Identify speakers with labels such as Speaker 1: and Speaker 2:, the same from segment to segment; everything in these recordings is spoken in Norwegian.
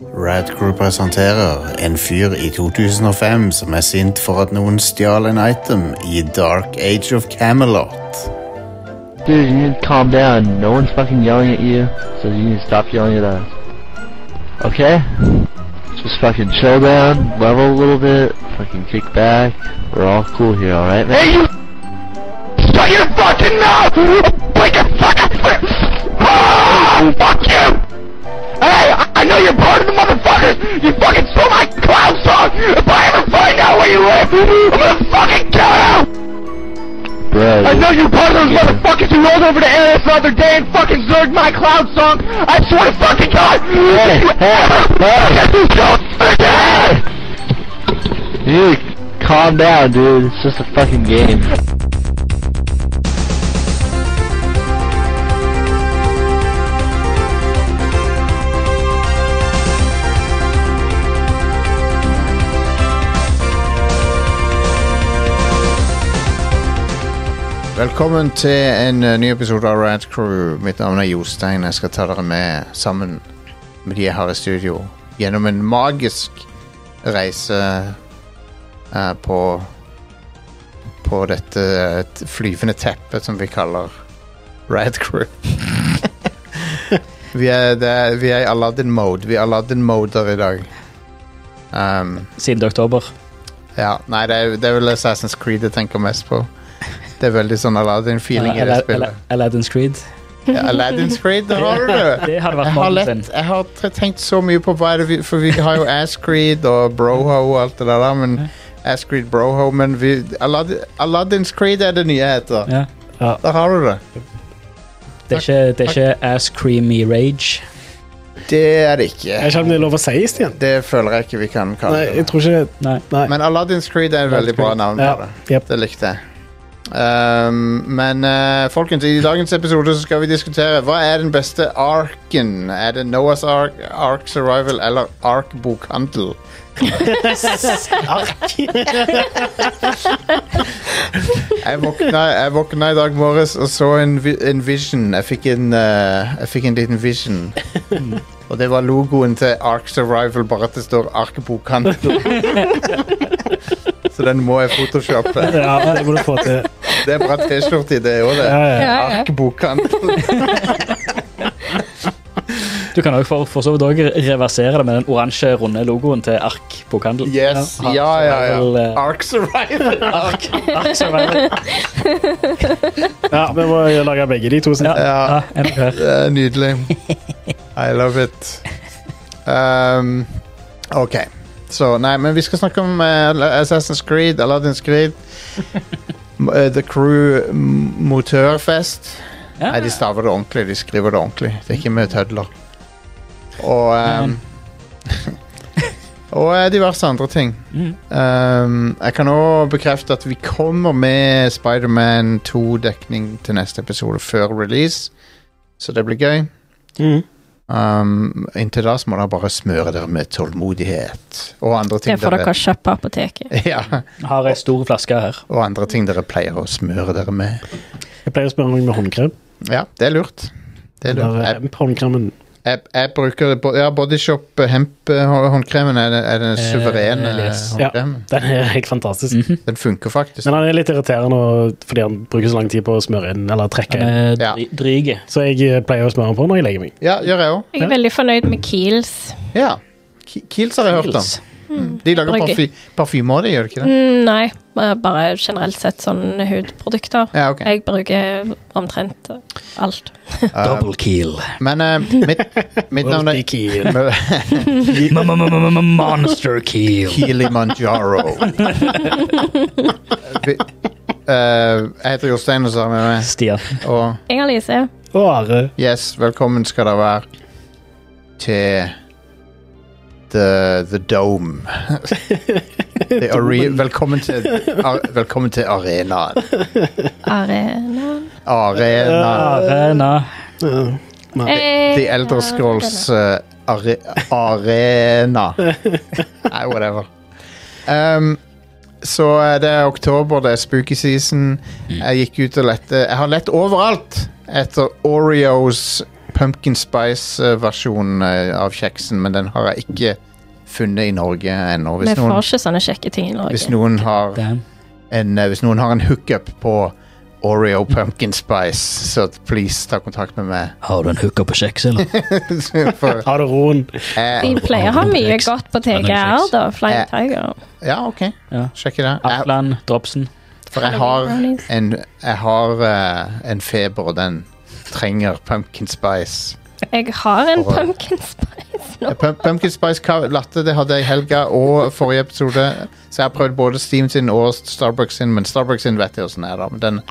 Speaker 1: Rad Crew presenterer en fyr i 2005 som er sint for at noen stjal en item i Dark Age of Camelot.
Speaker 2: Dude, you need to calm down. No one's fucking yelling at you, so you need to stop yelling at us. Okay? Just fucking chill down, level a little bit, fucking kick back. We're all cool here, alright, man? Hey, you! Shut your fucking mouth! Like a fucking... Oh, fuck you! Hey, I know you're part of the motherfuckers! You fucking stole my clown song! If I ever find out where you live, I'm gonna fucking kill you! Bro, I know you're part of those motherfuckers who rolled over to Ares the other day and fucking zerged my cloud song. I swear to fucking God. Hey, hey, hey. Dude, calm down, dude. It's just a fucking game.
Speaker 1: Velkommen til en eh, ny episode av Rad Crew. Mitt navn er Jostein. Jeg skal ta dere med sammen med de jeg har i studio gjennom en magisk reise eh, på på dette eh, t- flyvende teppet som vi kaller Rad Crew. vi, er, det er, vi er i Aladdin-mode. Vi er Aladdin-moder i dag. Um,
Speaker 3: siden oktober.
Speaker 1: ja, nei, det er, det er vel Assassin's Creed jeg tenker mest på. Det er veldig sånn Aladdin-feeling i det
Speaker 3: Ala- Ala-
Speaker 1: spillet.
Speaker 3: Aladdin's Creed.
Speaker 1: Ja, Aladdin's Creed, der har du det!
Speaker 3: Det hadde vært
Speaker 1: Jeg har,
Speaker 3: mannen
Speaker 1: lett,
Speaker 3: sin.
Speaker 1: jeg har t- tenkt så mye på hva er det vi For vi har jo Ass Creed og Broho og alt det der, men Ass Creed Broho Men vi, Alad, Aladdin's Creed er det nye heter.
Speaker 3: Ja.
Speaker 1: Der har du det.
Speaker 3: Det er ikke, det er ikke Ass Creamy Rage.
Speaker 1: Det er det
Speaker 4: Jeg
Speaker 1: ikke.
Speaker 4: vet ikke om det er lov å si, Stian.
Speaker 1: Det føler jeg ikke vi kan
Speaker 4: Nei,
Speaker 1: kalle det.
Speaker 4: jeg tror ikke det.
Speaker 3: Nei.
Speaker 4: Nei.
Speaker 1: Men Aladdin's Creed er et veldig bra navn på det.
Speaker 4: Ja. Yep.
Speaker 1: Det likte jeg. Ehm, men eh, folkens, i dagens episode så skal vi diskutere hva er den beste arken. Er det Noahs Ark, Ark Survival eller Ark Bokhandel? Jeg våkna, jeg våkna i dag morges og så en, vi- en vision. Jeg fikk en, eh, jeg fikk en liten vision. Og det var logoen til Ark Survival, bare at det står Ark Bokhandel. så den må jeg photoshoppe.
Speaker 4: Ja, det må du få til.
Speaker 1: Det er bra T-skjorte i det òg, det.
Speaker 4: Ja, ja.
Speaker 5: Ja, ja.
Speaker 1: Arkbokhandel.
Speaker 3: Du kan også for, for så vidt også reversere det med den oransje, runde logoen til Ark Bokhandel.
Speaker 1: Yes. Ja, ja,
Speaker 3: Survival,
Speaker 1: ja.
Speaker 3: eh,
Speaker 1: Ark Survival.
Speaker 3: Ark, Ark Survival.
Speaker 4: ja, vi må jo lage begge de to.
Speaker 3: Ja,
Speaker 4: Ja.
Speaker 3: ja, Ah, en av hver.
Speaker 1: Det er nydelig. I love it. Um, OK. Så, nei, men vi skal snakke om eh, Assassin's Creed, Aladdin's Creed. M- eh, The Crew m- Motørfest.
Speaker 3: Ja.
Speaker 1: Nei, de staver det ordentlig. De skriver det ordentlig. Det er ikke mye tødler. Og ehm, Og eh, diverse andre ting.
Speaker 4: Hm.
Speaker 3: Mm.
Speaker 1: Ehm, jeg kan òg bekrefte at vi kommer med Spiderman 2-dekning til neste episode før release, så det blir gøy.
Speaker 4: Mm.
Speaker 1: Ehm, inntil da så må dere bare smøre dere med tålmodighet og andre ting
Speaker 5: Det får dere kjøpe på apoteket.
Speaker 1: ja,
Speaker 3: Har ei stor flaske her.
Speaker 1: Og andre ting dere pleier å smøre dere med.
Speaker 4: Jeg pleier å spørre noen med håndkrem.
Speaker 1: Ja, det er lurt. Det er lurt.
Speaker 4: Eller
Speaker 1: Jeg,
Speaker 4: eh, håndkremen.
Speaker 1: Jeg, jeg bruker bo- ja, Bodyshop eh, hemp eh, hå- håndkremen er, den- er den
Speaker 3: Eh,
Speaker 1: suverene eh,
Speaker 3: yes.
Speaker 4: Ja.
Speaker 1: håndkremen.
Speaker 4: Den er helt fantastisk.
Speaker 3: Mhm.
Speaker 1: Den funker faktisk.
Speaker 4: Men han er litt irriterende og- fordi han bruker så lang tid på å smøre inn eller trekke
Speaker 3: Den
Speaker 4: inn.
Speaker 3: er
Speaker 1: Ja.
Speaker 3: dri- dryg.
Speaker 4: Så jeg eh, pleier å smøre den på når jeg legger meg.
Speaker 1: Ja, gjør jeg òg.
Speaker 5: Jeg er veldig fornøyd med Kiels.
Speaker 1: Ja. Ki- Kiels har jeg hørt om. De lager
Speaker 5: Brygge.
Speaker 1: parfy parfyme òg, de, gjør de ikke det?
Speaker 5: Mm, nei, bare- bare generelt sett sånne hudprodukter.
Speaker 1: Ja, ok.
Speaker 5: Jeg bruker omtrent alt.
Speaker 3: Double kill.
Speaker 1: Ah. Men eh, mitt, mitt navn er
Speaker 4: Ikke-
Speaker 3: Monster kill.
Speaker 1: Kilimanjaro. Vi- eh, jeg heter Jostein, og så har vi med
Speaker 3: Stian.
Speaker 1: Og
Speaker 5: Inger-Lise,
Speaker 4: Og Are.
Speaker 1: yes, velkommen skal dere være til The, the Dome. Det er are, velkommen, til, ar, velkommen til arenaen.
Speaker 5: Arena
Speaker 1: Arena.
Speaker 3: Arena.
Speaker 4: Ja. Nei.
Speaker 5: Eh,
Speaker 1: The Elder Scrolls eh, are, Arena. Nei, whatever. Um, så eh, det er oktober, det er spooky season. Jeg gikk ut og lette Jeg har lett overalt etter Oreos pumpkin spice-versjonen eh, av kjeksen, men den har jeg ikke funnet i Norge ennå.
Speaker 5: Vi
Speaker 1: eh, Hvis,
Speaker 5: får
Speaker 1: noen-
Speaker 5: ikke sånne kjekke ting i Norge.
Speaker 1: hvis noen har
Speaker 6: Damn.
Speaker 1: en, eh, hvis noen har en hookup på Oreo pumpkin spice, så please ta kontakt med meg.
Speaker 6: Har du en hooker på kjeks, eller?
Speaker 1: For eh,
Speaker 4: Ha det roen.
Speaker 5: De
Speaker 1: jeg,
Speaker 5: pleier å ha mye godt på TGR, da.
Speaker 1: Ja.
Speaker 5: Flying Tiger.
Speaker 1: ja, OK.
Speaker 6: Ja.
Speaker 1: Sjekke det. Jeg,
Speaker 6: Atlan, Dropsen.
Speaker 1: for jeg har, en, jeg har eh, en feber, og den trenger pumpkin spice.
Speaker 5: Jeg har en
Speaker 1: For-
Speaker 5: pumpkin spice nå.
Speaker 1: Eh, Pum pumpkin spice ka- latte det hadde jeg i helga og forrige episode, så jeg har prøvd både Steam sin og Starbucks sin, men Starbucks sin vet jeg åssen er, da. Men den,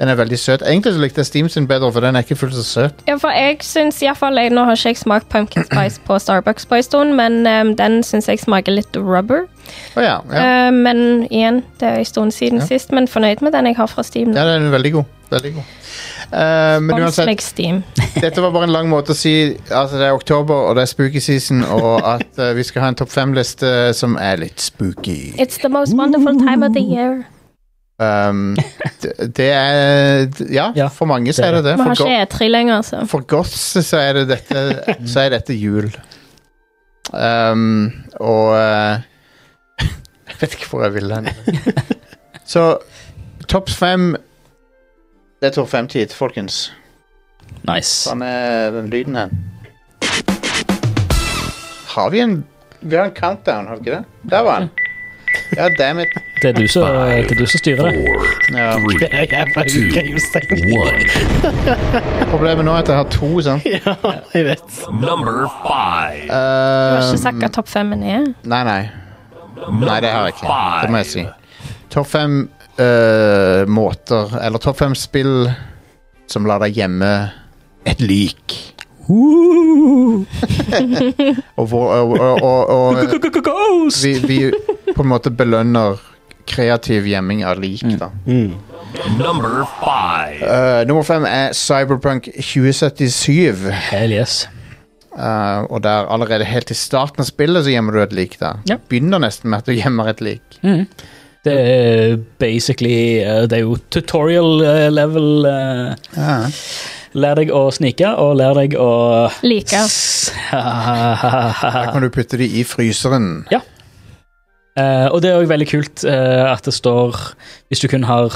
Speaker 1: den er veldig søt. Egentlig så likte jeg Steam sin bedre, for den er ikke fullt så søt.
Speaker 5: Ja, for jeg synes i hvert fall, jeg, Nå har ikke jeg smakt pumpkin spice på Starbucks på en stund, men em, den syns jeg smaker litt rubber.
Speaker 1: Å ja, ja.
Speaker 5: Eh, men igjen, det er en stund siden sist, men fornøyd med den jeg har fra Steam. nå.
Speaker 1: Ja, den er veldig god. Veldig god. Eh, men
Speaker 5: Spons
Speaker 1: uansett,
Speaker 5: meg Steam.
Speaker 1: dette var bare en lang måte å si Altså, det er oktober, og det er spooky season, og at eh, vi skal ha en topp fem-liste som er litt spooky.
Speaker 5: It's the most wonderful time of the year.
Speaker 1: Um, det, det er ja,
Speaker 6: Ja,
Speaker 1: for mange så er det det.
Speaker 5: Vi har
Speaker 1: For,
Speaker 5: ikke
Speaker 1: go
Speaker 5: E3 lenger, så.
Speaker 1: for goths så er det dette Så er dette jul. Um, og eh, Jeg vet ikke hvor jeg vil hen. Så topp fem Det er topp fem-tid, folkens.
Speaker 6: Nice.
Speaker 1: Hva med den lyden her? Har vi en Vi har en countdown, har vi ikke det? Der var den. Ja, damn it.
Speaker 6: Det er du som, det er du som styrer det.
Speaker 7: Four,
Speaker 1: Ja.
Speaker 7: three,
Speaker 4: Jeg er bare
Speaker 7: Two.
Speaker 4: ukegivstein.
Speaker 7: one.
Speaker 1: Problemet nå er at jeg har to, sant?
Speaker 4: Ja, jeg vet.
Speaker 7: Number five.
Speaker 5: Du har
Speaker 1: Eh,
Speaker 5: ikke sagt hva topp femmen er.
Speaker 1: nei, nei. Nei, det har jeg ikke. Det må jeg si.
Speaker 7: Five.
Speaker 1: Topp fem eh, måter Eller topp fem spill som lar deg gjemme et lik. og, hvor, og, og, og, og
Speaker 6: Ghost!
Speaker 1: vi, vi på en måte belønner kreativ gjemming av lik, da.
Speaker 6: Mm.
Speaker 4: Mm.
Speaker 7: Number five.
Speaker 1: Eh, nummer fem er Cyberpunk 2077.
Speaker 6: Hell yes.
Speaker 1: eh, og der allerede helt i starten av spillet så gjemmer du et lik. da
Speaker 6: Ja.
Speaker 1: Begynner nesten med at du gjemmer et lik.
Speaker 6: Det er basically eh, Det er jo tutorial eh, level. eh, Lær deg å snike, og lær deg å
Speaker 5: Like.
Speaker 1: Her kan du putte de i fryseren.
Speaker 6: Eh, og det er òg veldig kult eh, at det står Hvis du kun har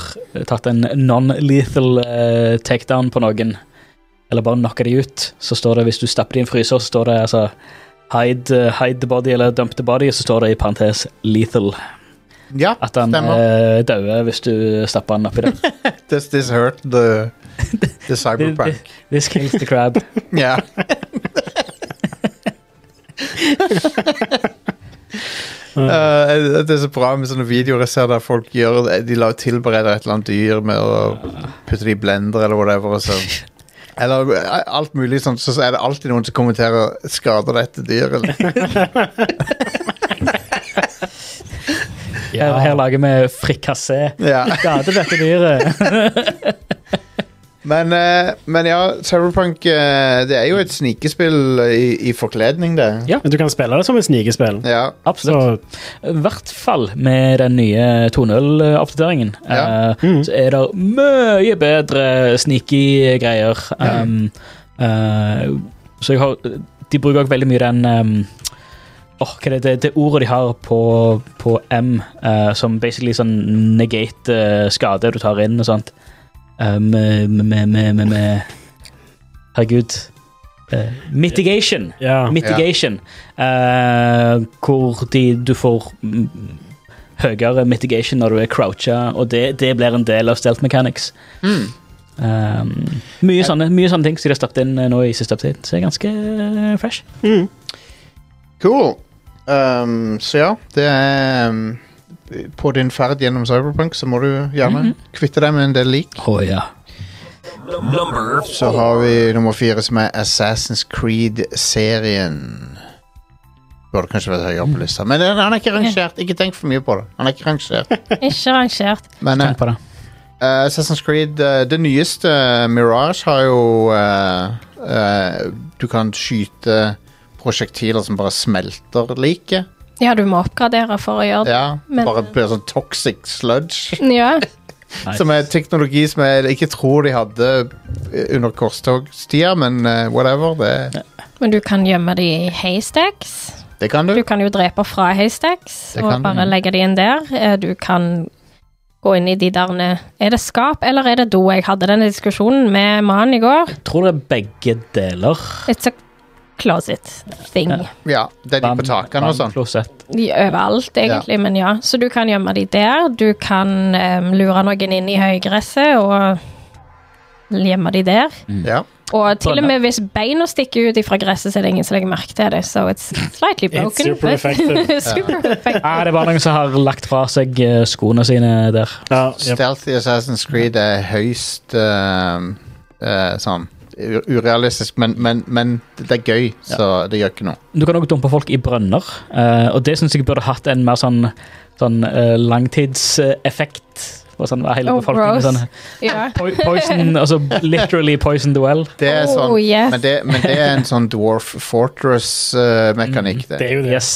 Speaker 6: tatt en non-lethal eh, takedown på noen, eller bare knocka de ut, så står det hvis du stapper de i en fryser, så står det altså Hide, eh, hide the body eller dump the body, så står det i parentes lethal.
Speaker 1: Ja,
Speaker 6: At han
Speaker 1: stemmer.
Speaker 6: eh, dauer hvis du stapper han oppi det.
Speaker 1: Does this hurt the, the cyberpunk?
Speaker 6: This kills the crab.
Speaker 1: Ja. Eh, det er så bra med sånne videoer jeg ser der folk gjør De la- tilbereder et eller annet dyr med å putte det i blender eller whatever. Og så. Eller eh, alt mulig sånn, så er det alltid noen som kommenterer 'skader dette dyret'?
Speaker 6: Her, her lager vi frikassé.
Speaker 1: Ja.
Speaker 6: Ja, det er dette dyret.
Speaker 1: Men, eh, men ja, Cyberpunk eh, Det er jo et snikespill i, i forkledning, det.
Speaker 4: Men du kan spille det som et snikespill.
Speaker 1: Ja.
Speaker 4: Så
Speaker 6: Absolutt. I hvert fall med den nye 2.0-oppdateringen.
Speaker 1: Ja.
Speaker 6: eh, Så er det mye bedre sneaky greier. Um, eh, så jeg har De bruker også veldig mye den um, åh, hva er det, det, det ordet de har på, på M, eh, som basically sånn negate eh, skade du tar inn og sånt. Eh, med, med, med, med, med Herregud. Eh, mitigation.
Speaker 4: ja.
Speaker 6: Mitigation. Eh, hvor de, du får mm, høyere mitigation når du er croucha, og det, det blir en del av stealth mechanics.
Speaker 1: Mm.
Speaker 6: Um, mye, sånne, mye sånne ting som de har stappet inn eh, nå i siste update, så det er ganske eh, fresh.
Speaker 4: Mm.
Speaker 1: Cool. Um, så ja, det er um, På din ferd gjennom Cyberpunk så må du gjerne kvitte deg med en del lik.
Speaker 6: Å ja.
Speaker 7: Number
Speaker 1: Så har vi nummer fire, som er Assassin's Creed-serien. Burde kanskje vært høyere på lista, men den, han er ikke rangert. Ikke tenk for mye på det. Han er ikke rangert.
Speaker 5: Ikke rangert.
Speaker 1: Men eh,
Speaker 6: Tenk på det.
Speaker 1: eh, Assassin's Creed, eh, det nyeste, eh, Mirage, har jo eh, eh, Du kan skyte prosjektiler som bare smelter liket.
Speaker 5: Ja, du må oppgradere for å gjøre det.
Speaker 1: Ja,
Speaker 5: Men-
Speaker 1: bare blir sånn toxic sludge.
Speaker 5: Ja.
Speaker 6: Nice.
Speaker 1: Som er teknologi som jeg ikke tror de hadde eh, under korstogstider, men eh, whatever. Det,
Speaker 5: Men du kan gjemme de i haystacks.
Speaker 1: det kan du.
Speaker 5: Du kan jo drepe fra haystacks
Speaker 1: Det
Speaker 5: og
Speaker 1: kan du.
Speaker 5: bare legge de inn der. Eh, Du kan gå inn i de derne Er det skap eller er det do? Jeg hadde denne diskusjonen med mannen i går.
Speaker 6: Jeg tror det er begge deler.
Speaker 5: It's a closet thing.
Speaker 6: Ja.
Speaker 1: Ja, det er de på takene og sånn.
Speaker 6: Klosett.
Speaker 5: De er Overalt, egentlig, men ja. Så du kan gjemme de der. Du kan eh, lure noen inn i høygresset og gjemme de der.
Speaker 1: Ja.
Speaker 5: Og til og
Speaker 6: Brønner.
Speaker 5: med hvis beina stikker ut ifra gresset, så er det ingen som legger merke til det. So it's slightly broken.
Speaker 4: super
Speaker 5: but-
Speaker 4: effective.
Speaker 5: super effective.
Speaker 6: Nei, det er bare noen som har lagt fra seg eh, skoene sine der.
Speaker 4: Ja, jep.
Speaker 1: Stealthy Assassin's Creed er høyst eh, eh, sånn u- urealistisk, men, men, men det er gøy, så det gjør ikke noe.
Speaker 6: Du kan også dumpe folk i brønner, eh, og det syns jeg burde hatt en mer sånn, sånn eh, langtidseffekt. På sånn, hele
Speaker 5: Oh,
Speaker 6: befolkningen.
Speaker 5: gross.
Speaker 6: Sånn,
Speaker 5: Ja.
Speaker 6: po poison, altså literally poison the well.
Speaker 1: Det er
Speaker 5: Oh,
Speaker 1: sånn,
Speaker 5: yes.
Speaker 1: men, det, men det er en sånn Dwarf Fortress-mekanikk,
Speaker 4: Det er jo det.
Speaker 6: Yes,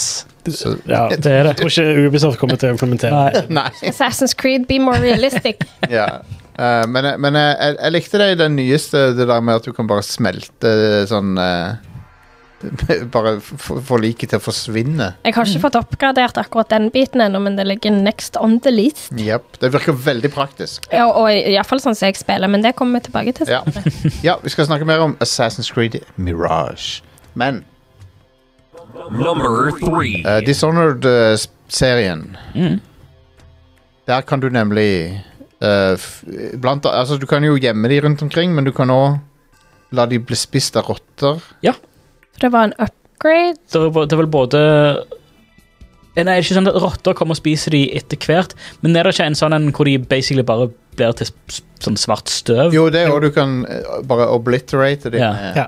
Speaker 1: det. Så,
Speaker 4: Ja. Jeg
Speaker 6: det er det.
Speaker 4: tror ikke Ubisoft kommer til å implementere
Speaker 6: Nei.
Speaker 1: nei.
Speaker 5: Assassin's Creed, be more realistic.
Speaker 1: Ja. Eh, men jeg- men jeg, jeg, jeg likte det i den nyeste, det der med at du kan bare smelte sånn eh, Bare f- f- få liket til å forsvinne.
Speaker 5: Jeg har ikke fått oppgradert akkurat den biten ennå, men det ligger next on the list.
Speaker 1: Jep. Det virker veldig praktisk.
Speaker 5: Ja, og iallfall sånn som jeg spiller, men det kommer vi tilbake til.
Speaker 1: Ja. ja, vi skal snakke mer om Assassin's Creed Mirage. Men
Speaker 8: Number three.
Speaker 1: eh, Dishonored-serien
Speaker 6: Mm.
Speaker 1: Der kan du nemlig eh, f blant, a- Altså, du kan jo gjemme de rundt omkring, men du kan òg la de bli spist av rotter.
Speaker 5: For det var en upgrade.
Speaker 6: Det er, det er vel både Eh, Nei, det er ikke sånn at rotter kommer og spiser de etter hvert, men er det ikke en sånn en hvor de basically bare blir til s- sånn svart støv?
Speaker 1: Jo, det er òg du kan eh, bare obliterate eh, de
Speaker 6: Ja.
Speaker 1: med-
Speaker 4: Ja.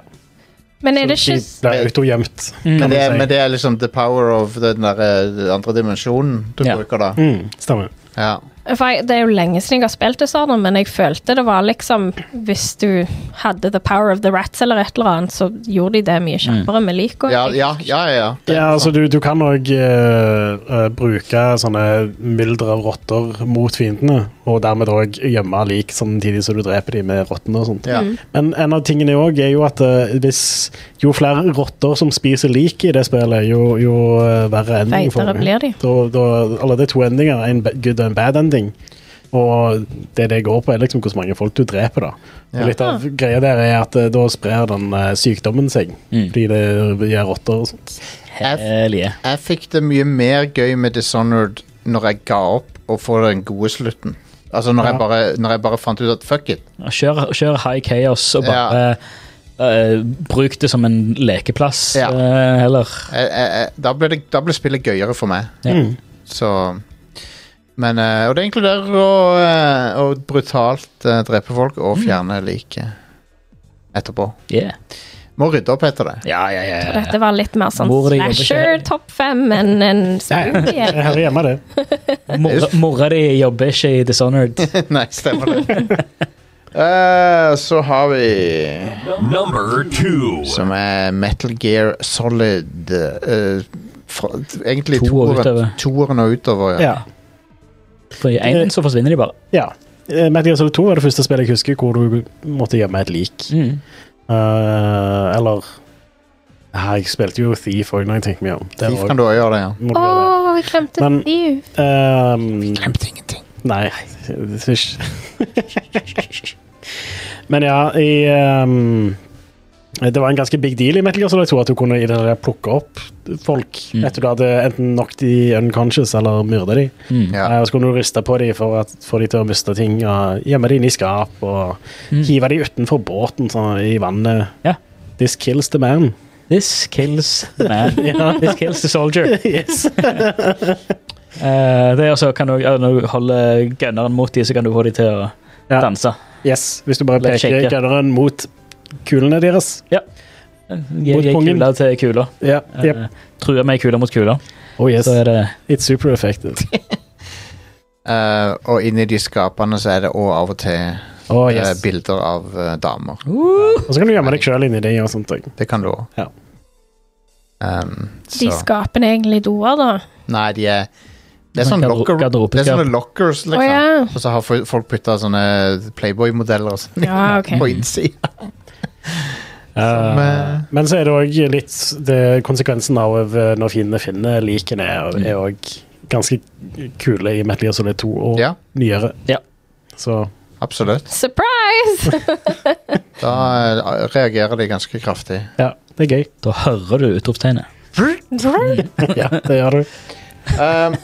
Speaker 5: Men er
Speaker 4: det.
Speaker 5: det
Speaker 4: Så
Speaker 5: ikke
Speaker 4: de blir autogjemt.
Speaker 6: Mm.
Speaker 1: Men det,
Speaker 4: si.
Speaker 1: er, men det er liksom the power of den der eh, den andre dimensjonen du
Speaker 6: Ja.
Speaker 1: bruker da.
Speaker 4: Mm, stemmer.
Speaker 1: Ja.
Speaker 5: for jeg, Det er jo lenge siden jeg har spilt det sånn, men jeg følte det var liksom Hvis du hadde the power of the rats eller et eller annet, så gjorde de
Speaker 6: Mm.
Speaker 5: det mye kjappere med lika.
Speaker 1: Ja, ja, ja, ja, ja. Det-
Speaker 4: Ja, altså du, du kan òg bruke sånne mylder av rotter mot fiendene, og dermed òg gjemme lik samtidig som du dreper de med rottene og sånt.
Speaker 1: ja.
Speaker 5: Mm.
Speaker 4: Men en av tingene òg er jo at eh, hvis, jo flere rotter som spiser lik i det spillet, jo, jo eh, verre ending får
Speaker 5: Feitere
Speaker 4: du.
Speaker 5: blir de.
Speaker 4: Da, da, eller det er to endinger, en ba- good og en bad ending. Og det det går på, er liksom hvor mange folk du dreper, da.
Speaker 1: Ja.
Speaker 4: Og litt
Speaker 5: Ah.
Speaker 4: av greia der er at eh, da sprer den eh, sykdommen seg,
Speaker 6: Mm.
Speaker 4: fordi det gir rotter og sånt.
Speaker 6: Hell yeah.
Speaker 1: Jeg fikk det mye mer gøy med Dishonored når jeg ga opp og får den gode slutten. Altså når,
Speaker 4: Ja.
Speaker 1: jeg bare, når jeg bare fant ut at fuck it.
Speaker 6: Kjør, kjør high chaos og bare eh, Bruk det som en lekeplass
Speaker 1: Ja.
Speaker 6: eh, heller.
Speaker 1: Jeg, jeg, jeg, da, ble det, da ble spillet gøyere for meg.
Speaker 6: Ja.
Speaker 4: Mm.
Speaker 1: Så men, eh, Og det inkluderer å, eh, å brutalt eh, drepe folk og fjerne liket etterpå.
Speaker 6: Yeah.
Speaker 1: Må rydde opp etter det.
Speaker 6: Ja, ja, ja.
Speaker 5: Og Dette var litt mer sånn
Speaker 6: Mor, det jobber ikke
Speaker 5: slasher
Speaker 6: her.
Speaker 5: topp fem enn en spooky.
Speaker 4: Jeg hører hjemme det.
Speaker 6: Mora, mora di jobber ikke i Dishonored.
Speaker 1: Nei, stemmer det. Eh, så har vi
Speaker 8: Number two.
Speaker 1: Som er Metal Gear Solid. eh, fra, egentlig
Speaker 6: To og utover.
Speaker 1: toeren toeren og utover. Ja.
Speaker 4: Ja.
Speaker 6: For i enen så forsvinner de bare.
Speaker 4: ja. Eh, Metal Gear Solid 2 var det første spillet jeg husker hvor du måtte gjemme et lik.
Speaker 6: Mm.
Speaker 4: Eh, eller Nei, Jeg spilte jo Thief òg, når jeg tenker meg om. Det
Speaker 1: Thief
Speaker 4: var-
Speaker 1: kan du også gjøre det, ja.
Speaker 5: Å,
Speaker 4: må du gjøre
Speaker 5: jeg glemte
Speaker 4: Men-
Speaker 5: Steve.
Speaker 4: det. Ehm,
Speaker 1: Glemte ingenting.
Speaker 4: nei det er ikke- Men ja, i ehm, Det var en ganske big deal i Metal Gear Solid 2 at du kunne i det der plukke opp folk
Speaker 6: Mm.
Speaker 4: etter du hadde enten knocked de unconscious eller myrda de.
Speaker 6: Mm.
Speaker 1: Ja.
Speaker 4: Eh, Og så kunne du riste på de for å få de til å miste ting, og gjemme de inn i skap og
Speaker 6: Mm.
Speaker 4: hive de utenfor båten sånn, i vannet.
Speaker 6: Ja.
Speaker 4: This kills the man.
Speaker 6: This kills the man.
Speaker 4: Ja.
Speaker 6: This kills the soldier.
Speaker 4: yes.
Speaker 6: Eh, det er også, kan du, ja, når du holder gunneren mot dem, så kan du få dem til å
Speaker 4: Ja.
Speaker 6: danse.
Speaker 4: Yes, hvis du bare
Speaker 6: Let's
Speaker 4: peker
Speaker 6: shake.
Speaker 4: gunneren mot kulene deres.
Speaker 6: Eh, Gi
Speaker 4: Mot
Speaker 6: gi
Speaker 4: kongen.
Speaker 6: kula til kula.
Speaker 4: Ja,
Speaker 6: Eh,
Speaker 4: yep.
Speaker 6: Truer med kula mot kula.
Speaker 4: Oh yes,
Speaker 6: Så er det
Speaker 4: it's super effective.
Speaker 1: Eh, og inni de skapene så er det også av og til
Speaker 4: Oh
Speaker 1: eh,
Speaker 4: yes.
Speaker 1: bilder av eh, damer.
Speaker 6: Uh,
Speaker 4: Og så kan du gjemme deg sjøl inni det og sånt. også.
Speaker 1: Det kan du òg.
Speaker 4: Ja.
Speaker 1: Um,
Speaker 5: De
Speaker 1: så
Speaker 5: skapene er egentlig doer, da.
Speaker 1: Nei, de er Det er sånn
Speaker 3: Garder-
Speaker 1: locker, det er
Speaker 3: garderobeskap.
Speaker 1: sånne lockers, liksom.
Speaker 5: Å ja.
Speaker 1: Og så har fo- folk putta sånne Playboy-modeller og sånn
Speaker 5: Ja, ok.
Speaker 1: på innsida.
Speaker 6: Eh,
Speaker 1: Men-
Speaker 4: Men så er det òg litt det, Konsekvensen av eh, når fiendene finner likene, er- er òg ganske kule i Metal Gear Solid 2 og
Speaker 1: Ja,
Speaker 4: nyere.
Speaker 3: Ja.
Speaker 4: Så
Speaker 1: absolutt.
Speaker 5: Surprise!
Speaker 1: Da eh, reagerer de ganske kraftig.
Speaker 4: ja, det er gøy.
Speaker 3: Da hører du utropstegnet.
Speaker 1: Mm.
Speaker 4: Ja, det gjør du.
Speaker 1: Um,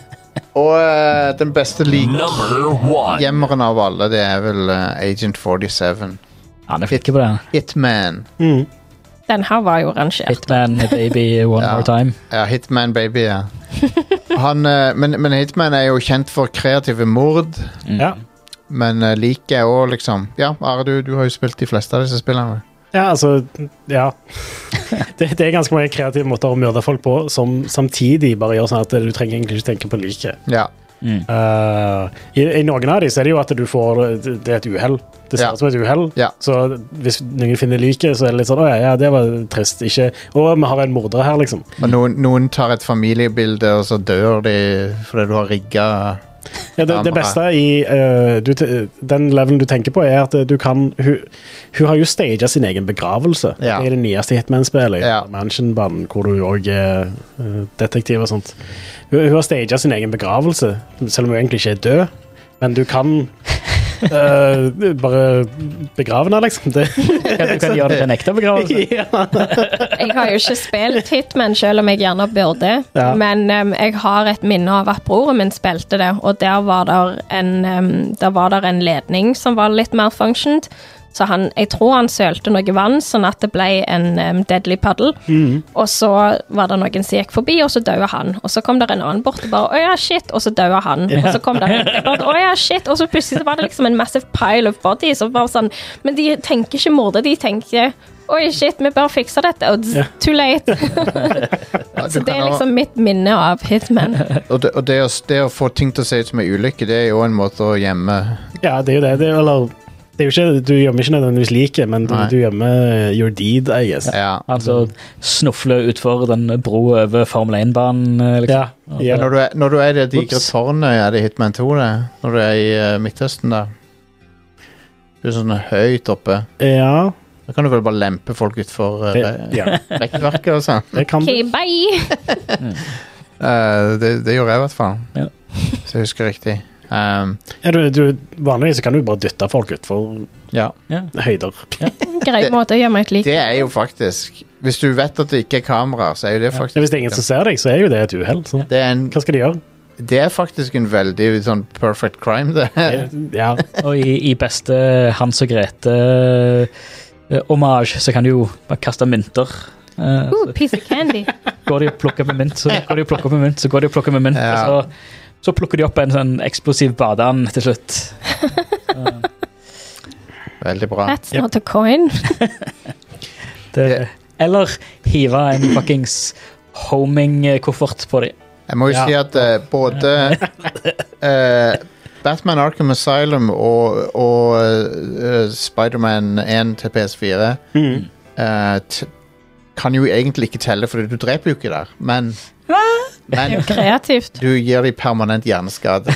Speaker 1: og eh, den beste
Speaker 9: Number one.
Speaker 1: likgjemmeren av alle, det er vel eh, Agent 47.
Speaker 3: Han er flink på det.
Speaker 1: Hitman.
Speaker 4: Mm.
Speaker 5: Den her var jo rangert.
Speaker 3: Hitman, baby, one
Speaker 1: Ja.
Speaker 3: more time.
Speaker 1: Ja, Hitman Baby, ja. Han, eh, men, men Hitman er jo kjent for kreative mord,
Speaker 4: Ja.
Speaker 1: men uh, liker òg, liksom Ja, Are, du, du har jo spilt de fleste av disse spillene.
Speaker 4: Ja, altså Ja. Det, det er ganske mange kreative måter å myrde folk på som samtidig bare gjør sånn at du trenger egentlig ikke tenke på liket.
Speaker 1: Ja.
Speaker 3: Mm.
Speaker 4: Eh, i, I noen av de så er det jo at du får Det det er et uhell. Det ser
Speaker 1: Ja.
Speaker 4: ut som et uhell.
Speaker 1: Ja.
Speaker 4: Så hvis noen finner liket, så er det litt sånn Å ja, ja, det var trist. Ikke Å, vi har en morder her, liksom.
Speaker 1: Og noen, noen tar et familiebilde, og så dør de fordi du har rigga
Speaker 4: Ja, det, det beste i eh, du, te- den levelen du tenker på, er at eh, du kan Hun, hun har jo staged sin egen begravelse.
Speaker 1: Ja.
Speaker 4: Det er det nyeste Hitman-spillet,
Speaker 1: Ja.
Speaker 4: i Mansion-banen, hvor du òg er eh, detektiv og sånt. Hun, hun har staged sin egen begravelse, selv om hun egentlig ikke er død. Men du kan eh, bare begrave henne, liksom. Det,
Speaker 3: Kan, du kan gjøre det til en ekte begravelse.
Speaker 4: ja.
Speaker 5: Jeg har jo ikke spilt Hitman, selv om jeg gjerne burde.
Speaker 4: Ja.
Speaker 5: Men em, jeg har et minne av at broren min spilte det, og der var der en, em, der var der en ledning som var litt mer functioned. Så han, jeg tror han sølte noe vann, sånn at det ble en em, deadly puddle. Og så var det noen som gikk forbi, og så døde han. Og så kom det en annen bort og bare 'Å ja, shit', og så døde han. Og så kom det en bort, 'Å ja, shit', og så plutselig så var det liksom en massive pile of bodies. Og bare sånn, men de tenker ikke morde, de tenker 'Oi, shit, vi bør fikse dette', og
Speaker 4: Ja.
Speaker 5: too late.
Speaker 1: Ja,
Speaker 5: Så
Speaker 1: du
Speaker 5: det er
Speaker 1: kan også-
Speaker 5: liksom mitt minne av Hitman.
Speaker 1: Og, det, og det, å, det å få ting til å se ut som en ulykke, det er jo en måte å gjemme
Speaker 4: ja, det er jo det. det er- eller det er jo ikke, du gjemmer ikke nødvendigvis liket, men du,
Speaker 1: Nei.
Speaker 4: du gjemmer your deed, I guess.
Speaker 1: Ja.
Speaker 3: Altså snufle utfor den bro over eh, Formel 1-banen. eh, Liksom.
Speaker 4: Ja. Ja.
Speaker 1: Når, du er, når du er i det digre
Speaker 3: Ups.
Speaker 1: tårnet, er det Hitman 2, det? Når du er i eh, Midtøsten der. Du er sånn høyt oppe.
Speaker 4: ja.
Speaker 1: Da kan du vel bare lempe folk utfor uh,
Speaker 4: Det, ja.
Speaker 1: rekkverket og sånn.
Speaker 4: Det kan du.
Speaker 5: OK, bye!
Speaker 1: Eh, det, det gjorde jeg i hvert fall.
Speaker 3: Ja.
Speaker 1: Hvis jeg husker riktig. Um,
Speaker 4: Ja, du, du, vanligvis så kan du bare dytte folk utfor
Speaker 1: ja.
Speaker 4: høyder.
Speaker 5: Grei
Speaker 1: Det-
Speaker 5: måte å gjemme et lik.
Speaker 1: Det er jo faktisk Hvis du vet at det ikke er kameraer, så er jo det
Speaker 4: Men
Speaker 1: faktisk
Speaker 4: hvis det er ingen som ser deg, så er jo det et uhell. så
Speaker 1: det er, en,
Speaker 4: Hva skal de gjøre?
Speaker 1: det er faktisk en veldig sånn perfect crime, det.
Speaker 4: Ja,
Speaker 3: Og i, i Oh, beste eh, Hans og Grete-omasj, så kan du jo bare kaste mynter. Eh,
Speaker 5: Ooh, piece of candy.
Speaker 3: går de og plukker med mynt, så går de og plukker med mynt, så går de og plukker med mynt,
Speaker 1: Ja.
Speaker 3: og så, så plukker de opp en sånn eksplosiv badeand til slutt.
Speaker 1: Veldig bra.
Speaker 5: That's not a coin.
Speaker 3: Det,
Speaker 1: Ja.
Speaker 3: Eller hive en fuckings eh, homing-koffert på de.
Speaker 1: Jeg må jo
Speaker 4: Ja.
Speaker 1: si at eh, både eh, Batman Arkham Asylum og, og eh, Spiderman 1 til PS4
Speaker 4: Mm.
Speaker 1: eh, t kan jo egentlig ikke telle, fordi du dreper jo ikke der. Men, men
Speaker 5: Kreativt.
Speaker 1: du gir dem permanent hjerneskade.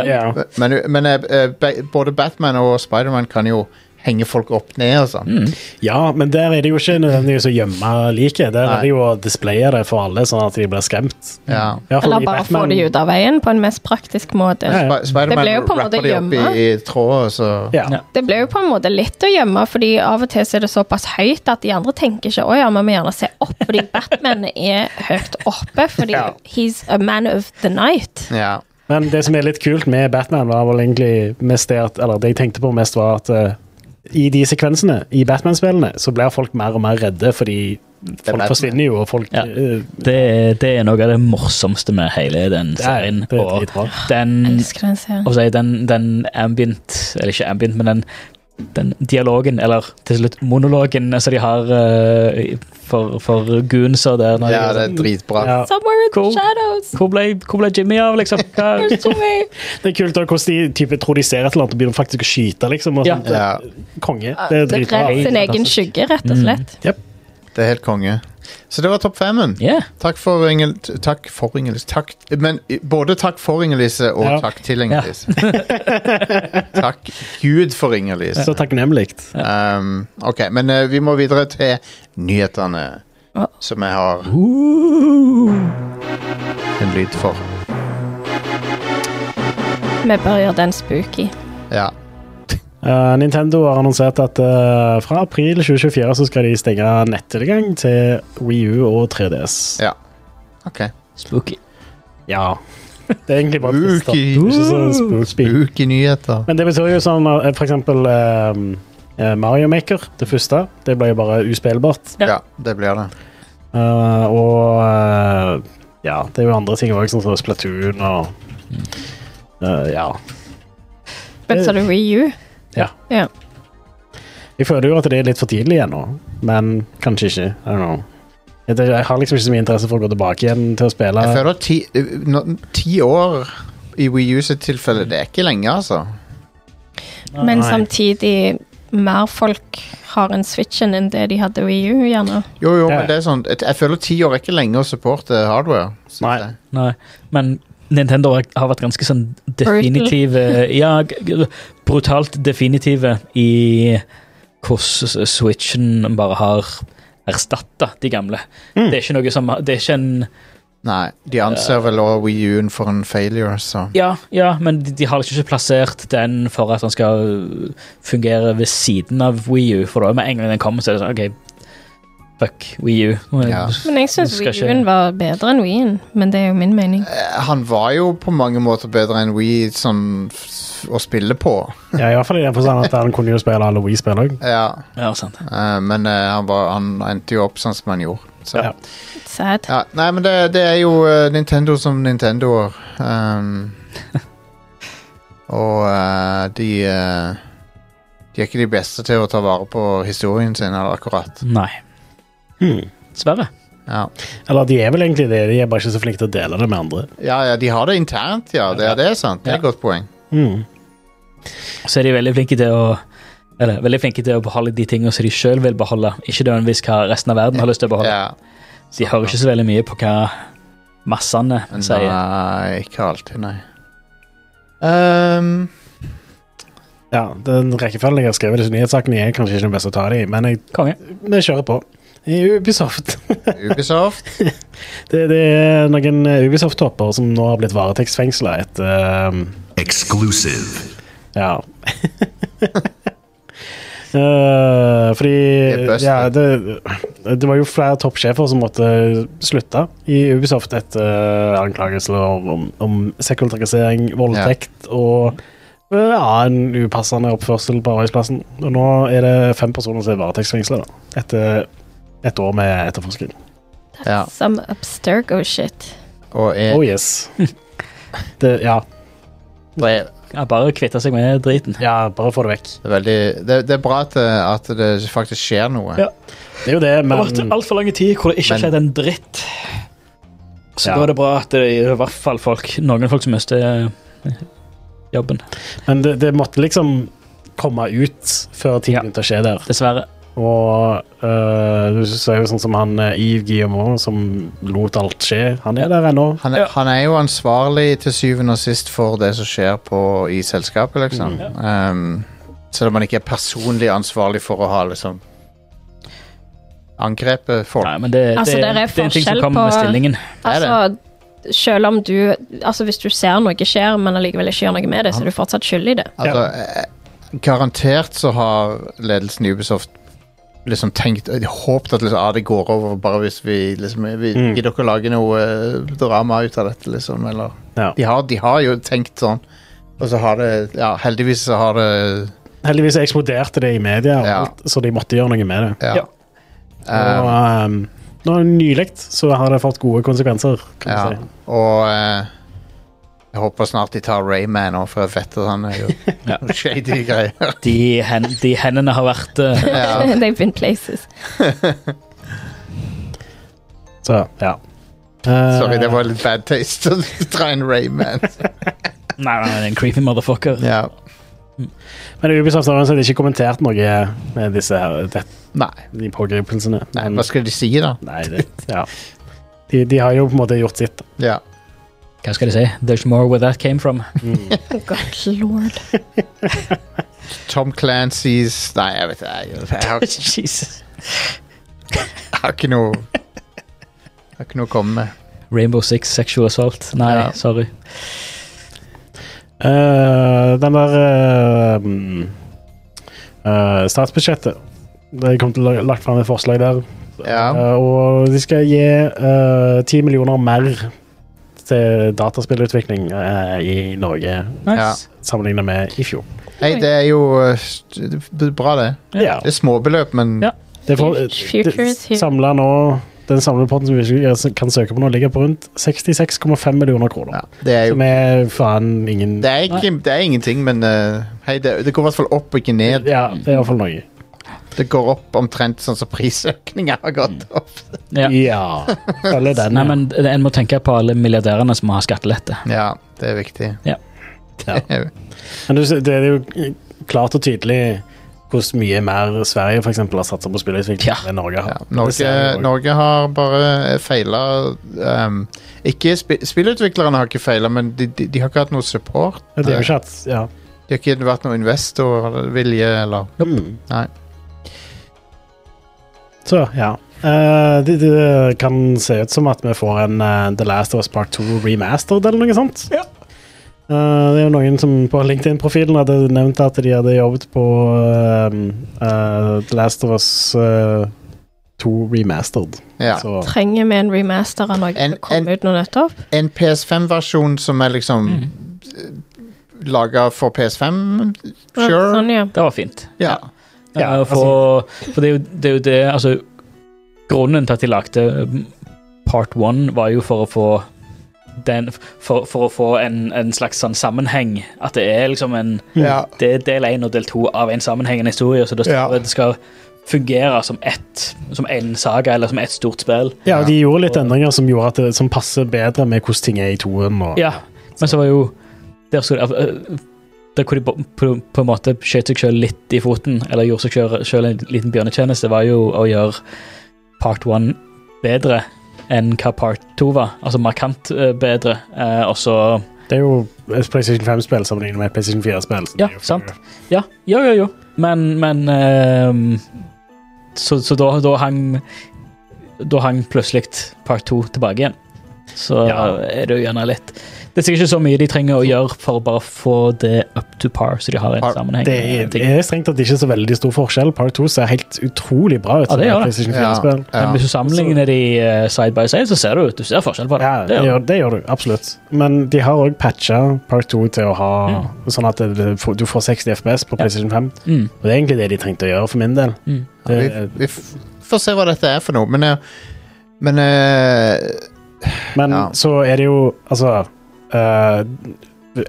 Speaker 4: ja.
Speaker 1: Men, men eh, eh, be- både Batman og Spiderman kan jo henge folk opp ned og sånn.
Speaker 4: ja, men der er det jo ikke nødvendigvis å gjemme liket. Der
Speaker 1: Nei.
Speaker 4: er det jo å displaye det for alle, sånn at de blir skremt.
Speaker 1: Ja.
Speaker 4: I hvert fall i
Speaker 5: Eller bare få
Speaker 4: Batman-
Speaker 5: de ut av veien på en mest praktisk måte.
Speaker 4: Ja, ja.
Speaker 1: Sp Spiderman
Speaker 5: Det ble jo på en måte
Speaker 1: rapper de opp i,
Speaker 5: gjemme.
Speaker 1: i tråd, og så
Speaker 4: Ja.
Speaker 3: Ja.
Speaker 5: Det ble jo på en måte litt å gjemme, fordi av og til så er det såpass høyt at de andre tenker ikke å ja, vi må gjerne se opp, fordi Batman er høyt oppe, fordi
Speaker 1: Ja.
Speaker 5: he's a man of the night.
Speaker 1: ja.
Speaker 4: Men det som er litt kult med Batman, var vel egentlig mest det at Eller det jeg tenkte på mest, var at eh, i de sekvensene i Batman-spillene så blir folk mer og mer redde, fordi folk
Speaker 1: Batman.
Speaker 4: forsvinner jo, og folk
Speaker 3: Ja.
Speaker 4: eh,
Speaker 3: Det, er- det er noe av det morsomste med hele den
Speaker 4: Det er,
Speaker 3: serien.
Speaker 4: det er
Speaker 3: og
Speaker 4: dritbra.
Speaker 3: den,
Speaker 5: Elsker den serien.
Speaker 3: og så er den, den ambient, eller ikke ambient, men den, den dialogen, eller til slutt monologen som de har eh, for, for goonser der. når de
Speaker 1: ja,
Speaker 3: er
Speaker 1: det
Speaker 3: sånn,
Speaker 1: er dritbra.
Speaker 4: Ja.
Speaker 5: Mm. Somewhere in
Speaker 3: Cool.
Speaker 5: the shadows.
Speaker 3: hvor, ble, hvor ble Jimmy av, liksom? Hva,
Speaker 5: There's no way.
Speaker 4: Det er kult da, hvordan de type, tror de ser et eller annet og begynner faktisk å skyte. liksom. Og
Speaker 3: Ja.
Speaker 4: sånt.
Speaker 1: Ja,
Speaker 4: Konge. Det er
Speaker 5: Det
Speaker 4: dritbra.
Speaker 5: redder sin egen
Speaker 3: Fantastisk.
Speaker 5: skygge, rett og slett.
Speaker 1: det er helt konge. Så det var topp femmen.
Speaker 6: Yeah.
Speaker 1: Takk for Ingel... t- Takk for Ingelis. Takk Men i- både takk for Ingelise og
Speaker 4: Ja.
Speaker 1: takk til Ingelis. takk Gud for Ingelis.
Speaker 4: Så takknemlig.
Speaker 1: Um, ok, men eh, vi må videre til nyhetene
Speaker 5: Ja.
Speaker 1: som jeg har
Speaker 4: Uh.
Speaker 1: en lyd for.
Speaker 5: Vi bør gjøre den spooky.
Speaker 1: Ja.
Speaker 4: Eh, Nintendo har annonsert at eh, fra april 2024 så skal de stenge nettilgang til Wii U og 3DS.
Speaker 1: Ja. Ok.
Speaker 6: Spooky.
Speaker 4: Ja. Det er egentlig bare trist, da.
Speaker 1: Spooky.
Speaker 4: Ikke så spooky.
Speaker 1: Spooky nyheter.
Speaker 4: Men det betyr jo sånn eh, for eksempel eh, eh, Mario Maker, det første, det ble jo bare uspillbart.
Speaker 5: Ja.
Speaker 1: Ja, det blir det.
Speaker 4: Eh, og eh, ja, det er jo andre ting òg, sånn som Splatoon og eh, Ja.
Speaker 5: Men så er det Wii U.
Speaker 4: Jeg føler jo at det er litt for tidlig ennå, men kanskje ikke. I don't know. Jeg, det- jeg har liksom ikke så mye interesse for å gå tilbake igjen til å spille.
Speaker 1: Jeg føler ti, eh, nå- ti år i Wii U sitt tilfelle, det er ikke lenge, altså.
Speaker 5: Men
Speaker 4: Nei.
Speaker 5: samtidig mer folk har en Switchen enn det de hadde Wii U, gjerne.
Speaker 1: Jo, jo,
Speaker 4: Ja.
Speaker 1: men det er sånn Jeg, jeg føler ti år er ikke lenge å supporte hardware. synes
Speaker 4: Nei.
Speaker 1: jeg.
Speaker 6: Nei, men Nintendo har- har vært ganske sånn definitive Ja, g- g- brutalt definitive i hvordan Switchen bare har erstatta de gamle. Det er ikke noe som Det er ikke en
Speaker 1: Nei. De anser vel også Wii U-en for en failure, så
Speaker 6: Ja, ja men de, de har liksom ikke plassert den for at den skal fungere ved siden av Wii U, for da med en gang den kommer, så er det sånn OK, fuck Wii U.
Speaker 1: Ja.
Speaker 5: Men jeg syns
Speaker 6: Skal
Speaker 5: Wii
Speaker 6: ikke-
Speaker 5: U-en var bedre enn Wii-en, men det er jo min mening.
Speaker 1: Eh, Han var jo på mange måter bedre enn Wii sånn, f- å spille på.
Speaker 4: Ja, i hvert fall i den forstand at han kunne jo spille alle Wii-spill òg.
Speaker 1: Ja,
Speaker 6: Ja, sant.
Speaker 1: eh, men eh, han, var, han endte jo opp sånn som han gjorde. Så.
Speaker 4: Ja.
Speaker 5: Sad.
Speaker 1: Ja, nei, men det, det er jo eh, Nintendo som Nintendoer. Um, og eh, de eh, De er ikke de beste til å ta vare på historien sin, eller akkurat.
Speaker 6: Nei.
Speaker 4: Hmm.
Speaker 6: Dessverre.
Speaker 1: Ja.
Speaker 4: Eller de er vel egentlig det, de er bare ikke så flinke til å dele det med andre.
Speaker 1: ja, ja, de har det internt, ja. Det er det, er sant. Det er et godt poeng.
Speaker 4: Hmm.
Speaker 6: så er de veldig flinke til å eller, veldig flinke til å beholde de tingene som de sjøl vil beholde. Ikke nødvendigvis hva resten av verden har lyst til å beholde.
Speaker 1: Ja.
Speaker 6: De hører ikke så veldig mye på hva massene sier.
Speaker 1: eh, Nei, ikke alltid, nei. Um,
Speaker 4: Ja, den rekkefølgen jeg har skrevet disse nyhetssakene i, er kanskje ikke den beste å ta det i, men jeg,
Speaker 6: Konge.
Speaker 4: vi kjører på. I Ubisoft.
Speaker 1: Ubisoft.
Speaker 4: Det, det er noen eh, Ubisoft-topper som nå har blitt varetektsfengsla etter ehm,
Speaker 10: Exclusive.
Speaker 4: Ja. Eh, fordi
Speaker 1: Det er bust,
Speaker 4: ja, det, det var jo flere toppsjefer som måtte slutte i Ubisoft etter eh, anklagelser om, om, om seksuell trakassering, voldtekt og eh, ja, en upassende oppførsel på arbeidsplassen. Og nå er det fem personer som er varetektsfengsla etter et år med etterforskning.
Speaker 1: Ja.
Speaker 5: Some abstergo shit.
Speaker 1: Og E-
Speaker 4: Oh
Speaker 1: jeg,
Speaker 4: yes. Det, ja,
Speaker 1: det, er
Speaker 6: Ja, bare kvitte seg med driten.
Speaker 4: ja, bare få det vekk.
Speaker 1: veldig, E- det, det er bra at, det- at det faktisk skjer noe.
Speaker 6: Ja.
Speaker 4: Det er jo det,
Speaker 6: Det har
Speaker 4: men
Speaker 6: vært altfor lang tid hvor det ikke har
Speaker 1: Men-
Speaker 6: skjedd en dritt. Så
Speaker 4: Ja.
Speaker 6: da er det bra at det er i hvert fall folk, noen folk som mister eh, jobben.
Speaker 4: Men det, det måtte liksom komme ut før ting
Speaker 6: Ja.
Speaker 4: begynte å skje der.
Speaker 6: Dessverre.
Speaker 4: Og øh, du ser jo sånn som han øh, Yves Guillemot, som lot alt skje. Han er der ennå.
Speaker 1: Han er, han er jo ansvarlig til syvende og sist for det som skjer på, i selskapet, liksom. Um, selv om han ikke er personlig ansvarlig for å ha liksom angrepet folk.
Speaker 6: Nei, men det,
Speaker 5: Altså,
Speaker 6: det,
Speaker 5: der er
Speaker 6: det er en ting som
Speaker 5: forskjell
Speaker 6: kommer med
Speaker 5: på-
Speaker 6: stillingen.
Speaker 1: er det.
Speaker 5: Altså, selv om du Altså, hvis du ser noe skjer, men allikevel ikke gjør noe med det, så er du fortsatt skyld i det.
Speaker 1: Altså, eh, garantert så har ledelsen i Ubisoft liksom tenkt eh, håpet at liksom, ah, det går over bare hvis vi liksom vi,
Speaker 4: Mm.
Speaker 1: Gidder dere å lage noe eh, drama ut av dette, liksom? Eller
Speaker 4: Ja.
Speaker 1: de har, de har jo tenkt sånn, og så har det Ja, heldigvis så har det
Speaker 4: Heldigvis eksploderte det i media, og
Speaker 1: Ja.
Speaker 4: alt, så de måtte gjøre noe med det.
Speaker 1: Ja.
Speaker 6: Ja.
Speaker 1: Eh,
Speaker 4: Og um, nå nylig så har det fått gode konsekvenser, kan
Speaker 1: Ja,
Speaker 4: du si.
Speaker 1: og eh, jeg håper snart de tar Rayman òg, for jeg vet at han er jo
Speaker 6: Ja.
Speaker 1: noe shady greier.
Speaker 6: De, hen, de hendene har vært eh,
Speaker 1: ja.
Speaker 5: They've been places.
Speaker 4: Så, ja. Eh,
Speaker 1: Sorry, det var litt bad taste å dra inn Rayman.
Speaker 6: Nei, nei, nei, en creepy motherfucker.
Speaker 1: ja.
Speaker 4: Men Ubisoft har uansett ikke kommentert noe med disse her, det,
Speaker 1: Nei,
Speaker 4: de pågripelsene.
Speaker 1: nei,
Speaker 4: Men-
Speaker 1: hva skal de si, da?
Speaker 4: nei det, ja. de, de har jo på en måte gjort sitt.
Speaker 1: Ja.
Speaker 6: Hva skal de si? There's more where that came from.
Speaker 4: Mm.
Speaker 5: God lord.
Speaker 1: Tom Clancy's Nei, jeg vet ikke. Jeg, jeg, har,
Speaker 6: Jesus.
Speaker 1: jeg har ikke noe Jeg har ikke noe å komme med.
Speaker 6: Rainbow Six sexual assault. Nei,
Speaker 1: Ja.
Speaker 6: sorry.
Speaker 4: Eh, den der eh, mm, eh, Statsbudsjettet. Det kom til å la- lagt fram et forslag der.
Speaker 1: Ja.
Speaker 4: Eh, og de skal gi eh, ti millioner mer til dataspillutvikling eh, i Norge
Speaker 1: Nice.
Speaker 4: sammenlignet med i fjor.
Speaker 1: Hei, det er jo eh, st- det er bra, det.
Speaker 4: Ja.
Speaker 1: Det er småbeløp, men
Speaker 6: Ja.
Speaker 4: Det får,
Speaker 5: Future is here.
Speaker 4: det samler nå Den samlede potten som vi ikke kan søke på nå, ligger på rundt 66,5 millioner kroner.
Speaker 1: ja, det er jo
Speaker 4: Som er faen ingen
Speaker 1: det er, ikke, det er ingenting, men eh, hei, det, det går i hvert fall opp og ikke ned.
Speaker 4: Ja, det er iallfall noe.
Speaker 1: Det går opp omtrent sånn som prisøkninga har gått opp.
Speaker 6: Ja.
Speaker 4: Ja. Følger den.
Speaker 6: Nei,
Speaker 4: ja.
Speaker 6: men det- En må tenke på alle milliardærene som har skattelette.
Speaker 1: Ja, det er viktig.
Speaker 6: Ja.
Speaker 4: Ja. Men du, ser- det er jo klart og tydelig hvordan mye mer Sverige for eksempel, har satsa på spillutvikling
Speaker 6: Ja.
Speaker 4: enn Norge har.
Speaker 1: Ja,
Speaker 4: Det ser
Speaker 1: Norge,
Speaker 4: vi jo.
Speaker 1: Norge har bare feila um, Ikke spi- spillutviklerne har ikke feila, men de, de, de har ikke hatt noe support.
Speaker 4: Ja, Det er jo ikke at ja.
Speaker 1: De har ikke vært noe investorvilje eller
Speaker 4: Mm.
Speaker 1: Nei.
Speaker 4: Så, ja. Eh, det, det kan se ut som at vi får en eh, The Last of Us Part 2 remastered eller noe sånt. Eh, det er jo noen som på LinkedIn-profilen hadde nevnt at de hadde jobbet på eh, eh, The Last of Us eh, 2 remastered.
Speaker 1: Ja.
Speaker 4: Så,
Speaker 5: Trenger vi en remaster av noe
Speaker 1: En-
Speaker 5: som kom
Speaker 1: en-
Speaker 5: ut nå nettopp?
Speaker 1: En PS5-versjon som er liksom
Speaker 4: Mhm.
Speaker 1: mm. laga for PS5, sure.
Speaker 5: Sånn, ja.
Speaker 6: Det var fint.
Speaker 1: ja.
Speaker 4: Ja,
Speaker 6: Ja, for for det, er jo, det er jo det Altså, grunnen til at de lagde mm, part one, var jo for å få den, for, for å få en, en slags sånn sammenheng. At det er liksom en
Speaker 1: Ja.
Speaker 6: Det er del én og del to av en sammenhengende historie. Så det skal,
Speaker 1: Ja.
Speaker 6: det skal fungere som ett Som én saga, eller som ett stort spill.
Speaker 4: ja, de gjorde litt endringer som gjorde at det som passer bedre med hvordan ting er i toen. Og,
Speaker 6: Ja, men så var jo Der, skulle, eh, der hvor de på, på, på en måte skjøt seg selv litt i foten, eller gjorde seg selv, selv en liten bjørnetjeneste, var jo å gjøre part one bedre enn hva part to var. Altså markant eh, bedre. eh, og så
Speaker 4: Det er jo et PlayStation 5-spill sammenlignet med et PlayStation 4-spill.
Speaker 6: Ja, sant. Ja, jo, jo, jo. Men, men ehm, Så, så da, da hang Da hang plutselig part to tilbake igjen. Så
Speaker 4: Ja.
Speaker 6: er det jo gjerne litt Det er sikkert ikke så mye de trenger å gjøre for å bare få det up to par, så de har en
Speaker 1: Par-
Speaker 6: sammenheng.
Speaker 4: Det er,
Speaker 6: med
Speaker 4: det
Speaker 6: ting.
Speaker 4: er strengt at det ikke er så veldig stor forskjell. Part 2 ser helt utrolig bra ut.
Speaker 6: Ja, det gjør det.
Speaker 4: PlayStation
Speaker 1: Ja,
Speaker 4: 4-spill.
Speaker 6: Men
Speaker 1: ja.
Speaker 6: hvis du sammenligner de eh, side by side, så ser du, du ser forskjell på det.
Speaker 4: Ja,
Speaker 6: Det
Speaker 4: det
Speaker 6: gjør
Speaker 4: gjør, det gjør du, absolutt. Men de har òg patcha Part 2 til å ha Sånn at det- det, får- du får 60 FPS på PlayStation 5.
Speaker 6: Mm,
Speaker 4: Og det er egentlig det de trengte å gjøre, for min del.
Speaker 6: mm.
Speaker 1: Vi,
Speaker 4: Det,
Speaker 1: vi f får se hva dette er for noe, men eh, men eh,
Speaker 4: men
Speaker 1: Ja.
Speaker 4: så er det jo Altså eh,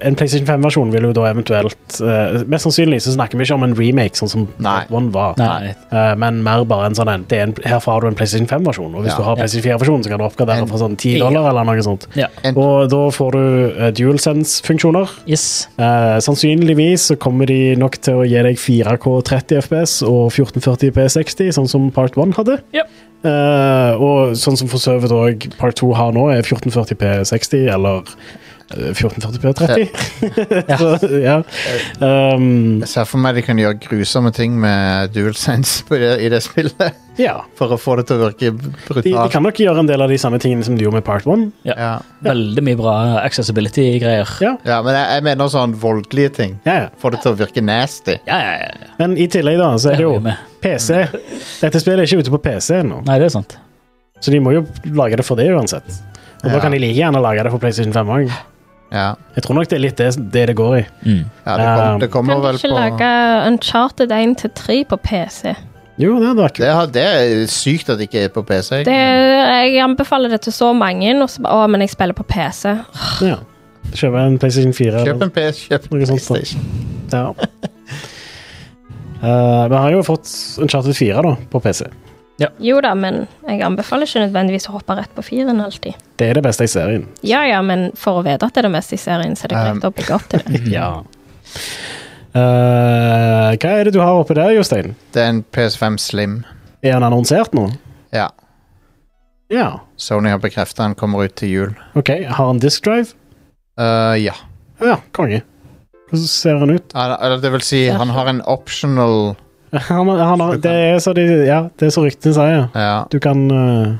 Speaker 4: En PlayStation 5-versjon vil jo da eventuelt eh, Mest sannsynlig så snakker vi ikke om en remake, sånn som
Speaker 1: Nei.
Speaker 4: Part 1 var.
Speaker 6: Nei.
Speaker 4: Eh, men mer bare en sånn en, det er en Herfra har du en PlayStation 5-versjon, og hvis
Speaker 1: Ja.
Speaker 4: du har PlayStation 4-versjonen, så kan du oppgradere
Speaker 1: En-
Speaker 4: for sånn 10 dollar eller noe sånt.
Speaker 6: Ja.
Speaker 1: En-
Speaker 4: Og da får du eh, DualSense-funksjoner.
Speaker 6: Yes.
Speaker 4: Eh, sannsynligvis så kommer de nok til å gi deg 4K 30 FPS og 1440 P60, sånn som Part 1 hadde.
Speaker 6: Ja.
Speaker 4: Eh, og sånn som for så vidt òg Part 2 har nå, er 1440 P60 eller eh, 1440 P30. så, ja. Um,
Speaker 1: jeg ser for meg de kan gjøre grusomme ting med DualSense på det, i det spillet.
Speaker 4: ja.
Speaker 1: For å få det til å virke
Speaker 4: De, de
Speaker 1: brutalt.
Speaker 4: kan nok gjøre en del av de samme tingene som de gjorde med Part 1.
Speaker 1: Ja.
Speaker 6: Veldig mye bra accessibility-greier.
Speaker 4: Ja.
Speaker 1: ja, men jeg, jeg mener sånn voldelige ting.
Speaker 4: Ja, ja.
Speaker 1: Få det til å virke nasty.
Speaker 6: Ja, ja, ja.
Speaker 4: Men i tillegg da, så er
Speaker 6: Det
Speaker 4: det
Speaker 6: er
Speaker 4: jo
Speaker 6: vi med.
Speaker 4: PC. Dette spillet er ikke ute på PC ennå,
Speaker 6: Nei, det er sant.
Speaker 4: så de må jo lage det for det uansett. Og
Speaker 1: Ja.
Speaker 4: da kan de like gjerne lage det for PlayStation 5 òg.
Speaker 1: Ja,
Speaker 4: Jeg tror nok det er litt det det, det går i.
Speaker 6: Mm.
Speaker 1: ja det, kom,
Speaker 4: Um,
Speaker 1: det kommer
Speaker 5: Kan de
Speaker 1: vel
Speaker 5: ikke
Speaker 1: på
Speaker 5: lage Uncharted 1 til 3 på PC?
Speaker 4: Jo, det hadde vært
Speaker 1: det,
Speaker 4: kult.
Speaker 1: har- det er sykt at det ikke er på PC.
Speaker 5: Det, jeg anbefaler det til så mange, og så bare Å, men jeg spiller på PC.
Speaker 4: Ja. Kjøpe en PlayStation 4.
Speaker 1: Kjøp en PS, kjøp en
Speaker 4: Noe sånt, da.
Speaker 1: PlayStation.
Speaker 4: Ja. Eh, vi har jo fått Uncharted 4 da, på PC.
Speaker 5: Jo da, men jeg anbefaler ikke nødvendigvis å hoppe rett på firen alltid.
Speaker 4: Det er det beste i serien.
Speaker 1: Um, Mhm.
Speaker 6: Mm.
Speaker 5: Ja ja, men for å vite at det er det meste i serien, så er det greit å bygge opp til det.
Speaker 4: Ja. Eh, hva er det du har oppe der, Jostein?
Speaker 1: Det er en PS5 Slim.
Speaker 4: Er han annonsert nå?
Speaker 1: Ja.
Speaker 4: Ja.
Speaker 1: Sony har bekrefta han kommer ut til jul.
Speaker 4: Ok, har han disk drive?
Speaker 1: Eh, ja.
Speaker 4: Ja, konge. Hvordan ser han ut?
Speaker 1: Eller eller det vil si,
Speaker 5: Ja.
Speaker 1: han har en optional
Speaker 4: Han, han har, det er så, de, ja, det er så ryktene sier.
Speaker 1: Ja.
Speaker 4: Du kan eh,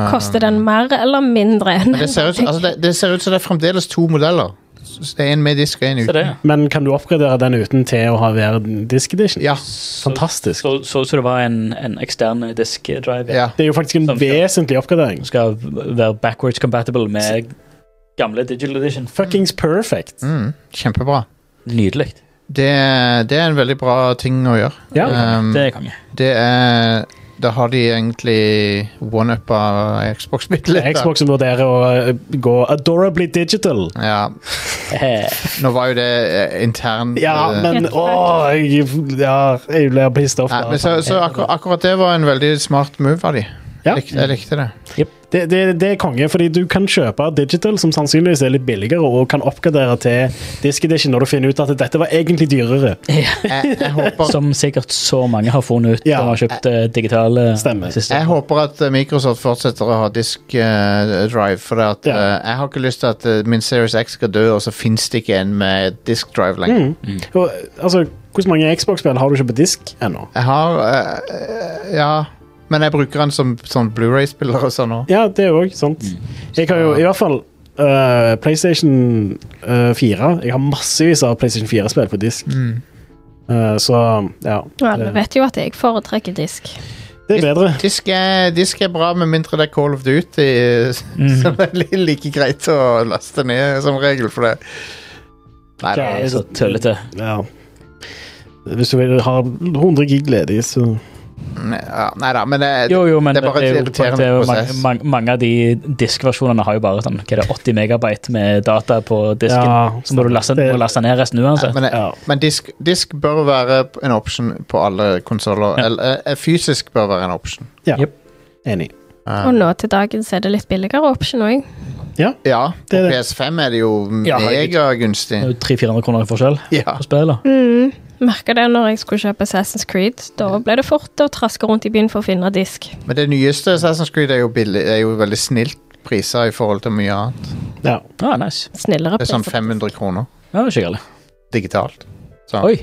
Speaker 1: eh,
Speaker 5: Koster den mer eller mindre enn
Speaker 1: Men det ser, ut, altså det, det ser ut som det er fremdeles to modeller. S- Det er En med disk og en
Speaker 6: Se
Speaker 1: uten.
Speaker 6: det.
Speaker 4: Men kan du oppgradere den uten til å ha være disk edition?
Speaker 1: Ja.
Speaker 4: Fantastisk.
Speaker 6: Så, så, så det var en, en ekstern disk-drive.
Speaker 1: ja.
Speaker 4: Det er jo faktisk en
Speaker 6: Som-
Speaker 4: vesentlig oppgradering.
Speaker 6: Som skal være backwards compatible med gamle Digital Edition.
Speaker 4: Fuckings perfect.
Speaker 1: Mm, kjempebra.
Speaker 6: Nydelig.
Speaker 1: Det, det er en veldig bra ting å gjøre.
Speaker 4: Ja.
Speaker 1: Um,
Speaker 6: Det er konge.
Speaker 1: det er Da har de egentlig one-uppa Xbox bitte
Speaker 4: Det
Speaker 1: litt.
Speaker 4: er
Speaker 1: da.
Speaker 4: Xbox som vurderer å eh, gå adorably digital.
Speaker 1: Ja.
Speaker 6: Eh,
Speaker 1: Nå var jo det eh, internt
Speaker 4: Ja,
Speaker 1: eh,
Speaker 4: men åh, jeg, ja, jeg blir pissed off.
Speaker 1: Nei,
Speaker 4: da.
Speaker 1: men så, så akkur akkurat det var en veldig smart move av de.
Speaker 4: Ja.
Speaker 1: Lik, jeg likte det.
Speaker 4: Det, det, det er konge, fordi du kan kjøpe digital, som sannsynligvis er litt billigere, og kan oppgradere til disk edition når du finner ut at dette var egentlig dyrere.
Speaker 1: Jeg, jeg, håper,
Speaker 6: som sikkert så mange har funnet ut
Speaker 4: Ja.
Speaker 6: som har kjøpt eh, digitale
Speaker 4: Stemmer.
Speaker 1: jeg håper at eh, Microsoft fortsetter å ha disk eh, drive, for det at,
Speaker 4: Ja.
Speaker 1: eh, jeg har ikke lyst til at eh, min Series X skal dø, og så fins det ikke en med disk drive lenger.
Speaker 4: Mm. Og, altså, Hvor mange Xbox-spill har du ikke på disk ennå?
Speaker 1: Jeg har eh, eh, Ja. Men jeg bruker den som sånn Blu-ray-spiller og sånn òg.
Speaker 4: Ja, det òg, sant.
Speaker 6: Mm.
Speaker 4: Jeg har jo i hvert fall øh, PlayStation øh, 4. Jeg har massevis av PlayStation 4-spill på disk,
Speaker 1: Mm.
Speaker 4: Øh, så ja.
Speaker 5: Og alle vet jo at jeg foretrekker disk.
Speaker 4: Det er bedre.
Speaker 1: Disk, er- disk er bra, med mindre det er Call of Duty,
Speaker 4: Mm.
Speaker 1: så det er li- like greit å laste ned som regel for det. Nei,
Speaker 4: Ja.
Speaker 1: da.
Speaker 6: Det er så tullete.
Speaker 4: Ja. Hvis du vil ha 100 gig ledig, så
Speaker 1: Nei, ja, nei da, men det,
Speaker 6: Jo, jo, men
Speaker 1: Det er bare et
Speaker 6: jo-
Speaker 1: irriterende
Speaker 6: det er jo
Speaker 1: prosess.
Speaker 6: Mange, mange, mange av de diskversjonene har jo bare sånn, hva er det, 80 megabyte med data på disken.
Speaker 4: Ja,
Speaker 6: så må du laste,
Speaker 4: det-
Speaker 6: må laste ned resten
Speaker 1: Nei,
Speaker 6: uansett.
Speaker 1: men,
Speaker 4: ja.
Speaker 1: men disk, disk bør være en option på alle konsoller.
Speaker 6: Ja.
Speaker 1: Eller eh, fysisk bør være en option.
Speaker 4: Enig.
Speaker 1: Eh,
Speaker 5: Og nå til dagen så er det litt billigere option òg.
Speaker 1: ja, på
Speaker 4: Det er det.
Speaker 1: PS5 er det jo
Speaker 6: Ja, herregud.
Speaker 1: megagunstig.
Speaker 6: Det er jo 300-400 kroner i forskjell
Speaker 1: Ja.
Speaker 6: på spillet.
Speaker 5: Mm. Merka det når jeg skulle kjøpe Assassin's Creed. Da ble det fort å traske rundt i byen for å finne disk.
Speaker 1: Men det nyeste Assassin's Creed er jo, billig, er jo veldig snilt priser i forhold til mye annet.
Speaker 4: Ja.
Speaker 6: Ah, nice.
Speaker 5: Snillere
Speaker 1: Det er sånn
Speaker 5: priser.
Speaker 1: 500 kroner
Speaker 6: Ja, det er ikke galt.
Speaker 1: digitalt. Så
Speaker 6: Oi,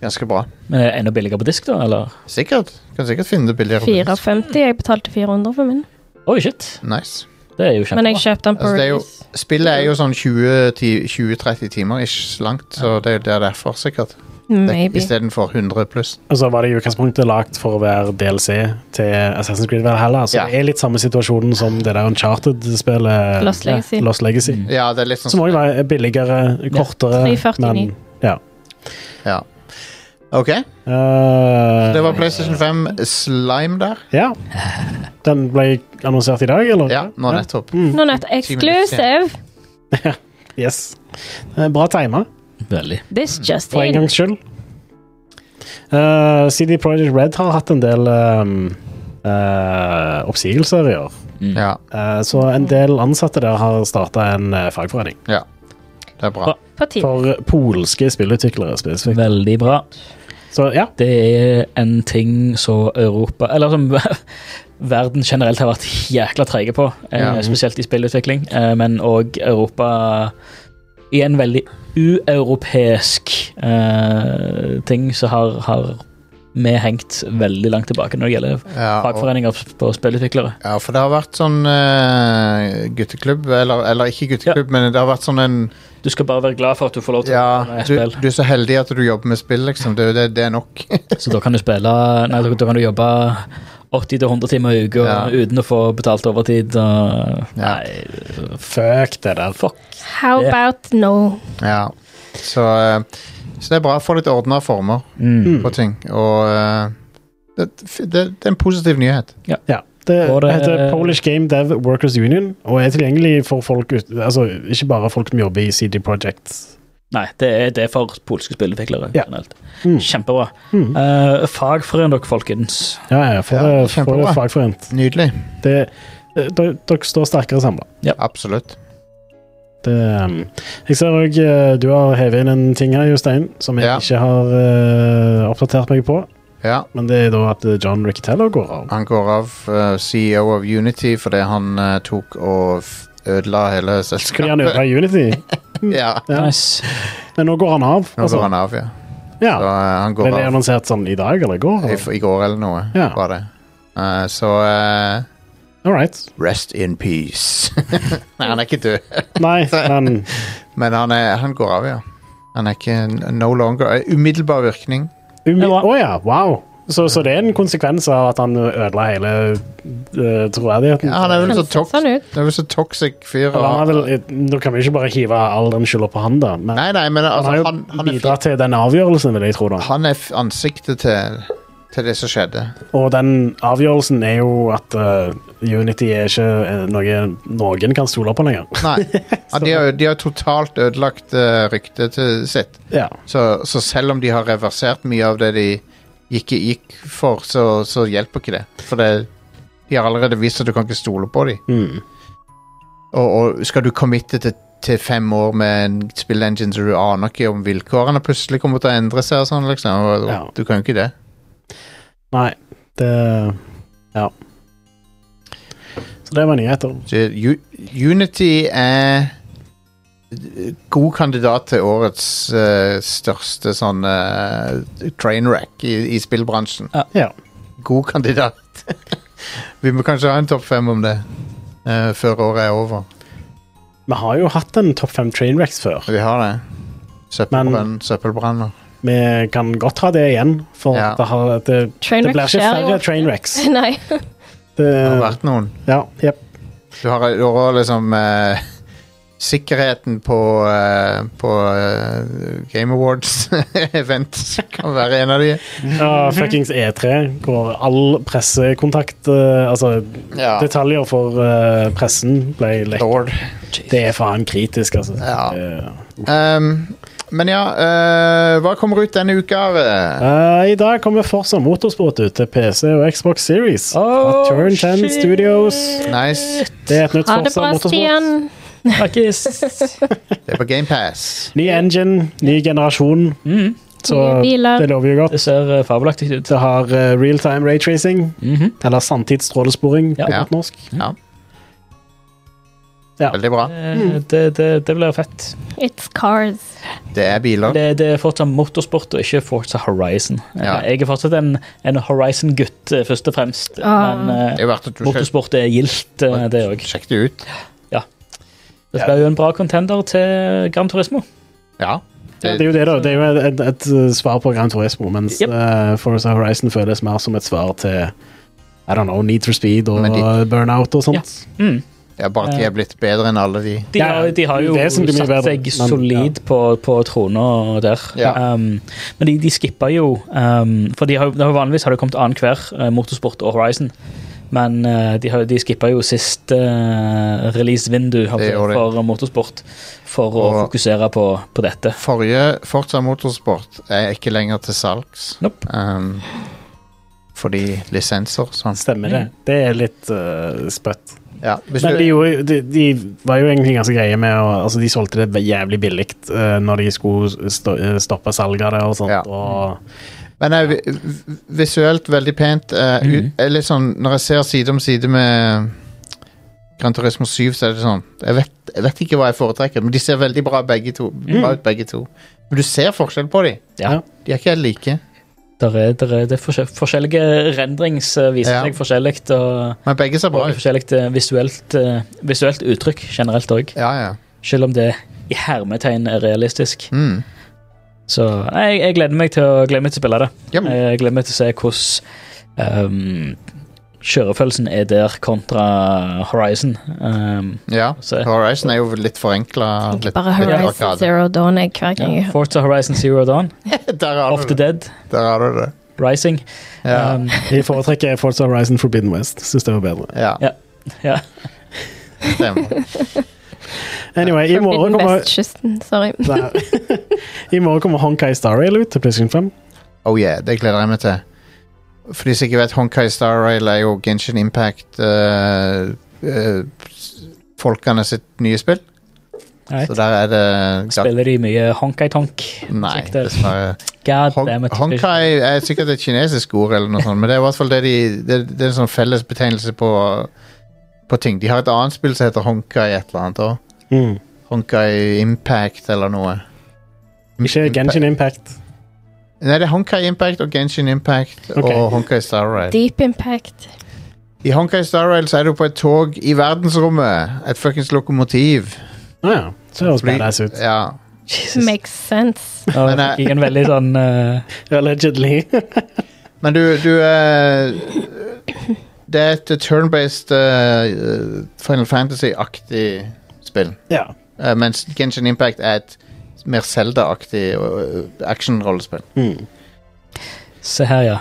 Speaker 1: ganske bra.
Speaker 6: men er det enda billigere på disk da, eller?
Speaker 1: Sikkert. Kan sikkert finne det billigere. på disk.
Speaker 5: 54. Jeg betalte 400 for min,
Speaker 6: Oi, shit.
Speaker 1: Nice.
Speaker 6: Det er jo kjempebra.
Speaker 5: men jeg kjøpte den på
Speaker 1: Altså, det er jo-
Speaker 5: release.
Speaker 1: Spillet er jo sånn 20 ti- 20-30 timer ish langt, så det er jo det er derfor, sikkert.
Speaker 5: Maybe.
Speaker 1: Istedenfor 100 pluss.
Speaker 4: Og så var det i utgangspunktet lagt for å være DLC til Assassin's Creed Valhalla, så
Speaker 1: Ja.
Speaker 4: det er litt samme situasjonen som det der Uncharted-spillet
Speaker 5: Lost Legacy.
Speaker 4: Lost Legacy.
Speaker 1: Ja, det er litt sånn
Speaker 4: Som òg var billigere, kortere,
Speaker 5: 3,49.
Speaker 4: men ja.
Speaker 1: Ja. OK.
Speaker 4: Eh,
Speaker 1: Det var PlayStation 5 Slime der.
Speaker 4: Ja. Den ble annonsert i dag, eller?
Speaker 1: Ja, nå nettopp.
Speaker 4: Mm.
Speaker 5: Nå nett exclusive.
Speaker 4: Yes. Eh, Bra tima,
Speaker 6: Veldig.
Speaker 5: This just
Speaker 4: for en
Speaker 5: in.
Speaker 4: gangs skyld. Eh, CD Projekt Red har hatt en del ehm, eh, oppsigelser i år.
Speaker 6: Mm.
Speaker 1: Ja,
Speaker 4: Eh, så en del ansatte der har starta en eh, fagforening.
Speaker 1: det er bra.
Speaker 5: På tide.
Speaker 4: For polske spillutviklere spesifikt.
Speaker 6: Veldig bra.
Speaker 4: Så ja,
Speaker 6: Det er en ting som Europa Eller som verden generelt har vært jækla treige på, eh,
Speaker 1: Ja.
Speaker 6: spesielt i spillutvikling, eh, men òg Europa I en veldig ueuropeisk eh, ting så har, har vi hengt veldig langt tilbake når det gjelder
Speaker 1: Ja, og,
Speaker 6: fagforeninger på spillutviklere.
Speaker 1: ja, for det har vært sånn eh, gutteklubb, eller, eller ikke gutteklubb, men det har vært sånn en
Speaker 6: Du skal bare være glad for at du får lov til å
Speaker 1: Ja,
Speaker 6: være med i
Speaker 1: du,
Speaker 6: spill.
Speaker 1: du er så heldig at du jobber med spill, liksom. Det, det, det er nok.
Speaker 6: Så da kan du spille Nei, da, da kan du jobbe 80-100 timer i uka
Speaker 1: Ja.
Speaker 6: uten å få betalt overtid. Og,
Speaker 1: Ja.
Speaker 6: Nei,
Speaker 4: fuck det der.
Speaker 6: fuck.
Speaker 5: How
Speaker 6: Det-
Speaker 5: about no?
Speaker 1: Ja. Så, eh, så det er bra å få litt ordna former
Speaker 6: Mm.
Speaker 1: på ting, og eh, det, det, det er en positiv nyhet.
Speaker 4: Ja. Det,
Speaker 6: Og det- eh,
Speaker 4: heter Polish Game Dev Workers Union og er tilgjengelig for folk ut, altså ikke bare folk som jobber i CD Projekt.
Speaker 6: Nei, det er, det er for polske spillutviklere.
Speaker 4: Ja.
Speaker 6: generelt.
Speaker 4: Mm.
Speaker 6: Kjempebra.
Speaker 4: Mm.
Speaker 6: Uh, Fagforen dere, folkens.
Speaker 4: Ja, ja, få
Speaker 1: Ja,
Speaker 4: det, få
Speaker 1: kjempebra.
Speaker 4: det fagforent.
Speaker 1: Nydelig.
Speaker 4: Det- eh, Dere dere står sterkere samla.
Speaker 1: Absolutt.
Speaker 4: Det, um, jeg ser òg du har hevet inn en ting her, Jostein, som jeg
Speaker 1: Ja.
Speaker 4: ikke har eh, oppdatert meg på.
Speaker 1: Ja,
Speaker 4: Men det er da at eh, John Riccatello går av.
Speaker 1: han går av eh, CEO av Unity fordi han eh, tok og f- ødela hele
Speaker 4: Fordi han
Speaker 1: selskapet.
Speaker 4: ødela Unity.
Speaker 1: Ja,
Speaker 4: Ja.
Speaker 6: Nice.
Speaker 4: Men nå går han av.
Speaker 1: nå går han av, ja.
Speaker 4: Altså, Ja.
Speaker 1: Så, eh, han
Speaker 4: Ble
Speaker 1: går
Speaker 4: det
Speaker 1: av
Speaker 4: annonsert sånn i dag eller i går?
Speaker 1: i,
Speaker 4: Eller?
Speaker 1: i går eller noe,
Speaker 4: Ja.
Speaker 1: var det. Eh, så eh,
Speaker 4: All right.
Speaker 1: Rest in peace. Nei, han er ikke død.
Speaker 4: Nei, men
Speaker 1: Men han, er, han går av, ja. Han er ikke n- no longer eh, Umiddelbar virkning.
Speaker 4: Umi-
Speaker 6: Det
Speaker 4: Å
Speaker 6: var-
Speaker 4: ja, wow. Så, så det er en konsekvens av at han ødela hele eh, troverdigheten?
Speaker 1: Ja, han er vel
Speaker 5: Han
Speaker 1: så
Speaker 5: ser
Speaker 1: toks
Speaker 5: sånn ut.
Speaker 1: det er vel så toxic fyr.
Speaker 4: Eller han
Speaker 1: og-
Speaker 4: er vel, nå kan vi ikke bare hive all den skylda på han, da. Men
Speaker 1: Nei, nei, men
Speaker 4: han
Speaker 1: altså,
Speaker 4: har jo
Speaker 1: han, han, er,
Speaker 4: bidratt til den avgjørelsen, vil jeg tro. da
Speaker 1: fi- han er f- ansiktet til, til det som skjedde.
Speaker 4: Og den avgjørelsen er jo at eh, Unity er ikke eh, noe noen kan stole på lenger.
Speaker 1: Nei. Ja, de, har, de har totalt ødelagt eh, ryktet til sitt.
Speaker 4: Ja,
Speaker 1: Så, så selv om de har reversert mye av det de gikk, gikk for, så, så hjelper ikke det. For det, de har allerede vist at du kan ikke stole på dem.
Speaker 4: mm.
Speaker 1: Og, og skal du committe til, til fem år med en spillengine så du aner ikke om vilkårene plutselig kommer til å endre seg og sånn, liksom. Og, og,
Speaker 4: Ja.
Speaker 1: Du kan jo ikke det.
Speaker 4: Nei, det Ja. Så det var nyheter.
Speaker 1: Så, U Unity er eh, god kandidat til årets eh, største sånn eh, train wreck i, i spillbransjen.
Speaker 4: Ja.
Speaker 1: God kandidat. Vi må kanskje ha en topp fem om det eh, før året er over.
Speaker 4: Vi har jo hatt en topp fem trainwrecks før.
Speaker 1: Vi har det. Søppelbrann, søppelbranner.
Speaker 4: Vi kan godt ha det igjen, for
Speaker 1: Ja.
Speaker 4: det, har, det, det blir
Speaker 5: Trainwreck
Speaker 4: ikke
Speaker 5: skjer
Speaker 4: færre
Speaker 5: jo.
Speaker 4: trainwrecks.
Speaker 5: Nei.
Speaker 4: Det,
Speaker 1: Det har vært noen.
Speaker 4: ja, jep.
Speaker 1: Du har, du har liksom eh, Sikkerheten på, eh, på eh, Game Awards-event kan være en av de.
Speaker 4: Ja, fuckings E3, hvor all pressekontakt eh, Altså,
Speaker 1: Ja.
Speaker 4: detaljer for eh, pressen ble lekt.
Speaker 1: Lord.
Speaker 4: Det er faen kritisk, altså.
Speaker 1: Ja.
Speaker 4: Eh,
Speaker 1: Um, men ja, eh, hva kommer ut denne uka? eh?
Speaker 4: eh, I dag kommer Forza Motorsport ut til PC og Xbox Series.
Speaker 5: Oh,
Speaker 6: Oh,
Speaker 4: fra Turn 10 Studios.
Speaker 1: Nice.
Speaker 4: Det er et nytt
Speaker 5: Ha det
Speaker 4: Forza
Speaker 5: bra,
Speaker 4: Motorsport.
Speaker 5: Stian.
Speaker 6: Snakkes.
Speaker 1: Det er på GamePass.
Speaker 4: Ny engine, ny generasjon,
Speaker 6: Mhm.
Speaker 4: så
Speaker 5: Nye biler.
Speaker 4: det lover jo godt.
Speaker 6: Det ser eh, fabelaktig ut.
Speaker 4: Det har eh, real-time raytracing,
Speaker 6: Mhm.
Speaker 4: eller sanntidsstrålesporing på
Speaker 1: Ja.
Speaker 4: godt norsk.
Speaker 1: Ja.
Speaker 4: Ja.
Speaker 1: Veldig bra.
Speaker 6: Eh, Det, det, det blir fett.
Speaker 5: It's cars.
Speaker 1: Det er biler.
Speaker 6: Det, det er fortsatt motorsport og ikke Forza Horizon. Eh,
Speaker 1: Ja.
Speaker 6: Jeg er fortsatt en, en Horizon-gutt, eh, først og fremst.
Speaker 5: Ah.
Speaker 6: Men eh,
Speaker 1: Det er jo verdt at du sjek-
Speaker 6: motorsport er gildt, eh, det òg.
Speaker 1: sjekk det ut.
Speaker 6: Det blir jo en bra contender til Gran Turismo.
Speaker 1: Ja.
Speaker 4: Ja, det er jo det, da. Det er jo et, et, et uh, svar på Gran Turismo, mens
Speaker 6: Yep.
Speaker 4: uh, Forza Horizon føles mer som et svar til I don't know, Need for Speed og
Speaker 1: Men de-
Speaker 4: uh, Burnout og sånt.
Speaker 6: Mm.
Speaker 1: Det er bare at de er blitt bedre enn alle de.
Speaker 6: De,
Speaker 4: Ja,
Speaker 6: har, de har jo
Speaker 4: det er som
Speaker 6: satt
Speaker 4: blir mye bedre,
Speaker 6: seg
Speaker 4: men-
Speaker 6: solid på, på trona der.
Speaker 1: Ja.
Speaker 6: Um, men de, de skipper jo um, For de har, jo- vanligvis har det kommet annenhver, uh, Motorsport og Horizon. Men uh, de, har, de skippa jo siste uh, release-vindu holdt
Speaker 1: Det
Speaker 6: jeg på å
Speaker 1: gjorde
Speaker 6: si,
Speaker 1: de.
Speaker 6: for motorsport for å
Speaker 1: Og-
Speaker 6: fokusere på, på dette.
Speaker 1: Forrige Forza Motorsport er ikke lenger til salgs.
Speaker 6: Nope.
Speaker 1: Um, fordi lisenser sånn.
Speaker 4: Stemmer det. Det er litt uh, spøtt.
Speaker 1: Ja, hvis
Speaker 4: Men de,
Speaker 1: du,
Speaker 4: gjorde, de, de var jo egentlig ganske greie med å Altså, de solgte det jævlig billig uh, når de skulle sto, uh, stoppe salget av det og sånt.
Speaker 1: Ja.
Speaker 4: Og,
Speaker 1: men eh, vi- vi- visuelt veldig pent. eh, u-
Speaker 6: Mhm.
Speaker 1: er litt sånn, når jeg ser side om side med Gran Turismo 7, så er det sånn jeg vet, jeg vet ikke hva jeg foretrekker, men de ser veldig bra, begge to, bra ut, begge to. Men du ser forskjell på dem.
Speaker 6: Mm. Ja.
Speaker 1: De er ikke helt like.
Speaker 6: Der er, der er, det er forskjell- forskjellige rendrings uh, viser
Speaker 1: Ja.
Speaker 6: seg forskjellig, og,
Speaker 1: Men begge ser bra
Speaker 6: og
Speaker 1: ut.
Speaker 6: forskjellig uh, visuelt, uh, visuelt uttrykk generelt òg.
Speaker 1: Ja, ja.
Speaker 6: Selv om det i hermetegn er realistisk.
Speaker 1: Mm.
Speaker 6: Så nei, jeg, jeg gleder meg til å, gleder meg til å spille det.
Speaker 1: Ja, men-
Speaker 6: Jeg gleder meg til å se hvordan um, kjørefølelsen er der kontra Horizon. Um,
Speaker 1: ja.
Speaker 6: så,
Speaker 1: Horizon er jo litt forenkla.
Speaker 5: Tenker bare Horizon Zero Dawn jeg hver gang. jeg-
Speaker 6: Forza Horizon Zero Dawn,
Speaker 1: Der har
Speaker 6: Off
Speaker 1: du
Speaker 6: the
Speaker 1: det.
Speaker 6: Dead,
Speaker 1: Der har du det.
Speaker 6: Rising.
Speaker 1: Ja.
Speaker 6: Um,
Speaker 4: de foretrekker Forza Horizon Forbidden West. Syns det var bedre.
Speaker 1: ja.
Speaker 6: Ja. Ja.
Speaker 1: Stemmer.
Speaker 4: Anyway, i morgen
Speaker 5: Forbidden
Speaker 4: kommer
Speaker 5: Vestkysten. Sorry.
Speaker 4: Nei. I morgen kommer Honkai Star Rail ut til PlayStation 5.
Speaker 1: Oh yeah, det gleder jeg meg til. For de som ikke vet, Honkai Star Rail er jo Genshin Impact eh, eh, Folkene sitt nye spill.
Speaker 6: Right.
Speaker 1: Så der er det
Speaker 6: Spiller de mye honkai-tonk?
Speaker 1: Nei,
Speaker 6: Sjekk det.
Speaker 1: dessverre.
Speaker 6: God
Speaker 1: Hon-
Speaker 6: damn it.
Speaker 1: Honkai er sikkert et kinesisk ord, eller noe sånt, men det er i hvert fall det de Det, det er en sånn fellesbetegnelse på, på ting. De har et annet spill som heter Honkai et eller annet òg.
Speaker 4: Mm.
Speaker 1: Honkai Impact eller noe.
Speaker 4: Ikke Genshin Impact.
Speaker 1: Nei, det er Honkai Impact og Genshin Impact
Speaker 4: Ok.
Speaker 1: og Honkai Star Rail.
Speaker 5: Deep impact.
Speaker 1: I Honkai Star Rail så er du på et tog i verdensrommet. Et fuckings lokomotiv.
Speaker 4: Å ja. Så høres badass ut.
Speaker 1: Ja.
Speaker 6: Jesus.
Speaker 5: Makes sense.
Speaker 6: Nå
Speaker 1: Men,
Speaker 6: fikk jeg en veldig sånn eh,
Speaker 4: Allegedly.
Speaker 1: Men du, du eh, Det er et turn-based eh, Final Fantasy-aktig spill.
Speaker 4: ja.
Speaker 1: Eh, mens Genshin Impact er et mer Zelda-aktig uh, actionrollespill.
Speaker 4: Mm.
Speaker 6: Se her, ja.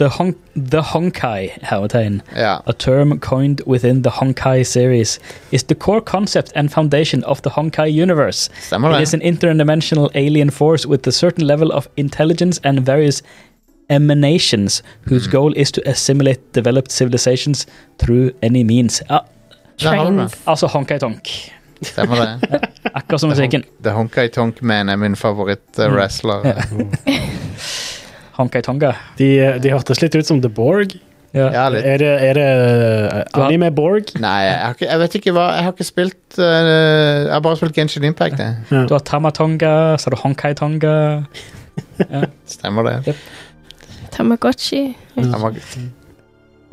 Speaker 6: The, hon the Honkai, hermetegn.
Speaker 1: Ja.
Speaker 6: A term coined within the Honkai series is the core concept and foundation of the Honkai universe.
Speaker 1: Stemmer
Speaker 6: It is
Speaker 1: det.
Speaker 6: an interdimensional alien force with a certain level of intelligence and various emanations whose goal is to assimilate developed civilizations through any means. Ja,
Speaker 1: Der har du det.
Speaker 5: Trains.
Speaker 6: altså Honkai Tonk.
Speaker 1: Stemmer det.
Speaker 6: Akkurat som musikken.
Speaker 1: The Honkai Tonk Man er min favoritt-wrestler.
Speaker 6: Ja. Honkai Tonga.
Speaker 4: De, de hørtes litt ut som The Borg.
Speaker 1: ja, litt.
Speaker 4: Er det, er det eh,
Speaker 6: Du har-
Speaker 4: anime Borg?
Speaker 1: Nei, jeg, har ikke, jeg vet ikke hva Jeg har ikke spilt eh, Jeg har bare spilt Genshin Impact, jeg.
Speaker 6: Du har Tamatonga, så har du Honkai Tonga.
Speaker 1: Stemmer det.
Speaker 5: Tamagotchi.
Speaker 1: Han var-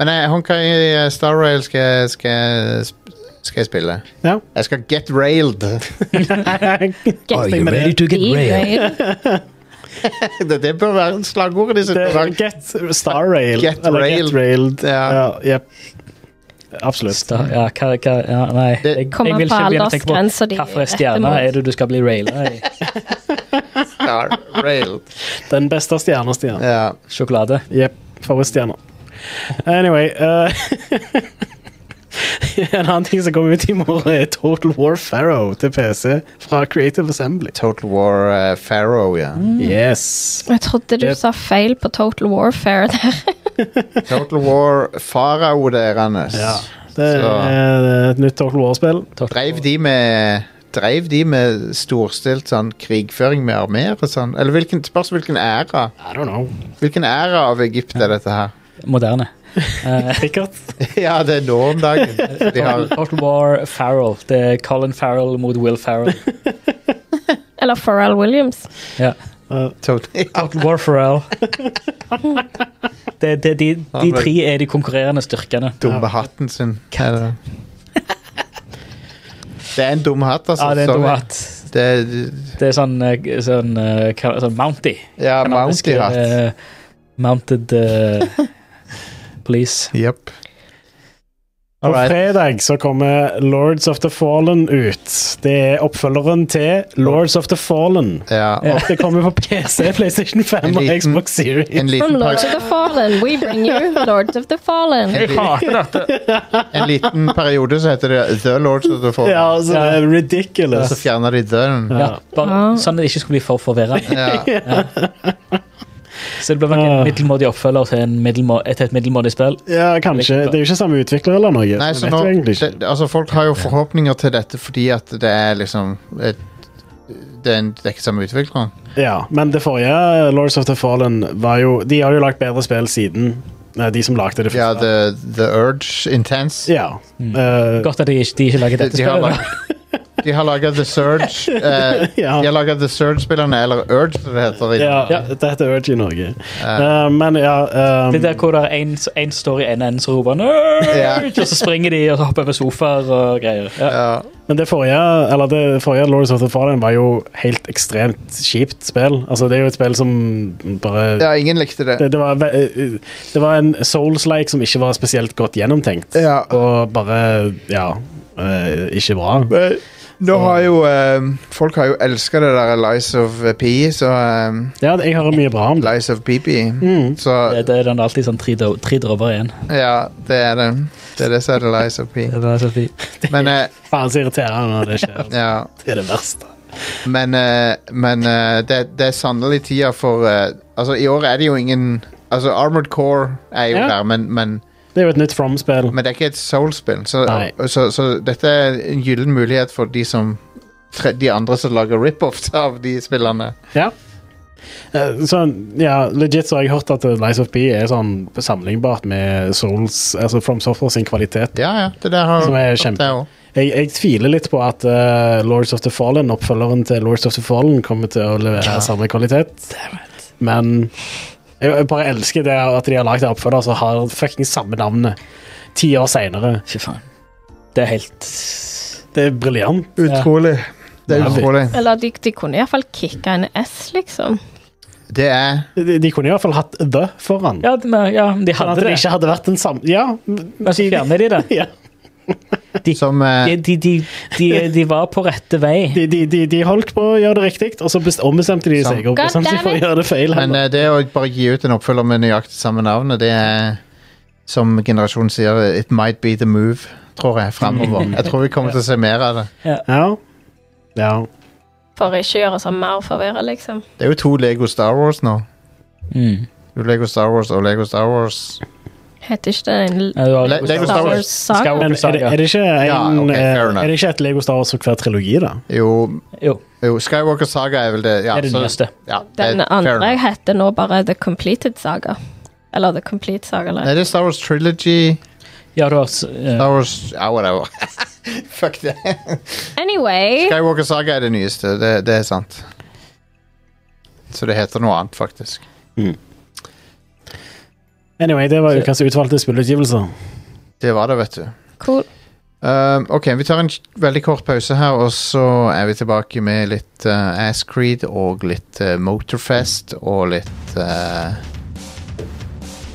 Speaker 1: Men eh, Honkai eh, Star Rail skal, jeg- skal, jeg sp- skal jeg spille.
Speaker 4: Ja.
Speaker 1: Jeg skal get railed. det,
Speaker 5: Get
Speaker 4: you ready
Speaker 11: to
Speaker 5: derailed.
Speaker 1: det bør være slagordet ditt.
Speaker 4: Det, eh, get Star Rail.
Speaker 1: Get
Speaker 4: eller
Speaker 1: railed.
Speaker 4: Get railed.
Speaker 1: Ja.
Speaker 4: Ja, jep. Absolutt.
Speaker 6: Sta- Ja, hva, hva, ja, nei.
Speaker 1: Det-
Speaker 6: Jeg, jeg
Speaker 5: Kommer
Speaker 6: vil
Speaker 5: på
Speaker 6: ikke begynne å tenke på
Speaker 5: aldersgrensa di.
Speaker 6: hvilken stjerne er det du skal bli raila i.
Speaker 1: Star Rail.
Speaker 4: Den beste stjernestjernen.
Speaker 1: Ja.
Speaker 6: Sjokolade.
Speaker 4: Jepp. Favorittstjerner. Anyway eh, En annen ting som kommer ut i morgen, er Total War Pharaoh til PC fra Creative Assembly.
Speaker 1: Total War eh, Pharaoh, ja.
Speaker 4: Mm. Yes.
Speaker 5: Jeg trodde du
Speaker 4: Yep.
Speaker 5: sa feil på Total Warfare der.
Speaker 1: Total War Farao deres.
Speaker 4: Ja. Det
Speaker 1: Så-
Speaker 4: er et nytt Total War-spill.
Speaker 1: Dreiv de med Dreiv de med storstilt sånn krigføring med armeer og sånn? Eller hvilken, spørs hvilken æra?
Speaker 4: I don't know.
Speaker 1: Hvilken æra av Egypt er dette her?
Speaker 6: Moderne. Eh,
Speaker 4: Sikkert.
Speaker 1: ja, det er nå om dagen. De har
Speaker 6: Total War Farrell. Det er Colin Farrell mot Will Farrell.
Speaker 5: Eller Pharrell Williams.
Speaker 6: Ja.
Speaker 4: Eh,
Speaker 1: Total ja.
Speaker 6: Total War Farrell. Det, det, de, de tre er de konkurrerende styrkene.
Speaker 1: dumme hatten sin. Er det? det er en dum hatt, altså.
Speaker 6: Ja, det er en
Speaker 1: sorry.
Speaker 6: doat.
Speaker 1: Det er,
Speaker 6: Det er sånn, eh, sånn, eh, hva- sånn Mountie.
Speaker 1: ja, Mountie-hatt.
Speaker 6: Eh, mounted eh, Police.
Speaker 1: Jepp.
Speaker 4: På
Speaker 1: Alright.
Speaker 4: fredag så kommer Lords of the Fallen ut. Det er oppfølgeren til Lords of the Fallen.
Speaker 1: Ja, og
Speaker 4: Det kommer på PC, PlayStation 5
Speaker 1: En
Speaker 4: og
Speaker 1: liten-
Speaker 4: Xbox Series.
Speaker 5: From
Speaker 1: en liten,
Speaker 5: Lords
Speaker 1: peri
Speaker 5: of the Fallen. We bring you Lords of the Fallen.
Speaker 1: en, li en liten periode så heter det The Lords of the Fallen.
Speaker 4: Ja, altså, det er ridiculous.
Speaker 1: Så fjerner de døden.
Speaker 4: Ja.
Speaker 6: Ja,
Speaker 5: Ah.
Speaker 6: bare sånn at det ikke skulle bli for forvirrende.
Speaker 1: Ja.
Speaker 6: Så det blir nok
Speaker 4: Ah.
Speaker 6: en middelmådig oppfølger til, en middelmå, til et middelmådig spill.
Speaker 4: Ja, kanskje. Det er jo ikke samme utvikler eller noe.
Speaker 1: Nei,
Speaker 4: så
Speaker 1: så
Speaker 4: vet
Speaker 1: nå,
Speaker 4: jo egentlig
Speaker 1: det,
Speaker 4: ikke.
Speaker 1: altså folk har jo forhåpninger til dette fordi at det er liksom et, det, er en, det er ikke samme utvikler.
Speaker 4: Ja, men det forrige, eh, Lords of the Fallen, var jo De har jo lagt bedre spill siden eh, de som lagde det
Speaker 1: Ja,
Speaker 4: første.
Speaker 1: The, the Urge Intense.
Speaker 4: Ja. Eh,
Speaker 6: Mm. Godt at de ikke, de ikke lager
Speaker 1: De,
Speaker 6: dette
Speaker 1: de har
Speaker 6: spillet. da.
Speaker 1: lag- de har laga The Surge. eh,
Speaker 4: Ja.
Speaker 1: De har laget The Surge-spillerne, eller Urge, som det heter. i-
Speaker 4: ja, Dette heter Urge i Norge. Eh, men ja eh,
Speaker 6: Det er der hvor det er en, en står i en ende som roper «Nerd!»
Speaker 1: Ja.
Speaker 6: Og så springer de og så hopper over sofaer og greier. Ja.
Speaker 1: Ja.
Speaker 4: Men det forrige, eller det forrige Lords of the Fallen var jo helt ekstremt kjipt spill. Altså, det er jo et spill som bare
Speaker 1: ja, ingen likte det.
Speaker 4: det, det, var, ve- eh, det var en Souls-like som ikke var spesielt godt gjennomtenkt.
Speaker 1: Ja.
Speaker 4: Og bare Ja. eh, ikke bra.
Speaker 1: Men Nå har jo eh, Folk har jo elska det der Lies of P, så eh,
Speaker 4: Ja, jeg hører mye bra om det.
Speaker 1: Lies of PP.
Speaker 4: Mm.
Speaker 1: Så
Speaker 6: Det, det er den alltid sånn tre, do- tre dråper igjen.
Speaker 1: ja, det er det. Det er det som er The Lies of P. Men eh,
Speaker 4: Faen så irriterende når det skjer.
Speaker 1: ja.
Speaker 4: Det er det verste.
Speaker 1: Men, eh, men eh, det, det er sannelig tida for eh, Altså, i år er det jo ingen Altså, Armored Core er jo
Speaker 4: Ja.
Speaker 1: der, men, men,
Speaker 4: Det er jo et nytt From-spill.
Speaker 1: men det er ikke et Soul-spill. Så,
Speaker 4: Nei.
Speaker 1: så, så dette er en gyllen mulighet for de som tre, de andre som lager rip-offs av de spillene.
Speaker 4: Ja. Eh, Sånn, ja, legit så har jeg hørt at eh, Lies of P er sånn sammenlignbart med Souls, altså From Software sin kvalitet.
Speaker 1: Ja, ja, det der har
Speaker 4: Som er
Speaker 1: det
Speaker 4: kjempe-
Speaker 1: der også.
Speaker 4: Jeg, jeg tviler litt på at eh, Lords of the Fallen, oppfølgeren til Lords of the Fallen, kommer til å levere
Speaker 1: Ja.
Speaker 4: samme kvalitet. Men jeg, jeg bare elsker det at de har lagd en oppfølger som har fuckings samme navnet ti år seinere.
Speaker 6: Fy faen. Det er helt
Speaker 4: Det er briljant.
Speaker 1: Utrolig. Det er
Speaker 4: Ja.
Speaker 1: utrolig.
Speaker 5: Eller de, de kunne iallfall kicka en S, liksom.
Speaker 1: Det er
Speaker 4: De, de kunne i hvert fall hatt The foran.
Speaker 6: Ja, de, ja, de
Speaker 4: Sånn at
Speaker 6: hadde
Speaker 4: det
Speaker 6: det,
Speaker 4: ikke hadde vært den samme Ja.
Speaker 6: men så fjerner de det.
Speaker 4: ja.
Speaker 1: som eh,
Speaker 6: De, de, de, de, de var på rette vei.
Speaker 4: De, de, de, de holdt på å gjøre det riktig, og så best, ombestemte de
Speaker 1: Sant.
Speaker 4: seg og
Speaker 5: God
Speaker 4: bestemte seg
Speaker 5: damn
Speaker 4: for å
Speaker 5: it.
Speaker 4: gjøre det feil.
Speaker 1: Men
Speaker 4: heller.
Speaker 1: eh, det å bare gi ut en oppfølger med nøyaktig samme navn, det er som generasjonen sier, it might be the move, tror jeg, fremover. Jeg tror vi kommer til å se mer av det.
Speaker 4: Ja. ja.
Speaker 5: For ikke å gjøre seg mer forvirra, liksom.
Speaker 1: Det er jo to Lego Star Wars nå.
Speaker 6: Mm.
Speaker 1: Jo, Lego Star Wars og Lego Star Wars.
Speaker 5: Heter ikke det en
Speaker 6: Ja, det var-
Speaker 1: Le- Lego Star
Speaker 5: Star
Speaker 1: Wars.
Speaker 5: Wars-saga?
Speaker 4: Men er det, er det ikke en,
Speaker 1: Ja, ok, fair
Speaker 4: eh,
Speaker 1: enough.
Speaker 4: Er det ikke et Lego Star Wars for hver trilogi, da?
Speaker 1: Jo,
Speaker 6: Jo.
Speaker 1: jo Skywalker Saga er vel det. Ja,
Speaker 6: Det er det
Speaker 1: så-
Speaker 6: nyeste.
Speaker 1: ja,
Speaker 5: Den
Speaker 1: det er fair
Speaker 5: andre
Speaker 1: enough.
Speaker 5: heter nå bare The Completed Saga. Eller The Complete Saga. Eller.
Speaker 1: Nei, det er Star Wars Trilogy.
Speaker 6: Ja, du har s- eh,
Speaker 1: Star Wars Ja, whatever. Fuck det.
Speaker 5: Anyway
Speaker 1: Skywalker Saga er det nyeste. Det, det er sant. Så det heter noe annet, faktisk.
Speaker 4: Anyway, det var ukas utvalgte spillutgivelser.
Speaker 1: Det var det, vet du.
Speaker 5: Cool.
Speaker 1: Um, ok, vi tar en k- veldig kort pause her, og så er vi tilbake med litt uh, Ascreed og litt eh, Motorfest og litt eh,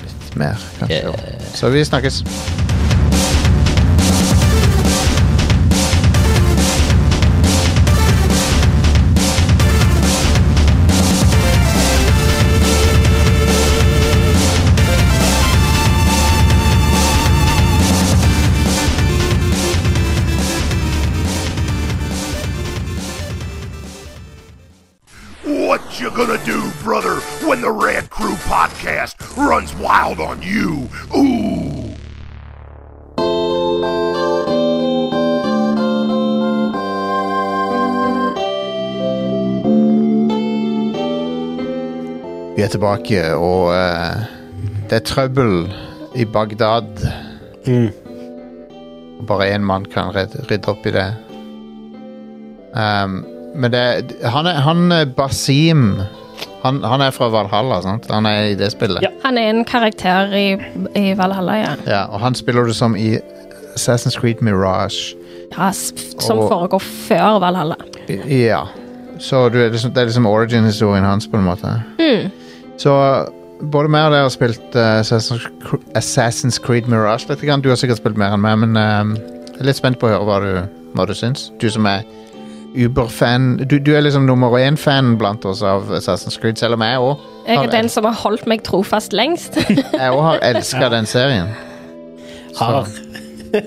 Speaker 1: Litt mer, kanskje. Så vi snakkes.
Speaker 7: What you gonna do, brother, when the Rad Crew podcast runs wild on you? Ooh!
Speaker 1: Vi er tilbake, og eh, det er trøbbel i Bagdad. Og Bare én mann kan redde, rydde opp i det. Um, men det Han er, han er Basim. Han, han er fra Valhalla, sant? Han er i det spillet.
Speaker 6: Ja.
Speaker 5: Han er en karakter i, i Valhalla, ja.
Speaker 1: Ja, og han spiller du som i Assassin's Creed Mirage.
Speaker 5: ja s- som
Speaker 1: Og-
Speaker 5: foregår før Valhalla.
Speaker 1: I- Ja. Så du er liksom, det er liksom origin-historien hans, på en måte.
Speaker 5: Hmm.
Speaker 1: Så både meg og deg har spilt eh, Assassin's, Cre- Assassin's Creed Mirage litt. Grann. Du har sikkert spilt mer enn meg, men ehm, jeg er litt spent på å høre hva du, hva du syns. Du som er Uber-fan. Du, du er liksom nummer én-fan blant oss av Assassin's Creed, selv om jeg òg
Speaker 5: Jeg er
Speaker 1: Han er-
Speaker 5: den som har holdt meg trofast lengst.
Speaker 1: jeg også har elska den serien.
Speaker 4: Har.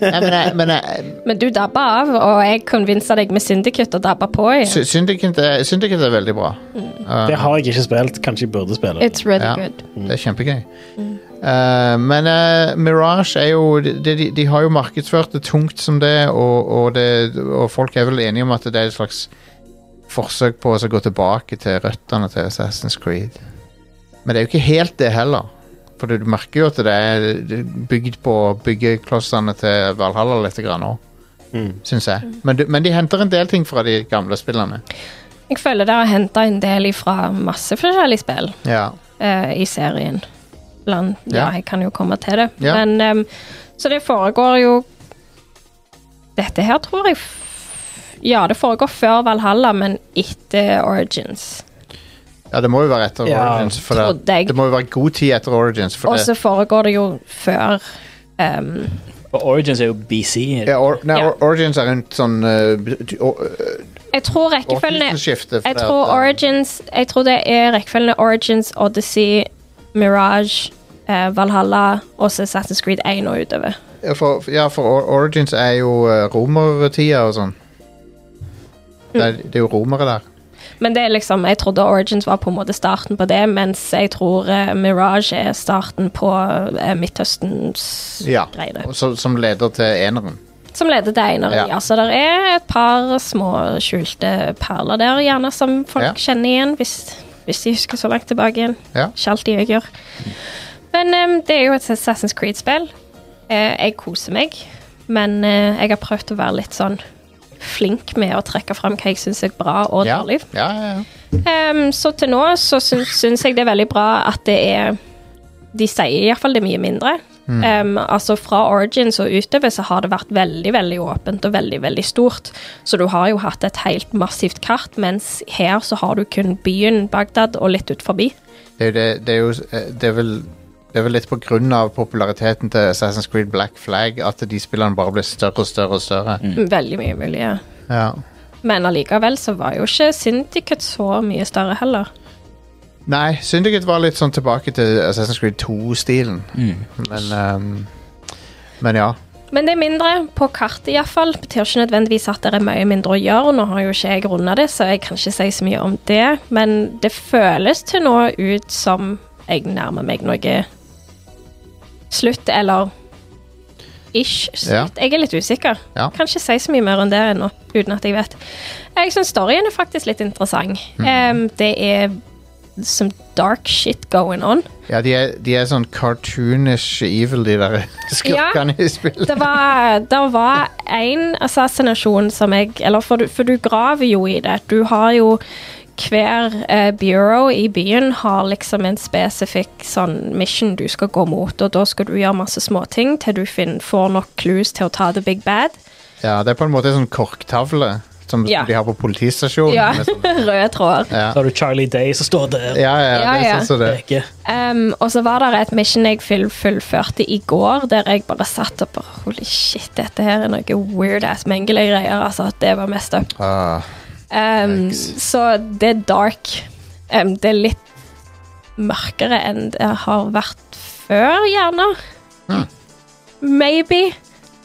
Speaker 1: Nei, men jeg, men jeg,
Speaker 5: Men du dabba av, og jeg convinsa deg med Syndicate og dabba på igjen.
Speaker 1: Sy- Syndicate, er, Syndicate er veldig bra.
Speaker 4: Det har jeg ikke spilt. Kanskje jeg burde spille.
Speaker 5: It's really
Speaker 1: Ja.
Speaker 5: good.
Speaker 1: Det er kjempegøy. Eh, men eh, Mirage er jo de, de, de har jo markedsført det tungt som det, og, og det, og folk er vel enige om at det er et slags forsøk på å så gå tilbake til røttene til Assassin's Creed. Men det er jo ikke helt det heller. For du, du merker jo at det er bygd på byggeklossene til Valhalla litt grann òg,
Speaker 4: Mm.
Speaker 1: syns jeg. Men, du, men de henter en del ting fra de gamle spillene.
Speaker 5: Jeg føler det har henta en del ifra masse forskjellige spill
Speaker 1: Ja.
Speaker 5: eh, i serien. Blant, ja.
Speaker 1: Ja.
Speaker 5: jeg kan jo komme til det.
Speaker 1: Ja.
Speaker 5: Men, ehm, så det foregår jo Dette her tror jeg f- Ja, det foregår før Valhalla, men etter Origins.
Speaker 1: ja, det må jo være etter
Speaker 4: Ja,
Speaker 1: Origins. For det,
Speaker 5: trodde jeg.
Speaker 1: det må jo være god tid etter Origins. For
Speaker 5: Og
Speaker 1: det,
Speaker 5: så foregår det jo før ehm,
Speaker 6: og Origins er jo BC.
Speaker 1: Ja, or, nei,
Speaker 5: Ja.
Speaker 1: or- Origins er rundt sånn eh, b- t- or- eh,
Speaker 5: Jeg tror rekkefølgen er
Speaker 1: årtusenskiftet. for
Speaker 5: Jeg
Speaker 1: det at,
Speaker 5: tror
Speaker 1: eh,
Speaker 5: Origins Jeg tror det er rekkefølgen er Origins, Odyssey, Mirage, eh, Valhalla og så Assassin's Creed 1 og utover.
Speaker 1: eh, ja, for, ja, for or- Origins er jo eh, romertida og sånn.
Speaker 5: Mm.
Speaker 1: Det, er- det er jo romere der.
Speaker 5: Men det er liksom Jeg trodde Origins var på en måte starten på det, mens jeg tror eh, Mirage er starten på eh, Midtøstens
Speaker 1: Ja.
Speaker 5: greie.
Speaker 1: og så- som leder til eneren.
Speaker 5: som leder til eineriet.
Speaker 1: Ja.
Speaker 5: Så det er et par små skjulte perler der, gjerne, som folk
Speaker 1: Ja.
Speaker 5: kjenner igjen, hvis, hvis de husker så langt tilbake igjen.
Speaker 1: Ja.
Speaker 5: Ikke alltid jeg gjør. Men em, det er jo et Assassin's Creed-spill. Eh, jeg koser meg, men eh, jeg har prøvd å være litt sånn flink med å trekke fram hva jeg syns er bra og
Speaker 1: Ja,
Speaker 5: dårlig.
Speaker 1: ja, ja, ja.
Speaker 5: Ehm, så til nå så syns, syns jeg det er veldig bra at det er De sier iallfall det er mye mindre. Ehm, altså Fra origins og utover så har det vært veldig veldig åpent og veldig veldig stort. Så du har jo hatt et helt massivt kart, mens her så har du kun byen Bagdad og litt ut forbi.
Speaker 1: Det, er jo det, det er jo eh, det er vel, det er vel litt på grunn av populariteten til Assassin's Creed Black Flag at de spillene bare blir større og større og større.
Speaker 5: Veldig mye mulig. ja.
Speaker 1: Ja.
Speaker 5: Men allikevel så var jo ikke Syndicate så mye større heller.
Speaker 1: Nei, Syndicate var litt sånn tilbake til Assassin's Creed 2-stilen. Men, ehm, men ja.
Speaker 5: Men det er mindre, på kartet iallfall. Betyr ikke nødvendigvis at det er mye mindre å gjøre. Nå har jo ikke jeg runda det, så jeg kan ikke si så mye om det. Men det føles til nå ut som jeg nærmer meg noe slutt, eller ish
Speaker 1: Ja.
Speaker 5: slutt. Jeg er litt usikker.
Speaker 1: Ja.
Speaker 5: Kan ikke si så mye mer enn det ennå, uten at jeg vet. Jeg syns storyen er faktisk litt interessant.
Speaker 1: Mm.
Speaker 5: Em, det er some dark shit going on.
Speaker 1: ja de, er, de er sånn cartoonish evil, de der skurkene i spillet.
Speaker 5: Det var, det var en assassinasjon som jeg Eller for du, for du graver jo i det. Du har jo hver eh, bureau i byen har liksom en spesifikk sånn mission du skal gå mot, og da skal du gjøre masse småting til du finn, får nok clues til å ta the big bad.
Speaker 1: Ja, det er på en måte en sånn korktavle som
Speaker 5: Ja.
Speaker 1: de har på politistasjonen.
Speaker 5: Ja,
Speaker 1: med sånn-
Speaker 5: røde tråder.
Speaker 1: Ja.
Speaker 6: Så har du Charlie Day som står der.
Speaker 1: Ja, ja,
Speaker 5: Ja,
Speaker 1: det er
Speaker 5: ja.
Speaker 1: sånn som det.
Speaker 6: Peker.
Speaker 5: Um, og så var det et mission jeg full, fullførte i går, der jeg bare satt og bare Holy shit, dette her er noe weird ass mengele-greier. Altså, det var mest up.
Speaker 1: Ah,
Speaker 5: Um,
Speaker 1: Yikes.
Speaker 5: så det er dark. Um, det er litt mørkere enn det har vært før, gjerne. Maybe.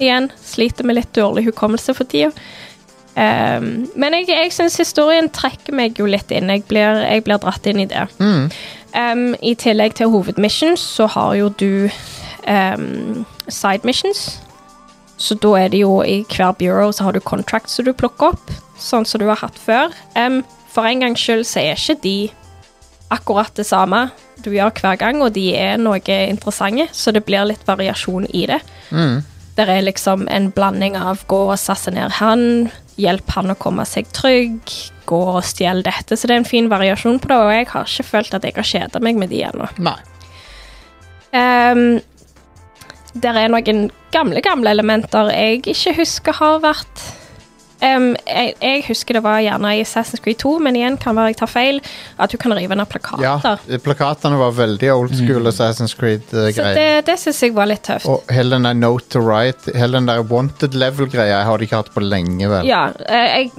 Speaker 5: Igjen, sliter med litt dårlig hukommelse for tida. Um, men jeg, jeg syns historien trekker meg jo litt inn. Jeg blir, jeg blir dratt inn i det. Um, I tillegg til hovedmissions så har jo du um, side missions. Så da er det jo i hver bureau så har du contracts som du plukker opp, sånn som du har hatt før. Um, for en gangs skyld så er ikke de akkurat det samme du gjør hver gang, og de er noe interessante, så det blir litt variasjon i det. Det er liksom en blanding av gå og sassinere han, hjelp han å komme seg trygg, gå og stjel dette, så det er en fin variasjon på det, og jeg har ikke følt at jeg har kjeda meg med de ennå.
Speaker 1: nei.
Speaker 5: Ehm, der er noen gamle, gamle elementer jeg ikke husker har vært Ehm, jeg, jeg husker det var gjerne i Assassin's Creed 2, men igjen kan være jeg tar feil, at du kan rive ned
Speaker 1: Ah. Ja,
Speaker 5: plakater.
Speaker 1: plakatene var veldig old school Assassin's
Speaker 5: Så
Speaker 1: Creed-greier.
Speaker 5: det, det syns jeg var litt tøft.
Speaker 1: Og hele den der note to right, hele den der wanted level-greia har de ikke hatt på lenge, vel?
Speaker 5: Ja, eh, jeg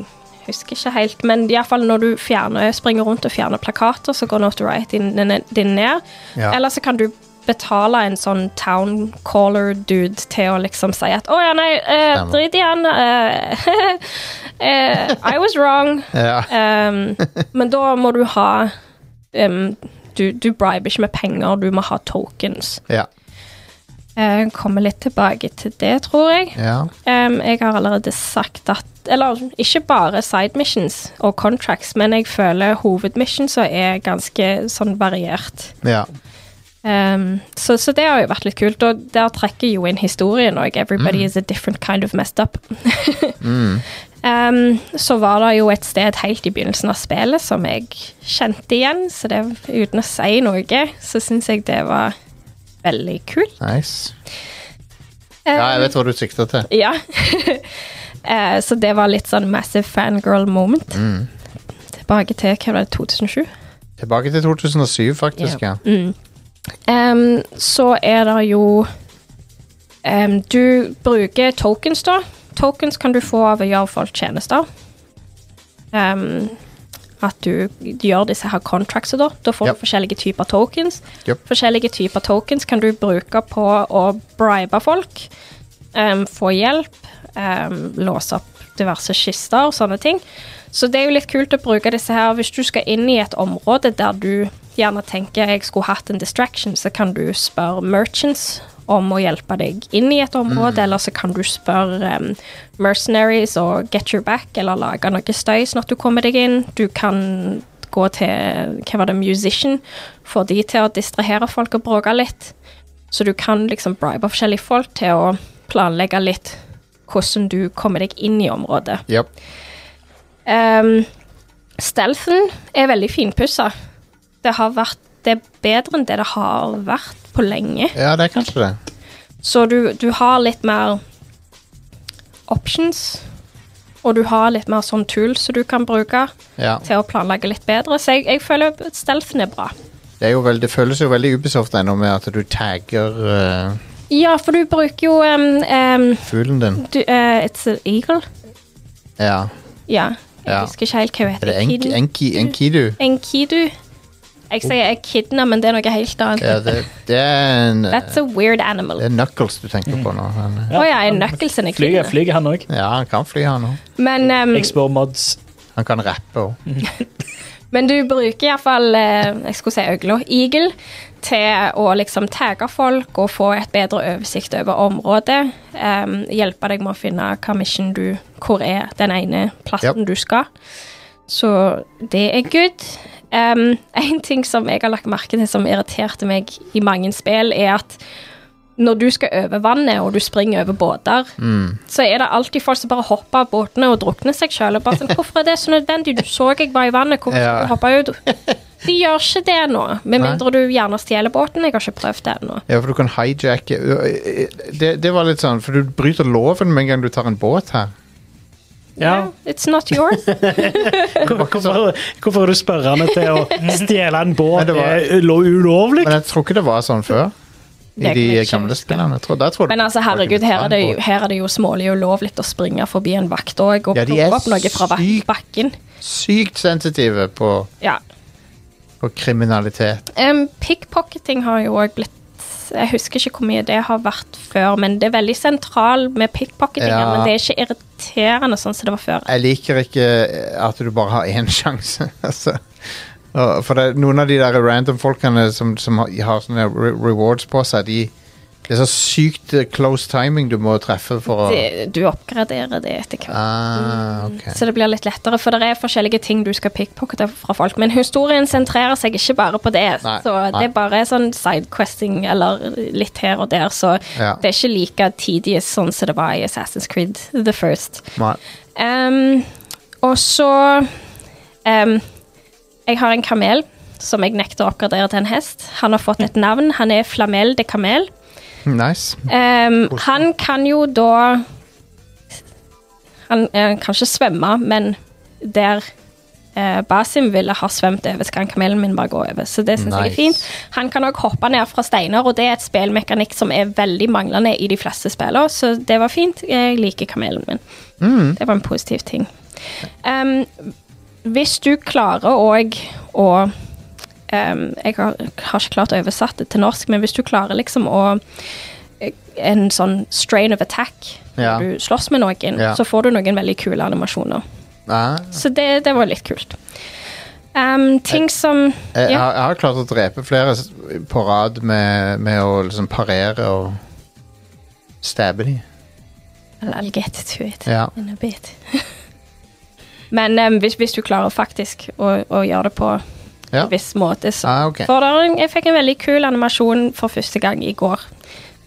Speaker 5: husker ikke helt, men iallfall når du fjerner, eh, springer rundt og fjerner plakater, så går Notoriety din, din ned.
Speaker 1: Ja.
Speaker 5: Eller så kan du betale en sånn town caller dude til å liksom si at å ja, nei, eh,
Speaker 1: Stemmer.
Speaker 5: drit i han. eh, eh, I was wrong.
Speaker 1: Ja.
Speaker 5: Um, men da må du ha um, du, du briber ikke med penger, du må ha tokens.
Speaker 1: Ja.
Speaker 5: Eh, kommer litt tilbake til det, tror jeg.
Speaker 1: ja.
Speaker 5: Um, jeg har allerede sagt at Eller ikke bare side missions og contracts, men jeg føler hovedmissionsa er ganske sånn variert.
Speaker 1: ja.
Speaker 5: Um, så, så det har jo vært litt kult, og der trekker jo inn historien òg. Everybody is a different kind of messed up. um, så var det jo et sted helt i begynnelsen av spillet som jeg kjente igjen, så det, uten å si noe, så syns jeg det var veldig kult.
Speaker 1: Nice. Ja,
Speaker 5: Um,
Speaker 1: jeg vet hva du sikter til.
Speaker 5: Ja. Eh, så det var litt sånn massive fangirl moment. Tilbake til hva var det, 2007?
Speaker 1: Tilbake til 2007, faktisk. ja.
Speaker 5: Em, så er det jo em, Du bruker tokens, da. Tokens kan du få av å gjøre folk tjenester. Em, at du gjør disse her contractsa, da. Da får
Speaker 1: Ja.
Speaker 5: du forskjellige typer tokens.
Speaker 1: Japp.
Speaker 5: Forskjellige typer tokens kan du bruke på å bribe folk, em, få hjelp, em, ehm, låse opp diverse kister og sånne ting. Så det er jo litt kult å bruke disse her hvis du skal inn i et område der du gjerne tenker jeg skulle hatt en distraction, så kan du spørre merchants om å hjelpe deg inn i et område, eller så kan du spørre um, mercenaries og get your back, eller lage noe støy sånn at du kommer deg inn. Du kan gå til hva var det, musician, få de til å distrahere folk og bråke litt. Så du kan liksom bribe forskjellige folk til å planlegge litt hvordan du kommer deg inn i området.
Speaker 1: Japp.
Speaker 5: Ehm, stealthen er veldig finpussa. Det har vært det er bedre enn det det har vært på lenge.
Speaker 1: Ja, det er kanskje det.
Speaker 5: Så du, du har litt mer options, og du har litt mer sånn tools som du kan bruke
Speaker 1: Ja.
Speaker 5: til å planlegge litt bedre. Så jeg, jeg føler at stealthen er bra.
Speaker 1: Det, er jo veld, det føles jo veldig Ubisoft ennå med at du tagger eh,
Speaker 5: Ja, for du bruker jo em, em,
Speaker 1: fuglen din.
Speaker 5: du, eh, It's an eagle?
Speaker 1: Ja.
Speaker 5: Ja. Jeg
Speaker 1: Ja.
Speaker 5: husker ikke helt hva hun
Speaker 1: Er
Speaker 5: heter.
Speaker 1: det enki,
Speaker 5: Kid-
Speaker 1: enki, Enkidu?
Speaker 5: Enkidu. Jeg sier echidna, men det er noe helt annet.
Speaker 1: Ja, det, det er en eh,
Speaker 5: That's a weird animal.
Speaker 1: det er Knuckles du tenker på nå. Han, eh,
Speaker 5: Å ja, er Knuckles en
Speaker 6: Flyger,
Speaker 5: echidna?
Speaker 6: flyger han òg.
Speaker 1: ja, han kan fly, han òg.
Speaker 5: Men, um, em,
Speaker 6: Jeg spør mods.
Speaker 1: Han kan rappe òg.
Speaker 5: men du bruker iallfall eh, Jeg skulle si øgla. Eagle. Til å liksom tagge folk og få et bedre oversikt over området. Em, hjelpe deg med å finne hva mission du Hvor er den ene plassen du skal. Så det er good. Em, en ting som jeg har lagt merke til som irriterte meg i mange spill, er at når du skal over vannet og du springer over båter,
Speaker 1: Mm.
Speaker 5: så er det alltid folk som bare hopper av båtene og drukner seg sjøl. Og bare sånn 'Hvorfor er det så nødvendig? Du så jeg var i vannet. Hvorfor skal
Speaker 1: Ja.
Speaker 5: du hoppe ut?' De gjør ikke det nå, med
Speaker 1: Nei.
Speaker 5: mindre du gjerne stjeler båten. Jeg har ikke prøvd det ennå.
Speaker 1: Ja, for du kan hijacke Ø, ø, det, det var litt sånn, for du bryter loven med en gang du tar en båt her.
Speaker 4: Ja.
Speaker 5: It's not yours.
Speaker 4: Hvor- Hvorfor, hvorfor er du spørrende til å stjele en
Speaker 1: Men
Speaker 4: båt?
Speaker 1: det
Speaker 4: Det
Speaker 1: var-
Speaker 4: er lo- ulovlig.
Speaker 1: Men jeg tror ikke det var sånn før. I
Speaker 5: Det kan
Speaker 1: de
Speaker 5: jeg ikke
Speaker 1: gamle
Speaker 5: huske.
Speaker 1: spillene. Jeg tror, der tror jeg
Speaker 5: Men
Speaker 1: du-
Speaker 5: altså, herregud, her er det jo, her er det jo smålig ulovlig å springe forbi en vakt òg og
Speaker 1: Ja, de er
Speaker 5: plukke opp noe fra vak-
Speaker 1: sykt-
Speaker 5: bakken.
Speaker 1: Sykt sensitive på,
Speaker 5: Ja.
Speaker 1: på kriminalitet.
Speaker 5: Um, pickpocketing har jo òg blitt Jeg husker ikke hvor mye det har vært før, men det er veldig sentral med pickpocketing.
Speaker 1: Ja.
Speaker 5: Men det er ikke irriterende sånn som det var før.
Speaker 1: Jeg liker ikke eh, at du bare har én sjanse. altså. Og For det, noen av de der random folkene som, som har, har sånne re rewards på seg, de det er så sykt eh, close timing du må treffe for å
Speaker 5: Det, Mm. du oppgraderer det etter hvert.
Speaker 1: ah, ok.
Speaker 5: Så det blir litt lettere, for det er forskjellige ting du skal pickpockete fra folk. Men historien sentrerer seg ikke bare på det.
Speaker 1: Nei,
Speaker 5: så
Speaker 1: nei.
Speaker 5: det er bare sånn sidequesting eller litt her og der. Så
Speaker 1: Ja.
Speaker 5: det er ikke like tidlig sånn som det var i Assassin's Creed The First.
Speaker 1: Nei.
Speaker 5: Ehm, og så ehm, Jeg har en kamel som jeg nekter å oppgradere til en hest. Han har fått et navn. Han er Flamel de Kamel.
Speaker 1: Nice.
Speaker 5: Ehm, han kan jo da Han eh, kan ikke svømme, men der eh, Basim ville ha svømt over, skal han kamelen min bare gå over. Så det syns jeg er
Speaker 1: Nice.
Speaker 5: fint. Han kan òg hoppe ned fra steiner, og det er et spillmekanikk som er veldig manglende i de fleste spillene, så det var fint. Jeg liker kamelen min. Det var en positiv ting. Ehm, hvis du klarer òg å ehm, Jeg har, har ikke klart å oversette det til norsk, men hvis du klarer liksom å en sånn strain of attack når
Speaker 1: Ja.
Speaker 5: du slåss med noen,
Speaker 1: Ja.
Speaker 5: så får du noen veldig kule animasjoner.
Speaker 1: Ah.
Speaker 5: Så det, det var litt kult. Um,
Speaker 1: Eh.
Speaker 5: ting som
Speaker 1: Jeg, jeg,
Speaker 5: Ja.
Speaker 1: har- jeg har klart å drepe flere s- på rad med, med å liksom parere og stabbe dem.
Speaker 5: Well, I'll get to it
Speaker 1: Ja.
Speaker 5: in a bit. Men um, hvis, hvis du klarer faktisk å, å gjøre det på
Speaker 1: Ja.
Speaker 5: en viss måte, så
Speaker 1: Ah, ok.
Speaker 5: For det er en- jeg fikk en veldig kul animasjon for første gang i går.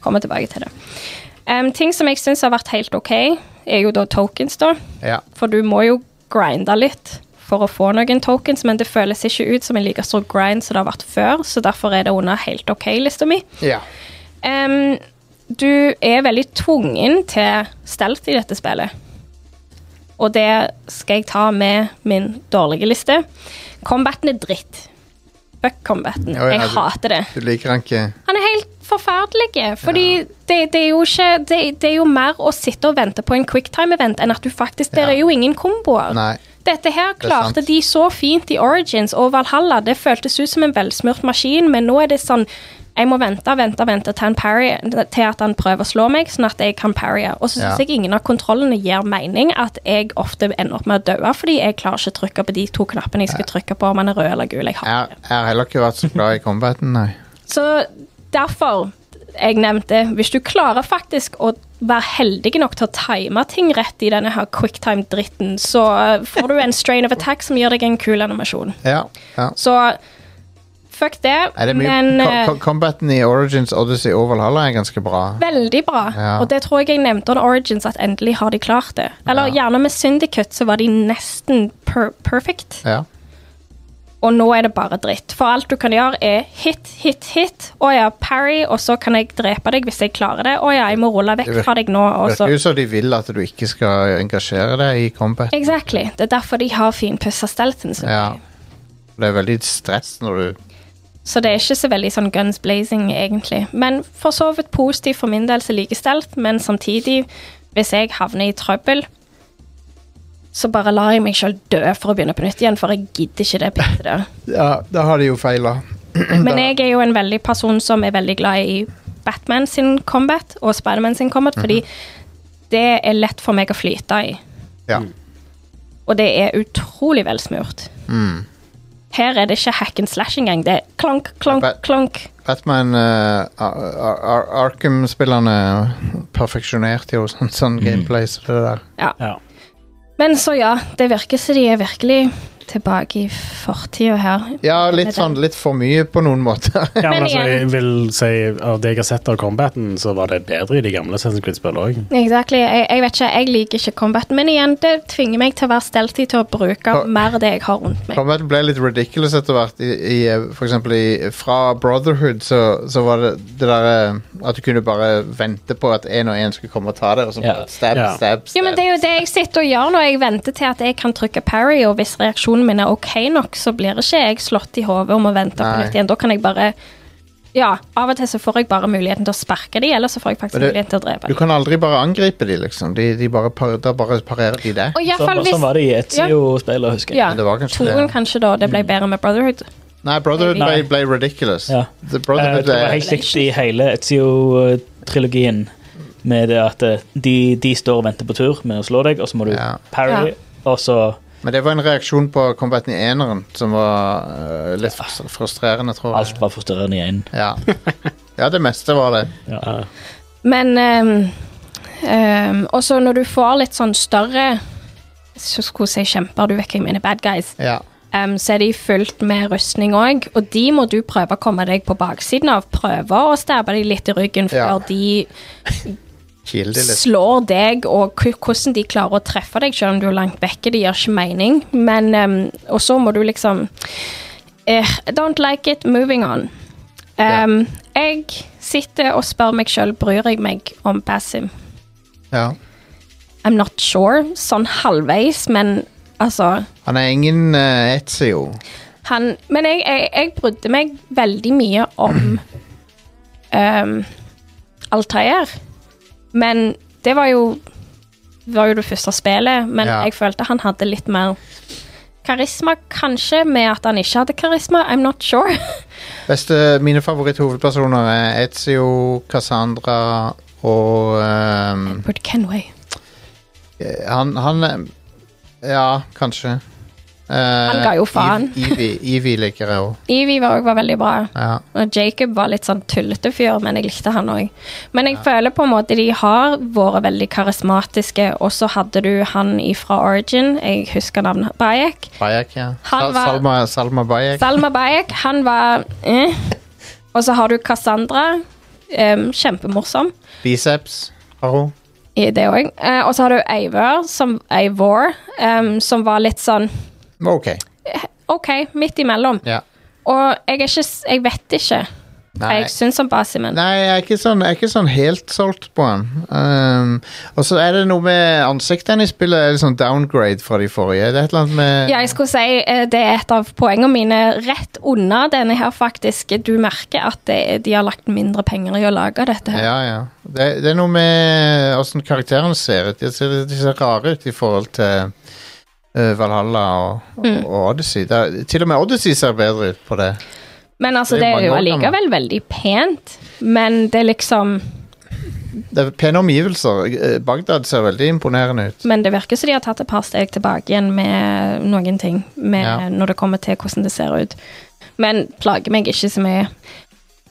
Speaker 5: Kommer tilbake til det. Um, ting som jeg syns har vært helt OK, er jo da tokens, da.
Speaker 1: Ja.
Speaker 5: For du må jo grinde litt for å få noen tokens, men det føles ikke ut som en like stor grind som det har vært før, så derfor er det under helt OK-lista mi.
Speaker 1: ja.
Speaker 5: Em, du er veldig tvungen til stealth i dette spillet. Og det skal jeg ta med min dårlige liste. Combaten er dritt. Fuck combaten.
Speaker 1: Ja, ja,
Speaker 5: Jeg
Speaker 1: du-
Speaker 5: hater det.
Speaker 1: Du liker han ikke
Speaker 5: Han er helt forferdelige. Fordi det, det, er jo ikke, det, det er jo mer å sitte og vente på en quicktime-event enn at du faktisk Det
Speaker 1: Ja.
Speaker 5: er jo ingen komboer.
Speaker 1: Nei.
Speaker 5: Dette her
Speaker 1: er sant.
Speaker 5: klarte de så fint i Origins og Valhalla. Det føltes ut som en velsmurt maskin, men nå er det sånn jeg må vente vente, vente til, han parry, til at han prøver å slå meg, sånn at jeg kan parrye. Og så syns
Speaker 1: Ja.
Speaker 5: jeg ingen av kontrollene gir mening. At jeg ofte ender opp med å dø fordi jeg klarer ikke å trykke på de to knappene jeg skal trykke på, om han er rød eller gul. Jeg
Speaker 1: Jeg
Speaker 5: har
Speaker 1: har- jeg har heller ikke vært så glad i combaten, nei.
Speaker 5: så derfor jeg nevnte, hvis du klarer faktisk å være heldig nok til å time ting rett i denne her quicktime-dritten, så eh, får du en strain of attack som gir deg en kul animasjon.
Speaker 1: Ja, ja.
Speaker 5: Så fuck det,
Speaker 1: Er det mye,
Speaker 5: men eh,
Speaker 1: co- co- combaten i Origins Odyssey og Valhalla er ganske bra.
Speaker 5: veldig bra.
Speaker 1: Ja.
Speaker 5: Og det tror jeg jeg nevnte under Origins, at endelig har de klart det. Eller
Speaker 1: Ja.
Speaker 5: gjerne med Syndicate så var de nesten per perfect.
Speaker 1: Ja.
Speaker 5: og nå er det bare dritt. For alt du kan gjøre, er hit, hit, hit. Å ja, parry, og så kan jeg drepe deg hvis jeg klarer det. Å ja, jeg må rulle vekk
Speaker 1: Det virker-
Speaker 5: fra deg nå. Og
Speaker 1: Det
Speaker 5: så.
Speaker 1: virker jo som de vil at du ikke skal engasjere deg i combat.
Speaker 5: Exactly. Det er derfor de har finpussa stelten sin.
Speaker 1: Ja. Det er veldig stress når du
Speaker 5: Så det er ikke så veldig sånn guns blazing, egentlig. Men for så vidt positivt for min del som liker stelt, men samtidig, hvis jeg havner i trøbbel så bare lar jeg meg sjøl dø for å begynne på nytt igjen, for jeg gidder ikke det pittet der.
Speaker 1: Ja, da har de jo feila.
Speaker 5: Men jeg er jo en veldig person som er veldig glad i Batman sin combat og Spiderman sin combat, fordi
Speaker 1: Mhm.
Speaker 5: det er lett for meg å flyte i. Mm.
Speaker 1: Ja.
Speaker 5: Og det er utrolig velsmurt.
Speaker 1: Mm.
Speaker 5: Her er det ikke hack and slash engang. Det er klonk, klonk,
Speaker 1: Ba-
Speaker 5: klonk.
Speaker 1: Batman eh, Ar- Ar- Ar- Arkham-spillerne perfeksjonerte jo sånn, sånn gameplay som det der.
Speaker 4: Ja.
Speaker 5: Men så ja, det virker som de er virkelig tilbake i fortida her.
Speaker 1: Ja, litt sånn litt for mye på noen måter.
Speaker 4: Ja, men
Speaker 5: Men
Speaker 4: altså,
Speaker 5: igjen-
Speaker 4: jeg vil si Av det jeg har sett av combaten, så var det bedre i de gamle Assassin's Creed-spillene òg.
Speaker 5: Exactly. Jeg, jeg vet ikke, jeg liker ikke combat, men igjen, det tvinger meg til å være stelty til å bruke
Speaker 1: Hva-
Speaker 5: mer av det jeg har rundt meg.
Speaker 1: Combat ble litt ridiculous etter hvert. I, i, eh, for eksempel i, fra Brotherhood så, så var det det derre at du kunne bare vente på at én og én skulle komme og ta det, og så
Speaker 6: Ja.
Speaker 1: bare stab,
Speaker 4: Ja.
Speaker 1: stab, stab.
Speaker 5: Ja, men Det er jo det jeg sitter og gjør når jeg venter til at jeg kan trykke parry, og hvis reaksjonen min er OK nok, så blir ikke jeg slått i hodet om å vente på
Speaker 1: Nei.
Speaker 5: nytt igjen. Da kan jeg bare Ja, av og til så får jeg bare muligheten til å sparke de, eller så får jeg faktisk
Speaker 1: Men det-
Speaker 5: muligheten til å drepe
Speaker 1: Du
Speaker 5: de.
Speaker 1: kan aldri bare angripe de, liksom. De, de bare, par, da bare parerer de deg.
Speaker 5: Og i hvert
Speaker 6: Sånn,
Speaker 5: fall hvis
Speaker 6: sånn var det i Etzio-spillet, husker jeg.
Speaker 5: Ja,
Speaker 1: Men det var kanskje
Speaker 5: toen
Speaker 1: det. Mm.
Speaker 5: kanskje, da. Det ble bedre med Brotherhood.
Speaker 1: Nei, Brotherhood ble,
Speaker 6: Nei.
Speaker 1: ble ridiculous.
Speaker 6: Ja.
Speaker 1: The
Speaker 6: Eh,
Speaker 1: Brotherhood
Speaker 6: det var
Speaker 1: er-
Speaker 6: helt likt i hele Etzio-trilogien. Med det at eh, de, de står og venter på tur med å slå deg, og så må du
Speaker 1: Ja.
Speaker 6: parry,
Speaker 5: Ja.
Speaker 6: og så
Speaker 1: Men det var en reaksjon på combaten i eneren som var øh, litt frus- frustrerende, tror jeg.
Speaker 6: Alt var frustrerende igjen.
Speaker 1: Ja. ja, det meste var det.
Speaker 5: Men ehm, ehm, også når du får litt sånn større så skulle jeg si kjemper, du vet hva jeg mener, bad guys.
Speaker 1: Ja.
Speaker 5: Em, så er de fullt med rustning òg, og de må du prøve å komme deg på baksiden av. Prøve å stabbe deg litt i ryggen
Speaker 1: Ja.
Speaker 5: før de
Speaker 1: Kilde litt.
Speaker 5: slår deg, og k- hvordan de klarer å treffe deg selv om du er langt vekke. Det gir ikke mening, men em, Og så må du liksom eh, Don't like it, moving on. Em, Jeg sitter og spør meg sjøl bryr jeg meg om Basim.
Speaker 1: Ja.
Speaker 5: I'm not sure, sånn halvveis, men altså
Speaker 1: Han er ingen uh, Etzio.
Speaker 5: han, men jeg, jeg, jeg brydde meg veldig mye om um, Altair. Men det var jo var jo det første spillet, men
Speaker 1: Ja.
Speaker 5: jeg følte han hadde litt mer karisma, kanskje, med at han ikke hadde karisma. I'm not sure.
Speaker 1: Beste, mine favoritthovedpersoner er Etzio, Cassandra og øhm,
Speaker 5: Edward Kenway.
Speaker 1: han, han er- Ja, kanskje. Eh,
Speaker 5: Han ga jo faen.
Speaker 1: Evie liker jeg òg.
Speaker 5: Evie var, var veldig bra.
Speaker 1: Ja.
Speaker 5: Og Jacob var litt sånn tullete fyr, men jeg likte han òg. Men jeg føler på en måte de har vært veldig karismatiske, og så hadde du han ifra Origin, jeg husker navnet, Bayek.
Speaker 1: Bayek, ja.
Speaker 5: Han
Speaker 1: Sal-
Speaker 5: var-
Speaker 1: Salma, Salma Bayek.
Speaker 5: Salma Bayek, han var eh. Og så har du Cassandra. em, kjempemorsom
Speaker 1: Biceps har hun.
Speaker 5: i det òg. og så har du Eivor, som, Eivor em, som var litt sånn
Speaker 1: OK.
Speaker 5: OK, midt imellom.
Speaker 1: Ja.
Speaker 5: Og jeg er ikke s- Jeg vet ikke
Speaker 1: Nei.
Speaker 5: Jeg syns om Basimen.
Speaker 1: Nei, jeg er ikke sånn, jeg er ikke sånn helt solgt på han. Um, og så er det noe med ansiktene i spillet. Er det sånn downgrade fra de forrige? Det er et eller annet med
Speaker 5: Ja, jeg skulle si eh, det er et av poengene mine rett unna denne her, faktisk. Du merker at det, de har lagt mindre penger i å lage dette her.
Speaker 1: ja, ja. Det, det er noe med åssen karakterene ser ut. De ser, de ser rare ut i forhold til eh, Valhalla og,
Speaker 5: Mm.
Speaker 1: og Odyssey. Det er, til og med Odyssey ser bedre ut på det.
Speaker 5: Men altså,
Speaker 1: Det
Speaker 5: det
Speaker 1: er
Speaker 5: er jo
Speaker 1: mange år gammel.
Speaker 5: allikevel veldig pent. Men det er liksom
Speaker 1: Det er pene omgivelser. Eh, Bagdad ser veldig imponerende ut.
Speaker 5: Men det virker som de har tatt et par steg tilbake igjen med noen ting, med,
Speaker 1: Ja.
Speaker 5: når det kommer til hvordan det ser ut. Men plager meg ikke så mye.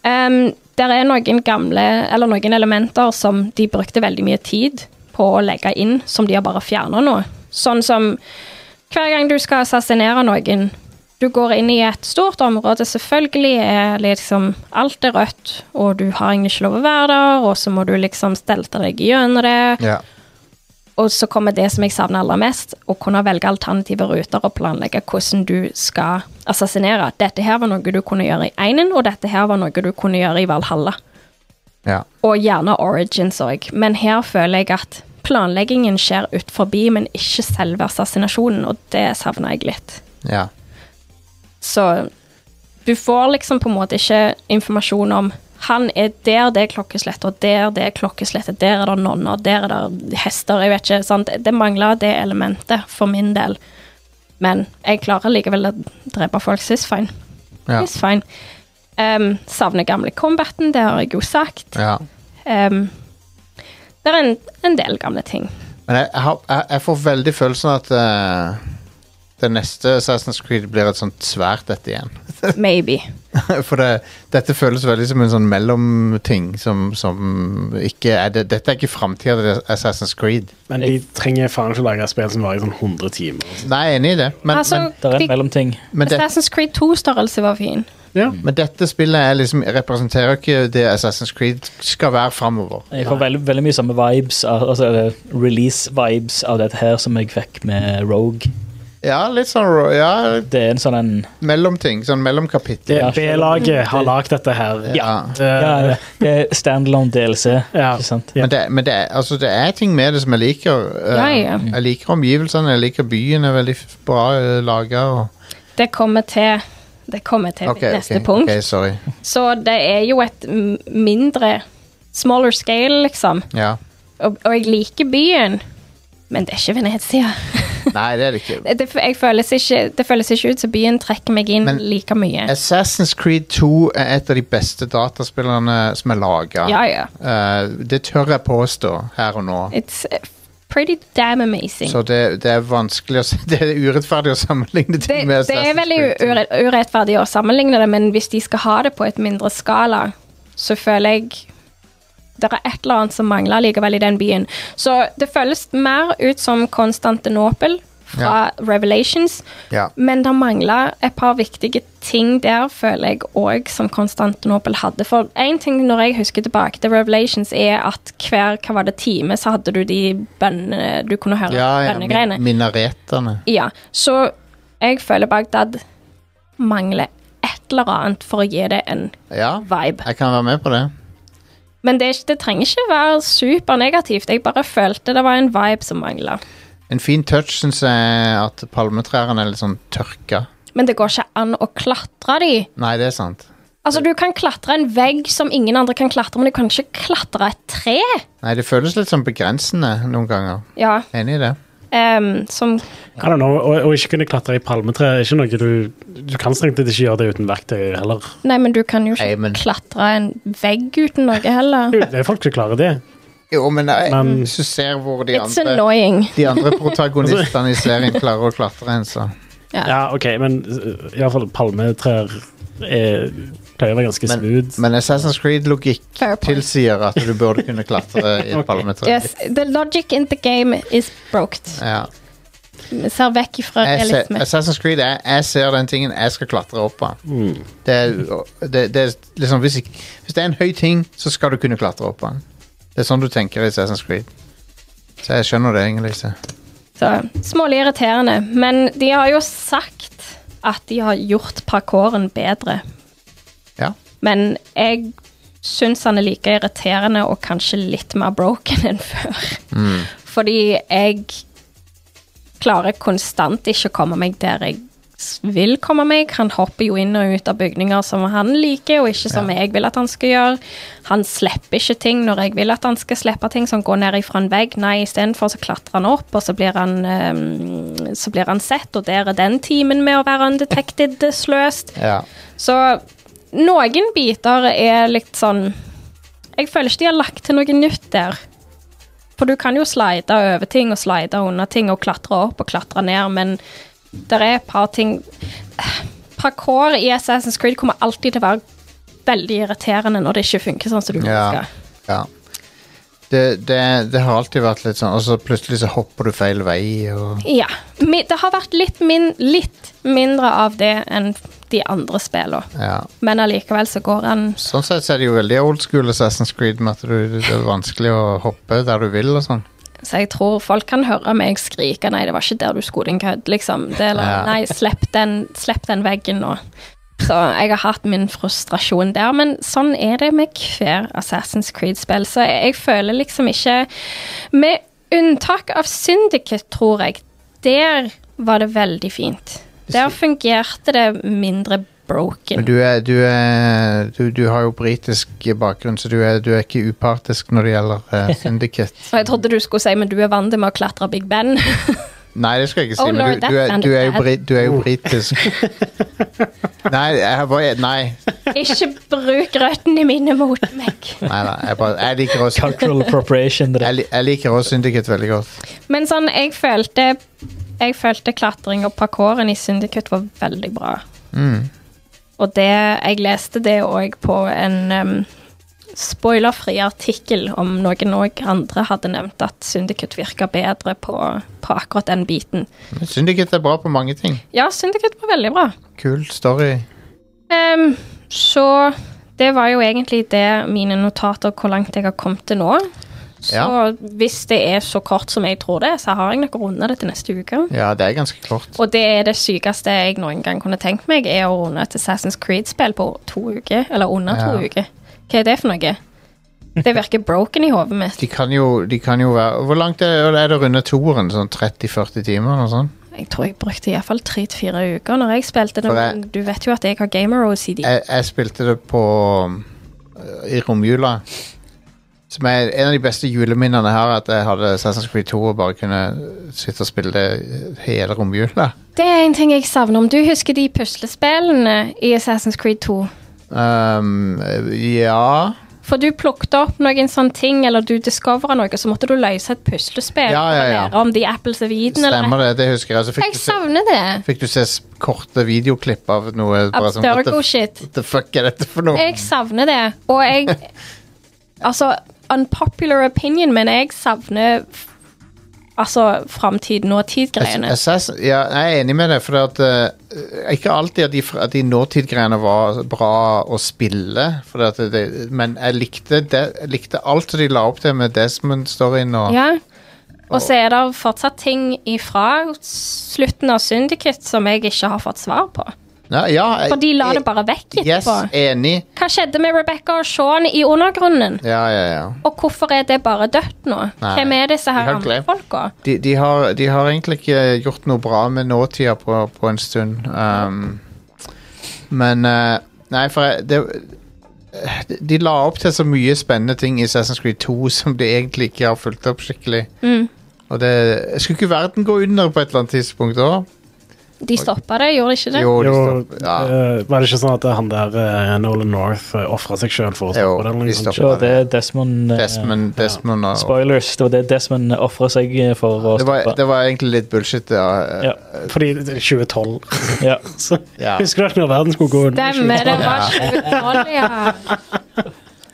Speaker 5: Um, der er noen gamle, eller noen elementer som de brukte veldig mye tid på å legge inn, som de har bare fjerna nå. Sånn som hver gang du skal assassinere noen, du går inn i et stort område, selvfølgelig er liksom alt er rødt, og du har ingen ikke lov å være der, og så må du liksom stelte deg gjennom det.
Speaker 1: Ja.
Speaker 5: Og så kommer det som jeg savner aller mest, å kunne velge alternative ruter og planlegge hvordan du skal assassinere. Dette her var noe du kunne gjøre i Einen, og dette her var noe du kunne gjøre i Valhalla.
Speaker 1: ja.
Speaker 5: Og gjerne Origins òg, men her føler jeg at planleggingen skjer ut forbi, men ikke selve assassinasjonen, og det savner jeg litt.
Speaker 1: ja.
Speaker 5: Så du får liksom på en måte ikke informasjon om han er der det er klokkeslett, og der det er klokkeslettet, der er det nonner, der er det hester, jeg vet ikke. Sant? Det mangler det elementet for min del. Men jeg klarer likevel å drepe folk, så it's fine.
Speaker 1: Ja.
Speaker 5: It's fine. Ehm, savner gamle combaten, det har jeg jo sagt.
Speaker 1: ja.
Speaker 5: Ehm, det er en, en del gamle ting.
Speaker 1: Men jeg, jeg, har- jeg, jeg får veldig følelsen at eh, det neste Assassin's Creed blir et sånt svært et igjen.
Speaker 5: Maybe.
Speaker 1: For det, dette føles veldig som en sånn mellomting som, som ikke er det, Dette er ikke framtida til Assassin's Creed.
Speaker 4: Men de trenger faen ikke å lage et spill som varer i sånn 100 timer.
Speaker 1: Nei, jeg er enig i det, men,
Speaker 5: altså,
Speaker 6: Det er
Speaker 5: de-
Speaker 6: en mellomting.
Speaker 1: men, men, det,
Speaker 5: Assassin's Creed 2-størrelse var fin.
Speaker 1: men dette spillet er liksom, representerer ikke det Assassin's Creed skal være framover.
Speaker 6: Jeg får veldig, veldig mye samme vibes, av- altså eller release-vibes av dette her som jeg fikk med Rogue.
Speaker 1: Ja, litt sånn ro- ja,
Speaker 6: Det er en sånn en
Speaker 1: mellomting. Sånn mellomkapittel.
Speaker 4: Det
Speaker 6: Ja,
Speaker 4: B-laget har lagd dette her.
Speaker 1: Ja.
Speaker 4: Det,
Speaker 6: ja, Det er standalone DLC,
Speaker 4: Ja.
Speaker 6: ikke sant?
Speaker 1: Men, det, men det, er- altså, det er ting med det som jeg liker. eh,
Speaker 5: Ja, ja.
Speaker 1: Jeg liker omgivelsene, jeg liker byen er veldig f- bra uh, laga.
Speaker 5: Det kommer til, det kommer til mitt neste punkt.
Speaker 1: sorry.
Speaker 5: Så det er jo et m- mindre Smaller scale, liksom.
Speaker 1: Ja.
Speaker 5: Og, og jeg liker byen, men det er ikke Venezia.
Speaker 1: Nei, det er det ikke.
Speaker 5: Det, det- jeg føles ikke, det føles ikke ut som byen trekker meg inn
Speaker 1: Men-
Speaker 5: like mye.
Speaker 1: Assassin's Creed 2 er et av de beste dataspillene som er laga.
Speaker 5: Ja, ja.
Speaker 1: det tør jeg påstå her og nå.
Speaker 5: It's eh, pretty damn amazing.
Speaker 1: Så det, det er vanskelig å s- Det er urettferdig å sammenligne
Speaker 5: Det,
Speaker 1: ting med
Speaker 5: det
Speaker 1: Assassin's
Speaker 5: er veldig
Speaker 1: Creed 2.
Speaker 5: ure, urettferdig å sammenligne det, men hvis de skal ha det på et mindre skala, så føler jeg det er et eller annet som mangler likevel i den byen. Så det føles mer ut som Konstantinopel fra Revelations,
Speaker 1: Ja.
Speaker 5: men det mangler et par viktige ting der, føler jeg òg, som Konstantinopel hadde. For én ting når jeg husker tilbake til Revelations, er at hver hva var det time så hadde du de bønnene Du kunne høre
Speaker 1: Ja, ja,
Speaker 5: bønnegreiene.
Speaker 1: min- minaretene.
Speaker 5: Ja, så jeg føler Bagdad mangler et eller annet for å gi det en
Speaker 1: Ja,
Speaker 5: vibe.
Speaker 1: jeg kan være med på det.
Speaker 5: Men det, er ikke, det trenger ikke være supernegativt. Jeg bare følte det var en vibe som mangla.
Speaker 1: En fin touch syns jeg er at palmetrærne er litt sånn tørka.
Speaker 5: Men det går ikke an å klatre de.
Speaker 1: Nei, det er sant.
Speaker 5: Altså, Du kan klatre en vegg som ingen andre kan klatre, men du kan ikke klatre et tre.
Speaker 1: Nei, det føles litt sånn begrensende noen ganger.
Speaker 5: Ja,
Speaker 1: Enig i det.
Speaker 5: ehm, som
Speaker 4: I don't know, og, og ikke kunne klatre i palmetre er ikke noe du Du kan strengt tatt ikke gjøre det uten verktøy heller.
Speaker 5: Nei, men du kan jo ikke
Speaker 1: Nei, men-
Speaker 5: klatre en vegg uten noe heller.
Speaker 4: Det er folk som klarer det.
Speaker 1: Jo, men jeg,
Speaker 4: Men-
Speaker 1: hvis du ser hvor de
Speaker 5: It's
Speaker 1: andre
Speaker 5: annoying.
Speaker 1: De andre protagonistene i serien klarer å klatre en, så
Speaker 4: Ja, OK, men uh, iallfall palmetrær er, pleier å være ganske
Speaker 1: Men-
Speaker 4: smooth.
Speaker 1: Men Assassin's Creed-logikk
Speaker 5: Fair point.
Speaker 1: tilsier at du burde kunne klatre i et
Speaker 4: Ok.
Speaker 1: palmetre.
Speaker 5: Yes, the logic in the game is broked.
Speaker 1: Ja.
Speaker 5: Vi ser vekk ifra
Speaker 1: Jeg ser,
Speaker 5: realisme.
Speaker 1: Assassin's Creed, jeg, jeg ser den tingen jeg skal klatre opp av.
Speaker 4: Mm.
Speaker 1: Det, er- det, det er liksom hvis, ikk- hvis det er en høy ting, så skal du kunne klatre opp av den. Det er sånn du tenker i Assassin's Creed. Så jeg skjønner det, Inger-Lise.
Speaker 5: Så smålig irriterende. Men de har jo sagt at de har gjort parkouren bedre.
Speaker 1: Ja.
Speaker 5: Men jeg syns han er like irriterende og kanskje litt mer broken enn før. Fordi jeg klarer konstant ikke å komme meg der jeg s- vil komme meg. Han hopper jo inn og ut av bygninger som han liker, og ikke som jeg vil at han skal gjøre. Han slipper ikke ting når jeg vil at han skal slippe ting, så han går ned ifra en vegg. Nei, istedenfor så klatrer han opp, og så blir han, eh, så blir han sett, og der er den timen med å være undetected eh, sløst.
Speaker 1: Ja.
Speaker 5: Så noen biter er litt sånn Jeg føler ikke de har lagt til noe nytt der. For du kan jo slide over ting og slide under ting og klatre opp og klatre ned, men det er et par ting Parkour i Assassin's Creed kommer alltid til å være veldig irriterende når det ikke funker sånn som du
Speaker 1: Ja.
Speaker 5: ønsker.
Speaker 1: ja. Det, det, det har alltid vært litt sånn, og så plutselig så hopper du feil vei og
Speaker 5: Ja. Mi- Det har vært litt, min, litt mindre av det enn de andre spillene,
Speaker 1: Ja.
Speaker 5: men allikevel så går han
Speaker 1: Sånn sett så er det jo veldig old school Assassin's Creed med at du, det er vanskelig å hoppe der du vil og sånn.
Speaker 5: Så jeg tror folk kan høre meg skrike 'nei, det var ikke der du skulle din kødd', liksom. Det, eller,
Speaker 1: Ja.
Speaker 5: 'Nei, slipp den, slipp den veggen nå'. Så jeg har hatt min frustrasjon der, men sånn er det med hver Assassin's Creed-spill. Så jeg føler liksom ikke Med unntak av Syndicate, tror jeg, der var det veldig fint. Der fungerte det mindre
Speaker 1: Men
Speaker 5: broken.
Speaker 1: du er, du er du, du har jo britisk bakgrunn, så du er, du er ikke upartisk når det gjelder eh, Syndicate.
Speaker 5: Og jeg trodde du skulle si men du er vant til med å klatre Big Ben.
Speaker 1: Nei, det skal jeg ikke si,
Speaker 5: Oh
Speaker 1: men
Speaker 5: lord, Oh.
Speaker 1: du,
Speaker 5: that
Speaker 1: du, er,
Speaker 5: sounded
Speaker 1: du, er, jo
Speaker 5: bad.
Speaker 1: bri, du er jo britisk. Nei, jeg bare Nei.
Speaker 5: ikke bruk røttene mine mot meg.
Speaker 1: nei, nei jeg, bare, jeg liker også
Speaker 6: Cultural appropriation. det der.
Speaker 1: jeg, li- jeg liker også Syndicate veldig godt.
Speaker 5: Men sånn, jeg følte Jeg følte klatring og parkouren i Syndicate var veldig bra. Og det Jeg leste det òg på en um, spoilerfri artikkel om noen òg andre hadde nevnt at Syndicate virka bedre på, på akkurat den biten.
Speaker 1: Men Syndicate er bra på mange ting.
Speaker 5: Ja, Syndicate var veldig bra.
Speaker 1: Kul story.
Speaker 5: Ehm, så det var jo egentlig det mine notater hvor langt jeg har kommet til nå. Så
Speaker 1: Ja.
Speaker 5: hvis det er så kort som jeg tror det, så har jeg nok runda det til neste uke.
Speaker 1: Ja, det er ganske kort.
Speaker 5: Og det er det sykeste jeg noen gang kunne tenkt meg, er å runde et Assassin's Creed-spill på to uker, eller under
Speaker 1: Ja.
Speaker 5: to uker. Hva er det for noe? Det virker broken i hodet mitt.
Speaker 1: De kan jo, de kan jo være Hvor langt er, er det runde toeren? Sånn 30-40 timer og sånn?
Speaker 5: Jeg tror jeg brukte iallfall tre til fire uker når jeg spilte det.
Speaker 1: For Eh.
Speaker 5: men Du vet jo at jeg har gamer OCD.
Speaker 1: Jeg, jeg spilte det på øh, i romjula. Som er en av de beste juleminnene jeg har, at jeg hadde Assassin's Creed 2 og bare kunne sitte og spille det hele romjula.
Speaker 5: Det er en ting jeg savner. Om du husker de puslespillene i Assassin's Creed 2?
Speaker 1: Um, ja
Speaker 5: For du plukket opp noen sånne ting, eller du discovera noe, så måtte du løse et puslespill.
Speaker 1: Ja, ja, ja.
Speaker 5: og lære Om The Apples of Eden, eller
Speaker 1: Stemmer det, det husker jeg. Så fikk
Speaker 5: Jeg
Speaker 1: du se,
Speaker 5: savner det.
Speaker 1: fikk du se s- korte videoklipp av noe. bare sånn, what the-
Speaker 5: Abstergo shit.
Speaker 1: What the fuck er dette for noe?
Speaker 5: Jeg savner det, og jeg Altså, unpopular opinion, men jeg savner f- Altså framtiden og tidgreiene.
Speaker 1: Assassin, ja, jeg er enig med deg, for at, eh, ikke alltid at de, fra- at de nåtidgreiene var bra å spille. For at det, men jeg likte, det, jeg likte alt de la opp til med Desmond-storyen. Og,
Speaker 5: Ja. Og så er det fortsatt ting ifra slutten av Syndicate som jeg ikke har fått svar på.
Speaker 1: ja, ja, jeg-
Speaker 5: For de la det bare vekk
Speaker 1: Eh, Yes, eh-
Speaker 5: etterpå.
Speaker 1: enig.
Speaker 5: Hva skjedde med Rebecca og Sean i undergrunnen?
Speaker 1: Ja, ja, ja.
Speaker 5: Og hvorfor er det bare dødt nå?
Speaker 1: Nei,
Speaker 5: Hvem er disse
Speaker 1: de
Speaker 5: her
Speaker 1: har
Speaker 5: andre
Speaker 1: glemt.
Speaker 5: folka?
Speaker 1: De, de, har, de har egentlig ikke gjort noe bra med nåtida på, på en stund. Um, men eh, Nei, for jeg, det de la opp til så mye spennende ting i Assassin's Creed 2 som de egentlig ikke har fulgt opp skikkelig.
Speaker 5: Mm.
Speaker 1: Og det Skulle ikke verden gå under på et eller annet tidspunkt òg?
Speaker 5: De stoppa det, gjorde de ikke det?
Speaker 1: Jo, de
Speaker 4: Jo,
Speaker 1: stopp- ja,
Speaker 4: eh, var det ikke sånn at han der eh, Nolan North uh, ofra seg sjøl for å
Speaker 1: Jo,
Speaker 4: stoppe den? eller
Speaker 1: de
Speaker 4: noe sånt?
Speaker 1: stopper.
Speaker 6: Så det er Desmond, eh,
Speaker 1: Desmond, Desmond og,
Speaker 6: Spoilers. Det var det Desmond ofra seg eh, for å
Speaker 1: det, var,
Speaker 6: stoppe.
Speaker 1: det var egentlig litt bullshit. Ja.
Speaker 6: Ja.
Speaker 4: Fordi det er 2012
Speaker 6: Ja.
Speaker 4: så,
Speaker 1: Ja.
Speaker 4: Husker du ikke når verden skulle gå under?
Speaker 5: Stemmer, det var 2012, ja.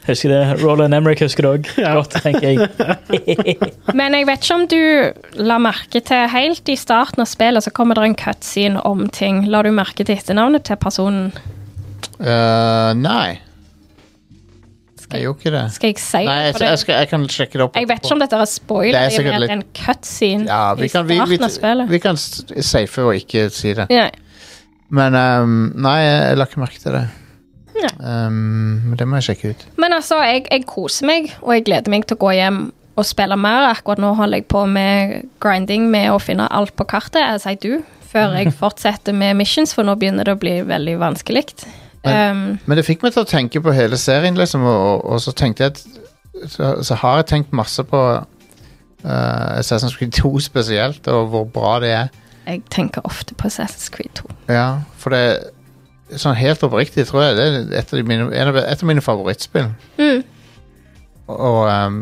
Speaker 6: Husker det. Roland Emmerich husker det òg. Godt, tenker jeg.
Speaker 5: Men jeg vet ikke om du la merke til helt i starten av spillet, så kommer det en cutscene om ting. La du merke til etternavnet til personen?
Speaker 1: Eh, nei, jeg gjorde ikke det.
Speaker 5: Skal jeg si
Speaker 1: Nei, jeg,
Speaker 5: det? For
Speaker 1: jeg,
Speaker 5: det?
Speaker 1: skal, jeg kan sjekke det opp.
Speaker 5: Jeg vet ikke om dette er spoil,
Speaker 1: Det
Speaker 5: i og
Speaker 1: er
Speaker 5: med
Speaker 1: sikkert
Speaker 5: at
Speaker 1: litt-
Speaker 5: det er en cutscene
Speaker 1: Ja,
Speaker 5: i
Speaker 1: vi kan,
Speaker 5: Mm. starten
Speaker 1: vi, vi,
Speaker 5: av spillet.
Speaker 1: vi kan s- safe og ikke si det.
Speaker 5: Ja.
Speaker 1: Men ehm, nei, jeg la ikke merke til det. Um, det må jeg sjekke ut.
Speaker 5: Men altså, jeg, jeg koser meg, og jeg gleder meg til å gå hjem og spille mer. Akkurat nå holder jeg på med grinding med å finne alt på kartet, as I do, før jeg fortsetter med missions, for nå begynner det å bli veldig vanskelig. Um,
Speaker 1: Men det fikk meg til å tenke på hele serien, liksom, og, og, og så tenkte jeg at så, så har jeg tenkt masse på eh, Assassin's Creed 2 spesielt, og hvor bra det er.
Speaker 5: jeg tenker ofte på Assassin's Creed 2.
Speaker 1: Ja, for det Sånn helt oppriktig, tror jeg, det er et av, de mine, en av, et av mine favorittspill.
Speaker 5: Mm.
Speaker 1: Og um,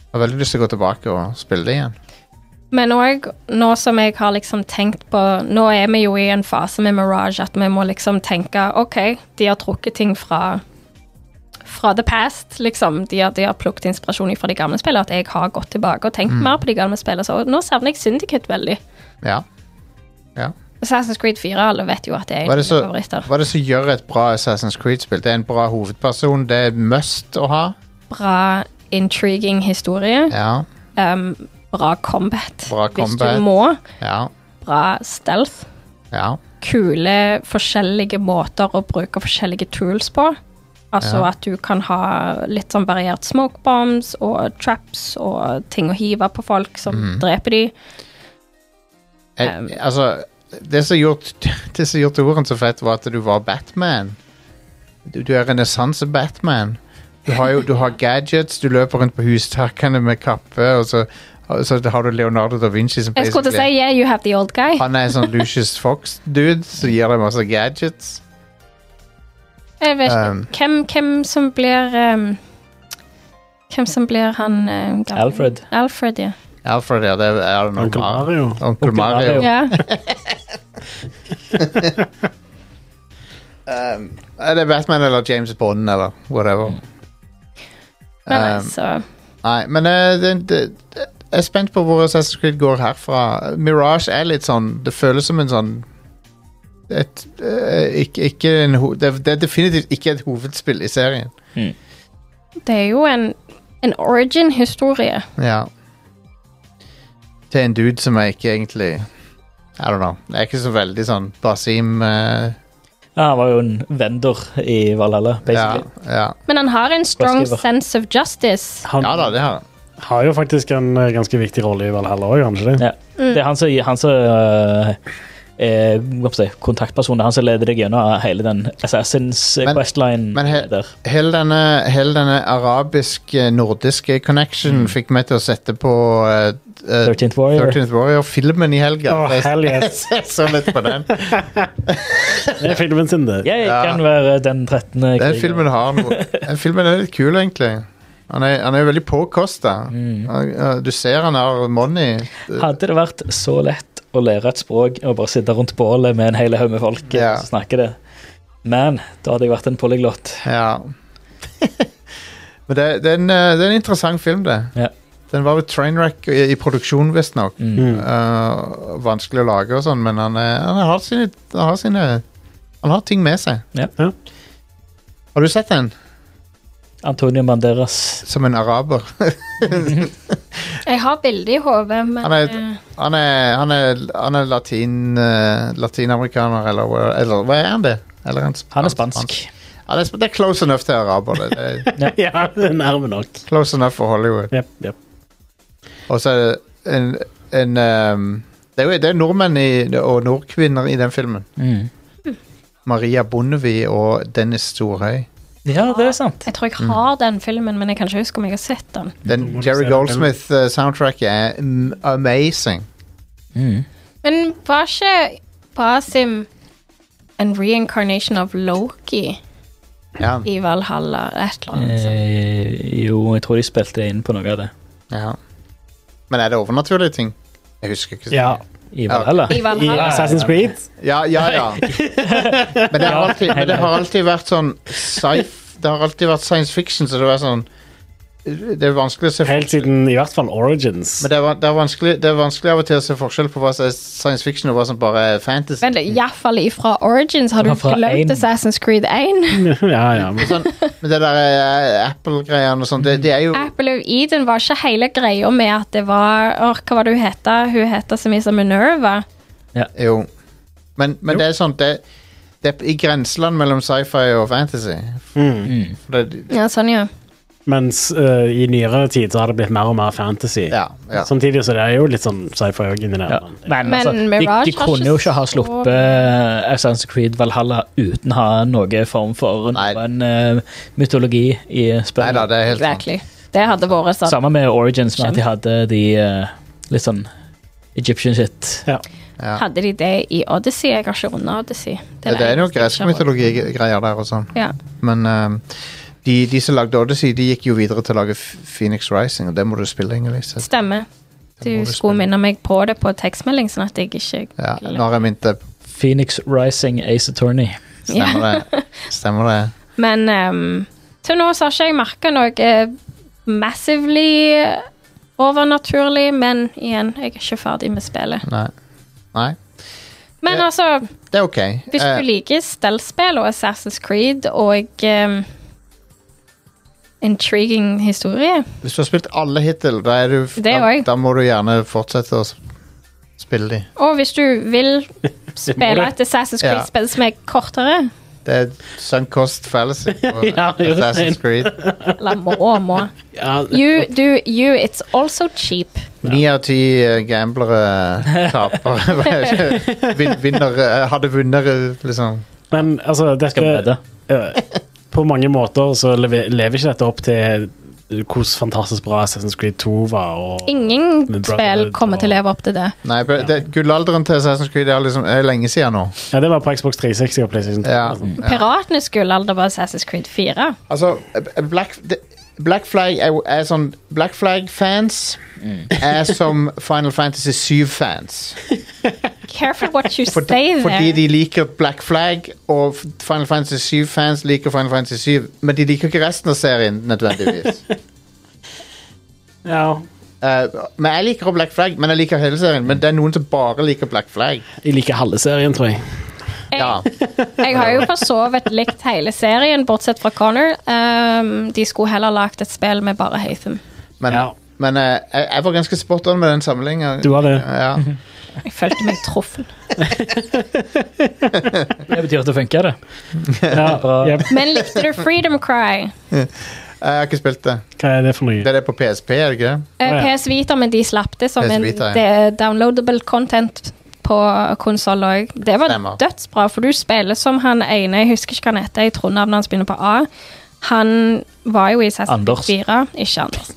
Speaker 1: jeg har veldig lyst til å gå tilbake og spille det igjen.
Speaker 5: Men òg nå som jeg har liksom tenkt på Nå er vi jo i en fase med Mirage at vi må liksom tenke OK, de har trukket ting fra fra the past, liksom. De har, de har plukket inspirasjon fra de gamle spillene. At jeg har gått tilbake og tenkt
Speaker 1: Mm.
Speaker 5: mer på de gamle spillene. Så nå savner jeg Syndicate veldig.
Speaker 1: Ja.
Speaker 5: Assassin's Creed 4, alle vet jo at det er en
Speaker 1: Hva
Speaker 5: av
Speaker 1: er det
Speaker 5: mine
Speaker 1: så-
Speaker 5: favoritter.
Speaker 1: Hva er det som gjør et bra Assassin's Creed-spill? Det er en bra hovedperson, det er must å ha.
Speaker 5: Bra, intriguing historie.
Speaker 1: Ja,
Speaker 5: Um, bra combat,
Speaker 1: Bra
Speaker 5: hvis
Speaker 1: combat.
Speaker 5: du må.
Speaker 1: ja,
Speaker 5: Bra stealth.
Speaker 1: ja.
Speaker 5: kule forskjellige måter å bruke forskjellige tools på. Altså
Speaker 1: Ja.
Speaker 5: at du kan ha litt sånn variert smoke bombs og traps og ting å hive på folk som
Speaker 1: Mhm.
Speaker 5: dreper de.
Speaker 1: Jeg,
Speaker 5: Um.
Speaker 1: altså, det som gjorde, det som gjorde toeren så fett, var at du var Batman. Du, du er renessanse-Batman. Du har jo du har gadgets, du løper rundt på hustakene med kappe, og så, og så har du Leonardo da Vinci som
Speaker 5: Jeg skulle til å si
Speaker 1: basically-
Speaker 5: yeah, you have the old guy.
Speaker 1: Han er en sånn Lucius Fox-dude som gir deg masse gadgets.
Speaker 5: Jeg vet ikke
Speaker 1: Um.
Speaker 5: hvem, hvem som blir um, Hvem som blir han um, gamle-
Speaker 6: Alfred.
Speaker 5: Alfred, ja.
Speaker 1: Alfred, ja, det er noe
Speaker 4: Onkel
Speaker 1: Mar-
Speaker 4: Mario.
Speaker 1: Onkel Mario.
Speaker 5: ja.
Speaker 1: Um, Er det Batman eller James Bond eller whatever?
Speaker 5: Men
Speaker 1: Um,
Speaker 5: altså
Speaker 1: Nei, men eh, det, det, det, jeg er spent på hvor Assassin's Creed går herfra. Mirage er litt sånn Det føles som en sånn et, eh, ikke, ikke en, ho- det, det er definitivt ikke et hovedspill i serien.
Speaker 5: Det er jo en, en origin-historie.
Speaker 1: Ja. Til en dude som er ikke egentlig I don't know. Det er ikke så veldig sånn Basim eh,
Speaker 6: Ja, han var jo en vendor i Valhalla,
Speaker 1: ja,
Speaker 6: basically.
Speaker 1: ja.
Speaker 5: Men han har en strong
Speaker 6: skriver?
Speaker 5: sense of justice.
Speaker 4: Han
Speaker 1: ja da, det har jeg.
Speaker 4: har jo faktisk en eh, ganske viktig rolle i Valhalla òg, han ikke det?
Speaker 6: Ja. Det er han som, han som øh, er hva skal jeg si, kontaktpersonen. Det er Han som leder deg gjennom hele den Assassins eh,
Speaker 1: Men-
Speaker 6: Questline
Speaker 1: men he-
Speaker 6: der.
Speaker 1: Hele denne, hele denne arabisk-nordiske connection fikk meg til å sette på eh, eh,
Speaker 6: 13th Warrior.
Speaker 1: 13th Warrior-filmen i helga.
Speaker 4: Åh,
Speaker 1: Jeg-
Speaker 4: hell
Speaker 1: Jeg
Speaker 4: yes.
Speaker 1: ser så litt på den.
Speaker 4: Det er filmen sin, det.
Speaker 6: Jeg
Speaker 1: Ja.
Speaker 6: kan være den 13.
Speaker 1: Den
Speaker 6: krigen.
Speaker 1: filmen har noe Den filmen er litt kul, egentlig. Han er, han er jo veldig påkosta.
Speaker 6: Mm.
Speaker 1: Han- han- Du ser han har money.
Speaker 6: Hadde det vært så lett å lære et språk og bare sitte rundt bålet med en hel haug med folk
Speaker 1: Ja.
Speaker 6: som snakker det, men da hadde jeg vært en polyglott.
Speaker 1: Ja. Men det, det, er en, eh, det er en interessant film, det.
Speaker 6: Ja.
Speaker 1: Den var ved Trainwreck i, i produksjon, visstnok.
Speaker 4: Mm.
Speaker 1: Uh, vanskelig å lage og sånn, men han, er, han, har sine, han har sine Han har ting med seg.
Speaker 6: Ja.
Speaker 4: Ja.
Speaker 1: Har du sett den?
Speaker 6: Antonio Banderas.
Speaker 1: Som en araber.
Speaker 5: Jeg har bildet i hodet, men
Speaker 1: Han er-
Speaker 5: eh,
Speaker 1: Han er, han er, han er latin, eh, latinamerikaner, eller, hva- eller hva er han det? Eller
Speaker 6: Han er spansk.
Speaker 1: Ja, det, er, sp- det er close enough til araber. Det. det er
Speaker 4: Ja, det er nærme nok.
Speaker 1: close enough for Hollywood.
Speaker 4: Jep, jep.
Speaker 1: Og så er det en, en ehm, Det er jo det er nordmenn i, og nordkvinner i den filmen.
Speaker 6: Mm.
Speaker 1: Maria Bonnevie og Dennis Storhøy.
Speaker 6: Ja, det er sant.
Speaker 5: jeg tror jeg har den filmen, men jeg kan ikke huske om jeg har sett den.
Speaker 1: Den Jerry Goldsmith-soundtracket er mm, amazing.
Speaker 6: Mm.
Speaker 5: Men var ikke Basim en reincarnation of Loki
Speaker 1: Ja,
Speaker 5: i Valhalla? Et
Speaker 6: Mm.
Speaker 5: eller annet sånt.
Speaker 6: Eh, jo, jeg tror de spilte inn på noe av det.
Speaker 1: ja. Men er det overnaturlige ting? Jeg husker ikke.
Speaker 4: Ja.
Speaker 6: I Valhalla.
Speaker 5: I
Speaker 4: I
Speaker 5: Valhalla.
Speaker 4: Assassin's Creed.
Speaker 1: Ja, ja, ja. Men det har alltid, men det har alltid vært sånn sci- Det har alltid vært science fiction, så det var sånn Det er vanskelig å se
Speaker 4: Helt siden i hvert fall Origins.
Speaker 1: Men det er, van- det, er vanskelig, det er vanskelig av og til å se forskjell på hva som er science fiction og hva som bare er fantasy.
Speaker 5: Men iallfall ifra Origins har du
Speaker 6: Ja, fra en. Mm.
Speaker 5: glemt Assassin's Creed 1.
Speaker 4: ja, ja. men-
Speaker 1: sånn, men det der eh, Apple-greiene og sånn, det, det er jo
Speaker 5: Apple of Eden var ikke hele greia med at det var Åh, Hva var det hun het? Hun het så mye som Minerva.
Speaker 1: Jo. Men, men det er sånn det, Det er i grenseland mellom sci-fi og fantasy.
Speaker 4: Mm.
Speaker 1: For Det,
Speaker 5: Ja, sånn, ja.
Speaker 4: Mens eh, i nyere tid så har det blitt mer og mer fantasy.
Speaker 1: ja, ja.
Speaker 4: Samtidig så det er jo litt sånn sci-fi òg inni der.
Speaker 6: Ja.
Speaker 4: men-
Speaker 6: Men,
Speaker 5: Men
Speaker 6: altså,
Speaker 5: Mirage
Speaker 6: de, de
Speaker 5: har
Speaker 6: kunne
Speaker 5: ikke
Speaker 6: jo ikke ha
Speaker 5: så-
Speaker 6: sluppet eh, Assassin's Creed Valhalla uten å ha noen form for
Speaker 1: Nei.
Speaker 6: noen eh, mytologi i
Speaker 1: Nei da,
Speaker 6: spillet.
Speaker 1: det er helt sant.
Speaker 5: Exactly. Det hadde vært sånn.
Speaker 6: Samme med Origins, med at de hadde de eh, litt sånn Egyptian shit.
Speaker 1: Ja.
Speaker 5: Hadde de det i Odyssey? Jeg har ikke runda Odyssey.
Speaker 1: Det, det er noe
Speaker 5: eneste jeg
Speaker 1: gresk
Speaker 5: ikke har rundet.
Speaker 1: mytologi-greier der og sånn.
Speaker 5: Ja.
Speaker 1: Men ehm, de, de som lagde Odyssey, de gikk jo videre til å lage F- Phoenix Rising, og det må du spille, Ingeliv. så-
Speaker 5: Stemmer. Du
Speaker 1: må du
Speaker 5: skulle
Speaker 1: spille.
Speaker 5: minne meg på det på tekstmelding, sånn at jeg ikke
Speaker 1: Ja, nå har jeg minnet deg.
Speaker 6: Phoenix Rising Ace Attorney.
Speaker 5: Ja.
Speaker 1: Stemmer det. Stemmer det.
Speaker 5: Men ehm, til nå så har ikke jeg merka noe eh, massively eh, overnaturlig, men igjen, jeg er ikke ferdig med spillet.
Speaker 1: Nei. Nei.
Speaker 5: Men
Speaker 1: Ja.
Speaker 5: altså,
Speaker 1: Det er ok.
Speaker 5: hvis
Speaker 1: Eh,
Speaker 5: du liker stellspill og Assassin's Creed og ehm, intriguing historie
Speaker 1: hvis du har spilt alle hittil, da, er du,
Speaker 5: Det
Speaker 1: da,
Speaker 5: også.
Speaker 1: da må du gjerne fortsette å s- spille de.
Speaker 5: Og hvis du vil spille
Speaker 4: du.
Speaker 5: et Assassin's
Speaker 1: Ja.
Speaker 5: Creed-spill som er kortere
Speaker 1: Det er sunk cost fallacy på
Speaker 4: Ja, det er
Speaker 1: Assassin's
Speaker 4: sant.
Speaker 1: Creed.
Speaker 5: Eller må og må.
Speaker 4: Ja,
Speaker 5: You do you, it's also cheap.
Speaker 1: Ni av ti eh, gamblere eh, taper. Vin- Vinner, eh, hadde vunnet, eh, liksom.
Speaker 4: men altså, dette
Speaker 6: Skal vi vedde?
Speaker 4: Eh, på mange måter så lever, lever ikke dette opp til hvordan fantastisk bra Assassin's Creed 2 var. Og,
Speaker 5: Ingen spill
Speaker 4: Men Brotherhood
Speaker 5: kommer til å
Speaker 4: og-
Speaker 5: leve opp til det.
Speaker 1: Nei, men det, gullalderen til Assassin's Creed er, liksom, er lenge siden nå.
Speaker 4: ja, det var på Xbox 360 og PlayStation 3.
Speaker 1: Ja.
Speaker 4: altså.
Speaker 5: Piratenes gullalder var Assassin's Creed 4.
Speaker 1: Altså, eh, Black, det- Black Flag er, jo- er sånn Black Flag-fans
Speaker 4: Mm.
Speaker 1: er som Final Fantasy 7-fans.
Speaker 5: Careful what you say
Speaker 1: Fordi
Speaker 5: there.
Speaker 1: de liker Black Flag, og f- Final Fantasy 7-fans liker Final Fantasy 7, men de liker ikke resten av serien nødvendigvis.
Speaker 4: Ja.
Speaker 1: Eh, men jeg liker også Black Flag, men jeg liker hele serien. Men det er noen som bare liker Black Flag.
Speaker 4: Jeg liker halve serien, tror jeg.
Speaker 1: Ja.
Speaker 5: Jeg har jo for så vidt likt hele serien, bortsett fra Connor. Um, de skulle heller lagd et spill med bare Hatham.
Speaker 1: Men,
Speaker 4: Ja.
Speaker 1: men eh, jeg, jeg var ganske spot on med den sammenligningen.
Speaker 4: Du var det.
Speaker 1: Ja.
Speaker 5: Jeg følte meg truffet.
Speaker 6: Det betyr at det funker, det.
Speaker 4: Ja, jep.
Speaker 5: Men likte du Freedom Cry?
Speaker 1: Jeg har ikke spilt det.
Speaker 4: Hva er det for
Speaker 1: Det
Speaker 4: noe?
Speaker 1: er det på PSP, er det ikke det?
Speaker 5: Eh,
Speaker 4: Å, ja.
Speaker 5: PS Vita, men de slapp det som
Speaker 1: PS
Speaker 5: en
Speaker 1: Vita, ja.
Speaker 5: det- downloadable content på konsoll òg. Det var
Speaker 1: Stemmer.
Speaker 5: dødsbra, for du spiller som han ene Jeg husker ikke hva han heter, jeg tror navnet hans begynner på A. Han var jo i Assassin's
Speaker 6: Anders.
Speaker 5: Creed 4. Ikke Anders.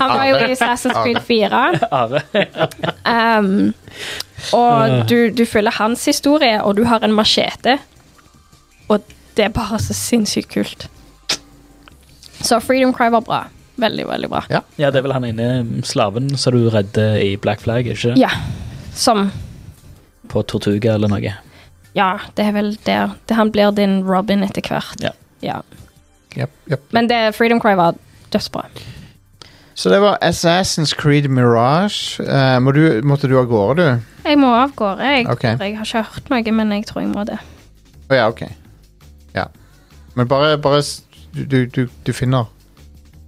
Speaker 5: Han var jo i Assassin's Creed 4.
Speaker 6: Are.
Speaker 5: Um,
Speaker 4: Eh.
Speaker 5: og du, du følger hans historie, og du har en machete. Og det er bare så sinnssykt kult. Så Freedom Cry var bra. Veldig, veldig bra.
Speaker 6: Ja, det er vel han inne, slaven som du redder i Black Flag, ikke
Speaker 5: Ja. Som
Speaker 6: På Tortuga eller noe.
Speaker 5: Ja, det er vel der. Det, han blir din Robin etter hvert.
Speaker 6: Ja.
Speaker 1: Japp, japp.
Speaker 5: Men det Freedom Cry var dødsbra.
Speaker 1: Så det var Assassin's Creed Mirage. Eh, må du, måtte du av gårde, du?
Speaker 5: Jeg må av gårde. Jeg,
Speaker 1: Ok.
Speaker 5: tror jeg har ikke hørt noe, men jeg tror jeg må det.
Speaker 1: Å ja, ok. Ja. Men bare, bare s- du- du, du, du finner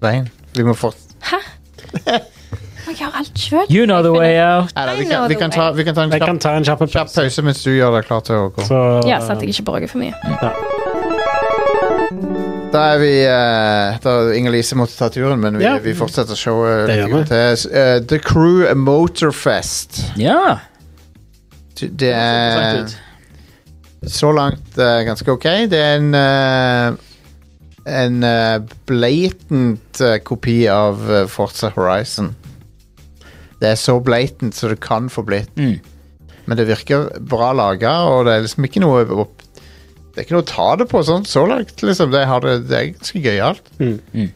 Speaker 1: veien. Vi må fort...
Speaker 5: Må jeg gjøre alt sjøl?
Speaker 6: You know the way out.
Speaker 1: Nei, da, vi,
Speaker 5: I
Speaker 1: kan,
Speaker 5: know
Speaker 1: vi,
Speaker 5: the
Speaker 1: kan ta, vi kan ta en
Speaker 4: Jeg kan
Speaker 1: kjapp,
Speaker 4: ta en kjapp
Speaker 1: kjapp pause mens du gjør deg klar til å gå.
Speaker 4: Så,
Speaker 5: Ja, sånn at jeg ikke bråker for mye.
Speaker 1: Da er vi eh, Da Inger-Lise måtte ta turen, men vi,
Speaker 4: Ja.
Speaker 1: vi fortsetter showet.
Speaker 4: Det gjør vi.
Speaker 1: til. S- eh, The Crew Motorfest.
Speaker 6: Ja.
Speaker 1: Det
Speaker 6: Fant
Speaker 1: er
Speaker 6: ut.
Speaker 1: så langt eh, ganske ok. Det er en eh, en eh, blatant eh, kopi av eh, Forza Horizon. Det er så blatant som det kan få blitt.
Speaker 6: Mm.
Speaker 1: Men det virker bra laga, og det er liksom ikke noe opp, Det er ikke noe å ta det på sånn så langt, liksom. Det, har det, det er ganske gøyalt.
Speaker 4: Mm.
Speaker 6: Mm.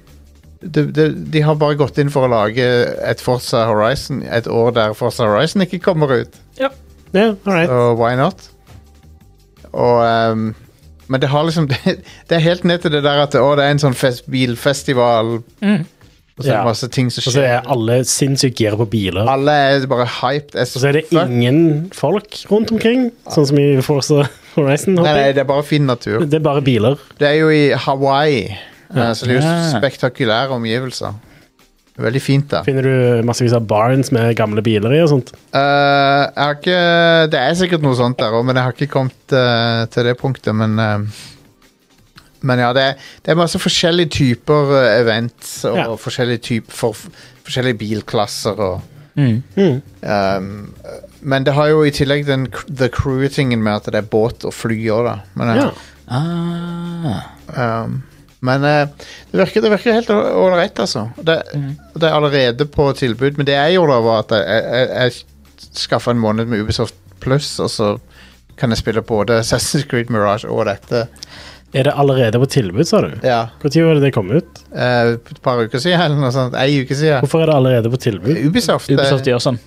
Speaker 1: De, de, de har bare gått inn for å lage et Forza Horizon et år der Forza Horizon ikke kommer ut.
Speaker 4: Ja, all right.
Speaker 1: Og why not? Og ehm, Men det har liksom det, det er helt ned til det der at å, det er en sånn fest, bilfestival Og så er det
Speaker 4: Mm. Ja.
Speaker 1: masse ting som
Speaker 4: Og så
Speaker 1: skjer.
Speaker 4: er alle sinnssykt gira på biler.
Speaker 1: Alle er bare hyped. er
Speaker 4: Og så er det
Speaker 1: fuck.
Speaker 4: ingen folk rundt omkring, sånn som i Forza Horizon.
Speaker 1: Nei,
Speaker 4: håper
Speaker 1: nei,
Speaker 4: jeg.
Speaker 1: det er bare fin natur.
Speaker 4: Det er bare biler.
Speaker 1: Det er jo i Hawaii, eh, så det er jo
Speaker 6: Ja.
Speaker 1: spektakulære omgivelser. Veldig fint, da.
Speaker 4: Finner du massevis av barns med gamle biler i og sånt?
Speaker 1: Eh, jeg har ikke Det er sikkert noe sånt der òg, men jeg har ikke kommet eh, til det punktet. Men, eh, men ja, det er, det er masse forskjellige typer eh, events og
Speaker 4: Ja.
Speaker 1: forskjellige, typ for, forskjellige bilklasser og
Speaker 6: Mm.
Speaker 4: Mm.
Speaker 1: ehm, Men det har jo i tillegg den cr- the crew-tingen med at det er båt og fly òg, da. Men, eh,
Speaker 4: Ja.
Speaker 6: Ah.
Speaker 1: ehm, men eh, det, virker, det virker helt å- ålreit, altså. Det, det er allerede på tilbud, men det jeg gjorde, da, var at jeg, jeg, jeg skaffa en måned med Ubisoft Pluss, og så kan jeg spille både Assassin's Creed Mirage og dette.
Speaker 4: Er det allerede på tilbud, sa du?
Speaker 1: Ja,
Speaker 4: Når var det det kom ut?
Speaker 1: eh, Et par uker siden, eller noe sånt. Ei uke siden.
Speaker 4: Hvorfor er det allerede på tilbud?
Speaker 1: Ubisoft, eh,
Speaker 6: Ubisoft gjør sånn.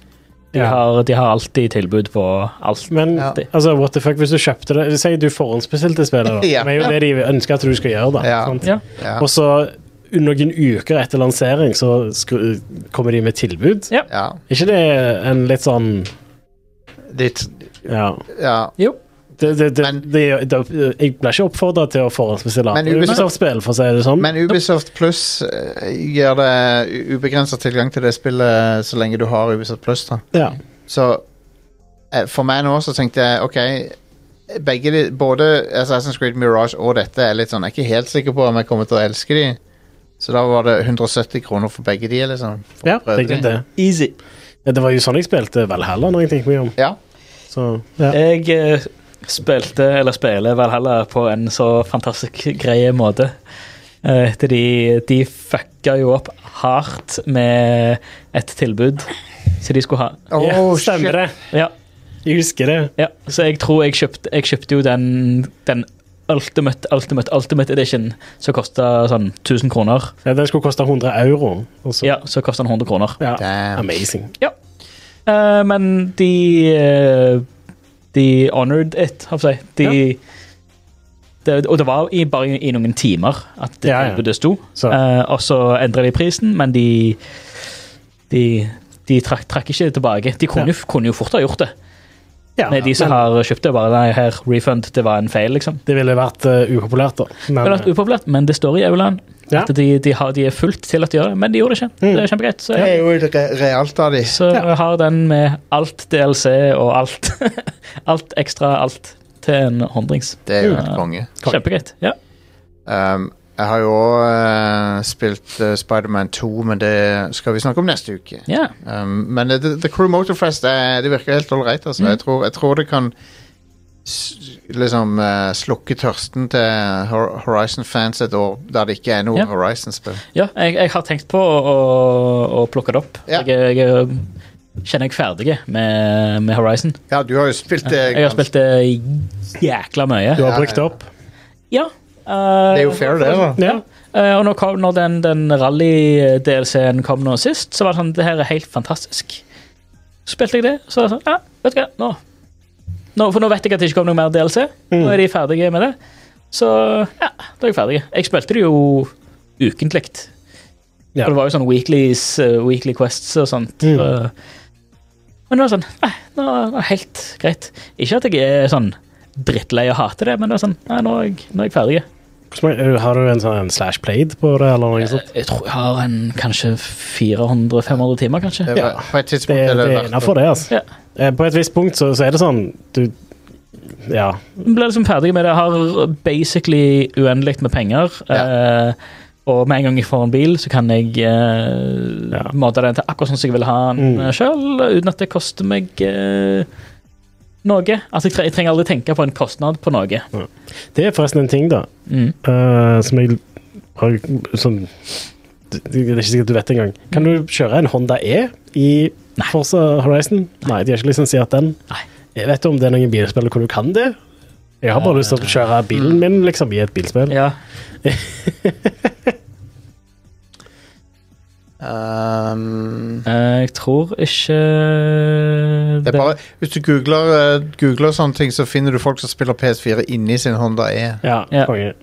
Speaker 6: De,
Speaker 4: Ja.
Speaker 6: har, de har alltid tilbud på alt.
Speaker 4: Men
Speaker 1: Ja.
Speaker 4: altså, what the fuck, hvis du kjøpte det Si du forhåndsbestilte spillet, da.
Speaker 1: Ja.
Speaker 4: Det er jo det de ønsker at du skal gjøre, da.
Speaker 1: Ja.
Speaker 4: sant?
Speaker 6: Ja.
Speaker 1: ja.
Speaker 4: Og så noen uker etter lansering så skru, kommer de med tilbud.
Speaker 6: Ja.
Speaker 1: ja.
Speaker 4: Er ikke det en litt sånn
Speaker 1: Litt
Speaker 4: Ja.
Speaker 1: Ja.
Speaker 4: Det, det, det,
Speaker 1: Men-
Speaker 4: det, det, jeg blir ikke oppfordra til å forhåndsbestille
Speaker 1: Men
Speaker 4: andre
Speaker 1: Ubisoft-
Speaker 4: Ubisoft-spill, for å si det sånn.
Speaker 1: Men Ubisoft Pluss eh, gir det ubegrensa tilgang til det spillet så lenge du har Ubisoft Pluss, da.
Speaker 4: ja.
Speaker 1: Så eh, for meg nå så tenkte jeg OK begge de, Både Assassin's Creed Mirage og dette er litt sånn Jeg er ikke helt sikker på om jeg kommer til å elske de. Så da var det 170 kroner for begge de, liksom. For
Speaker 4: ja
Speaker 1: å prøve de.
Speaker 4: det, det.
Speaker 6: Easy.
Speaker 4: Ja, det var jo sånn jeg spilte Valhalla, når jeg tenker meg om.
Speaker 1: Ja.
Speaker 4: Så, ja.
Speaker 6: Jeg eh, spilte, eller spiller Valhalla på en så fantastisk grei måte. Eh, Etter de, de fucka jo opp hardt med et tilbud som de skulle ha.
Speaker 1: Åh,
Speaker 4: ja,
Speaker 1: oh, shit.
Speaker 4: stemmer det.
Speaker 6: Ja,
Speaker 4: Jeg husker det.
Speaker 6: ja. Så jeg tror jeg kjøpte, jeg kjøpte jo den, den Ultimate, Ultimate, Ultimate Edition som kosta sånn 1000 kroner.
Speaker 4: Ja, den skulle koste 100 euro. og så-
Speaker 6: Ja, så kosta den 100 kroner.
Speaker 4: Ja.
Speaker 1: Damn.
Speaker 4: Amazing.
Speaker 6: Eh, men de eh, De honored it, har jeg på å si. De, det, og det var i, bare i noen timer at det
Speaker 4: Ja, ja.
Speaker 6: tilbudet sto.
Speaker 4: Så.
Speaker 6: Eh, og så endra de prisen, men de De, de trakk, trakk ikke tilbake. De kunne,
Speaker 4: Ja.
Speaker 6: jo- kunne jo fort ha gjort det.
Speaker 4: Ja,
Speaker 6: Med de som
Speaker 4: men
Speaker 6: har kjøpt det. bare nei, her, refund, det var en feil, liksom.
Speaker 4: Det ville vært eh, upopulært, da. Men,
Speaker 6: Det er litt upopulært, men det står i aulaen.
Speaker 4: Ja.
Speaker 6: at De, de, har, de er fullt til at de gjør det, men de gjorde det ikke.
Speaker 4: Mm.
Speaker 6: Det er kjempegreit. Så,
Speaker 1: Det er jo re realt av de.
Speaker 6: Så jeg har den med alt DLC og alt. alt ekstra alt til en håndrings.
Speaker 1: Det er jo
Speaker 6: Ja.
Speaker 1: helt konge.
Speaker 4: Konge.
Speaker 6: Kjempegreit. Ja.
Speaker 1: Um, jeg har jo òg spilt eh, Spider-Man 2, men det skal vi snakke om neste uke.
Speaker 6: ja.
Speaker 1: Um, men eh, The, The Crew Motorfest er, det virker helt ålreit. Altså. Jeg, tror, jeg tror det kan s liksom eh, slukke tørsten til Hor- Horizon-fans et år der det ikke er noe
Speaker 6: Ja.
Speaker 1: Horizon-spill.
Speaker 6: ja jeg, jeg har tenkt på å, å plukke det opp.
Speaker 1: Ja.
Speaker 6: Jeg, jeg kjenner jeg ferdig med, med Horizon.
Speaker 1: Ja, du har jo spilt det.
Speaker 6: Jeg har spilt det jækla mye.
Speaker 4: Du har
Speaker 1: Ja,
Speaker 4: brukt
Speaker 1: ja.
Speaker 4: opp.
Speaker 6: Ja.
Speaker 1: Det er jo fair, det. da
Speaker 4: Ja.
Speaker 6: Eh, og når, kom, når den, den rally-DLC-en kom nå sist, så var det sånn Det her er helt fantastisk. Så spilte jeg det, så var det sånn Ja, vet du hva, nå. nå For nå vet jeg at det ikke kom noe mer DLC.
Speaker 4: Mm.
Speaker 6: Nå er de ferdige med det. Så ja, da er jeg ferdig. Jeg spilte det jo ukentlig.
Speaker 4: Ja.
Speaker 6: Og det var jo sånn weeklies, eh, weekly quests og sånt.
Speaker 4: Mm.
Speaker 6: Eh, men det var sånn Nei, nå er det helt greit. Ikke at jeg er sånn drittlei og hater det, men det var sånn Nei, nå er jeg, nå er jeg ferdig.
Speaker 4: Hvordan mange- Har du en sånn slash played på det, eller noe sånt?
Speaker 6: Eh, Jeg tror jeg har en kanskje 400-500 timer, kanskje.
Speaker 1: Det var, På et
Speaker 4: Det,
Speaker 1: tidspunkt
Speaker 4: det
Speaker 1: er det
Speaker 4: er
Speaker 1: verdt
Speaker 4: innafor, det, altså.
Speaker 6: Ja.
Speaker 4: Eh, På et visst punkt så, så er det sånn Du Ja.
Speaker 6: Jeg ble liksom ferdig med det. Jeg har basically uendelig med penger. Eh, og med en gang jeg får en bil, så kan jeg eh,
Speaker 4: Ja.
Speaker 6: måte den til akkurat sånn som jeg vil ha den
Speaker 4: Mm.
Speaker 6: mm. sjøl, uten at det koster meg eh, noe. Altså, jeg, tre jeg trenger aldri tenke på en kostnad på noe.
Speaker 4: Det er forresten en ting, da,
Speaker 6: Mm.
Speaker 4: eh, som jeg har sånn det det er ikke sikkert du vet det engang. Kan du kjøre en Honda E i
Speaker 6: Nei.
Speaker 4: Forza Horizon? Nei, de har ikke lisensiert den.
Speaker 6: Nei.
Speaker 4: Jeg vet om det er noen bilspill hvor du kan det. Jeg har bare lyst til å kjøre bilen min liksom, i et bilspill.
Speaker 6: Eh, Ja.
Speaker 1: Um,
Speaker 6: Eh, jeg tror ikke
Speaker 1: det er bare, hvis du googler, eh, googler sånne ting, så finner du folk som spiller PS4 inni sin Honda E.
Speaker 4: Ja,
Speaker 6: Ja.
Speaker 4: konge.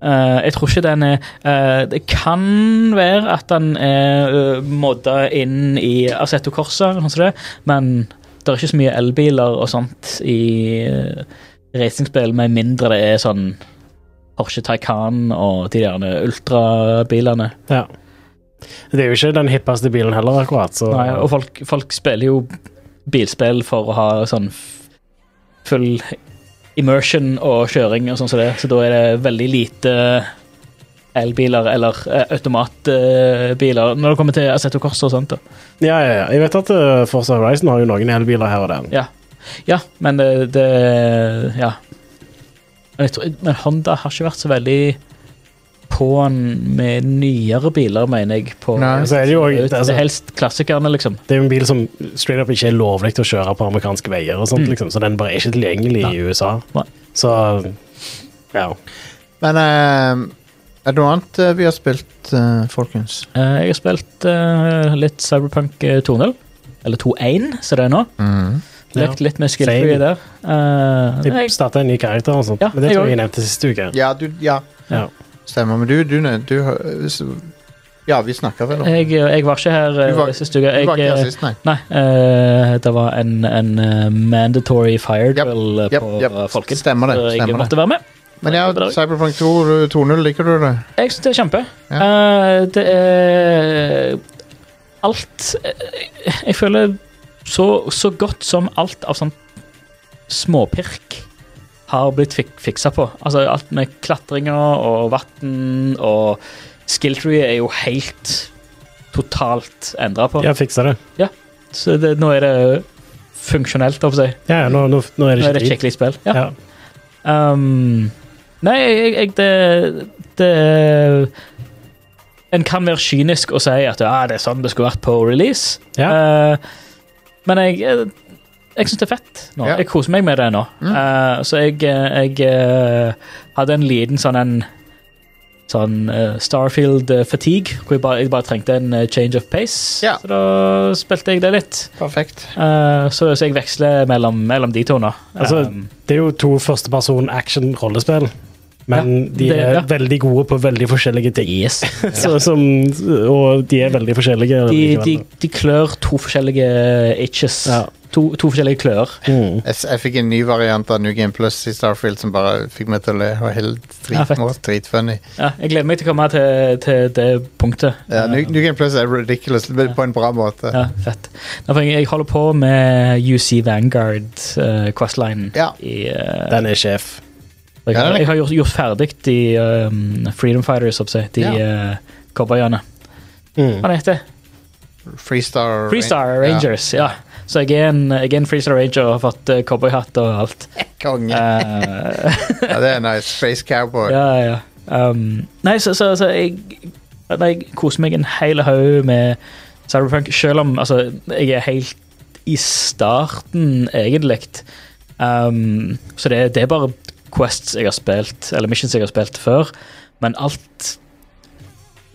Speaker 6: Eh, jeg tror ikke den er eh, Det kan være at den er uh, modda inn i Assetto Corsa, eller noe sånt, det, men det er ikke så mye elbiler og sånt i eh, racingspill, med mindre det er sånn Porsche Taycan og de der ultrabilene.
Speaker 4: Ja. Det er jo ikke den hippeste bilen heller, akkurat. Så
Speaker 6: Nei, og folk, folk spiller jo bilspill for å ha sånn f- full immersion og kjøring og sånn som det, så da er det veldig lite elbiler eller eh, automatbiler når det kommer til Assetto Corsa og sånt. da.
Speaker 4: ja, ja, ja. Jeg vet at eh, Forza Horizon har jo noen elbiler her og der.
Speaker 6: Ja, men det, det Ja. Men, jeg tror, men Honda har ikke vært så veldig på'n med nyere biler, mener jeg. På,
Speaker 1: Nei,
Speaker 4: så er det jo også-
Speaker 6: det
Speaker 4: altså-
Speaker 6: er helst klassikerne, liksom.
Speaker 4: Det er jo en bil som straight up ikke er lovlig til å kjøre på amerikanske veier, og sånt,
Speaker 6: Mm.
Speaker 4: liksom, så den bare er ikke tilgjengelig i USA.
Speaker 6: Nei.
Speaker 4: Så ja.
Speaker 1: Men eh, er det noe annet eh, vi har spilt, eh, folkens?
Speaker 6: Eh, Jeg har spilt eh, litt Cyberpunk eh, 2.0. Eller 2.1, som det er nå.
Speaker 1: Mm.
Speaker 6: Lekt litt med skillfree
Speaker 4: Same.
Speaker 6: der. Eh, nei,
Speaker 4: Jeg starta en ny karakter og sånt,
Speaker 6: Ja,
Speaker 4: men det
Speaker 6: jeg
Speaker 4: tror
Speaker 6: også.
Speaker 4: jeg jeg nevnte sist uke.
Speaker 1: Ja, du Ja.
Speaker 4: Ja.
Speaker 1: Stemmer. Men du, du, ne- du har- hvis- Ja, vi snakker vel om det.
Speaker 6: jeg, jeg var ikke her
Speaker 1: Du var-
Speaker 6: uh, sist uke.
Speaker 1: Du var
Speaker 6: Jeg,
Speaker 1: ikke her
Speaker 6: eh,
Speaker 1: sist, nei.
Speaker 6: nei, eh, det var en, en eh, mandatory fire
Speaker 1: Japp,
Speaker 6: drill eh,
Speaker 1: japp,
Speaker 6: på
Speaker 1: japp.
Speaker 6: eh, folket.
Speaker 1: Stemmer det,
Speaker 6: så
Speaker 1: stemmer
Speaker 6: jeg
Speaker 1: det.
Speaker 6: måtte være med.
Speaker 1: Men ja,
Speaker 6: Nei,
Speaker 1: Cyberpunk 2, 2.0, liker du det?
Speaker 6: Jeg syns det er kjempe.
Speaker 1: Ja.
Speaker 6: Eh, det er alt eh, Jeg føler så, så godt som alt av sånn småpirk har blitt fik fiksa på. Altså alt med klatringer og vann og skill tree er jo helt totalt endra på.
Speaker 4: Ja, fiksa det.
Speaker 6: Så det, nå er det funksjonelt, holdt jeg på å si.
Speaker 4: Ja, ja, nå, nå, nå er
Speaker 6: Nå
Speaker 4: det
Speaker 6: er det et
Speaker 4: ikke dritt.
Speaker 6: skikkelig spill. Ja.
Speaker 4: Ja.
Speaker 6: Um, nei, jeg, jeg, det, det En kan være kynisk og si at ja, det er sånn det skulle vært på release.
Speaker 4: Ja.
Speaker 6: Eh, men jeg, jeg, jeg syns det er fett nå.
Speaker 1: Ja.
Speaker 6: Jeg koser meg med det nå. Eh, så jeg, eh, jeg eh, hadde en liten sånn en Sånn eh, Starfield eh, fatigue, hvor jeg bare, jeg bare trengte en eh, change of pace.
Speaker 1: Ja.
Speaker 6: Så da spilte jeg det litt.
Speaker 1: Perfekt.
Speaker 6: Eh, så, så jeg veksler mellom, mellom de to nå.
Speaker 4: Altså,
Speaker 6: Um,
Speaker 4: Det er jo to førsteperson action-rollespill,
Speaker 6: Ja,
Speaker 4: men de
Speaker 6: det-
Speaker 4: er
Speaker 6: ja.
Speaker 4: veldig gode på veldig forskjellige ting.
Speaker 6: yes.
Speaker 4: Så, som, og de er veldig forskjellige.
Speaker 6: de,
Speaker 4: likevel.
Speaker 6: de, de klør to forskjellige eh, itches.
Speaker 4: Ja.
Speaker 6: To, to forskjellige klør.
Speaker 4: Mm.
Speaker 1: Jeg, s- jeg fikk en ny variant av New Game Plus i Starfield som bare fikk meg til å le. Det var helt
Speaker 6: Ja,
Speaker 1: drit,
Speaker 6: fett.
Speaker 1: dritfunny.
Speaker 6: Ja, jeg gleder meg til å komme til, til det punktet.
Speaker 1: Ja, New, New Game Plus er ridiculous men på en bra måte.
Speaker 6: Ja, fett. Nei, for jeg, jeg holder på med UC Vanguard eh, Questline.
Speaker 1: Ja.
Speaker 6: I, eh,
Speaker 4: Den er sjef.
Speaker 6: jeg,
Speaker 1: Ja, den
Speaker 6: har,
Speaker 1: er-
Speaker 6: jeg har gjort, gjort ferdig de eh, Freedom Fighters, oppsett, de
Speaker 1: Ja.
Speaker 6: eh, cowboyene.
Speaker 4: Mm.
Speaker 6: Hva heter det?
Speaker 1: Freestar
Speaker 6: Freestar Rangers, ja. Så jeg er en, jeg er en Freestar Ranger og har fått eh, cowboyhatt og alt.
Speaker 1: Ja, konge.
Speaker 6: Eh,
Speaker 1: Ja, det er nice. Space Cowboy.
Speaker 6: Ja, ja. Um, nei, så, så, så jeg, nei, jeg koser meg en hel haug med Cyberpunk, selv om altså, jeg er helt i starten, egentlig. Um, så det, det er bare quests jeg har spilt, eller missions jeg har spilt før, men alt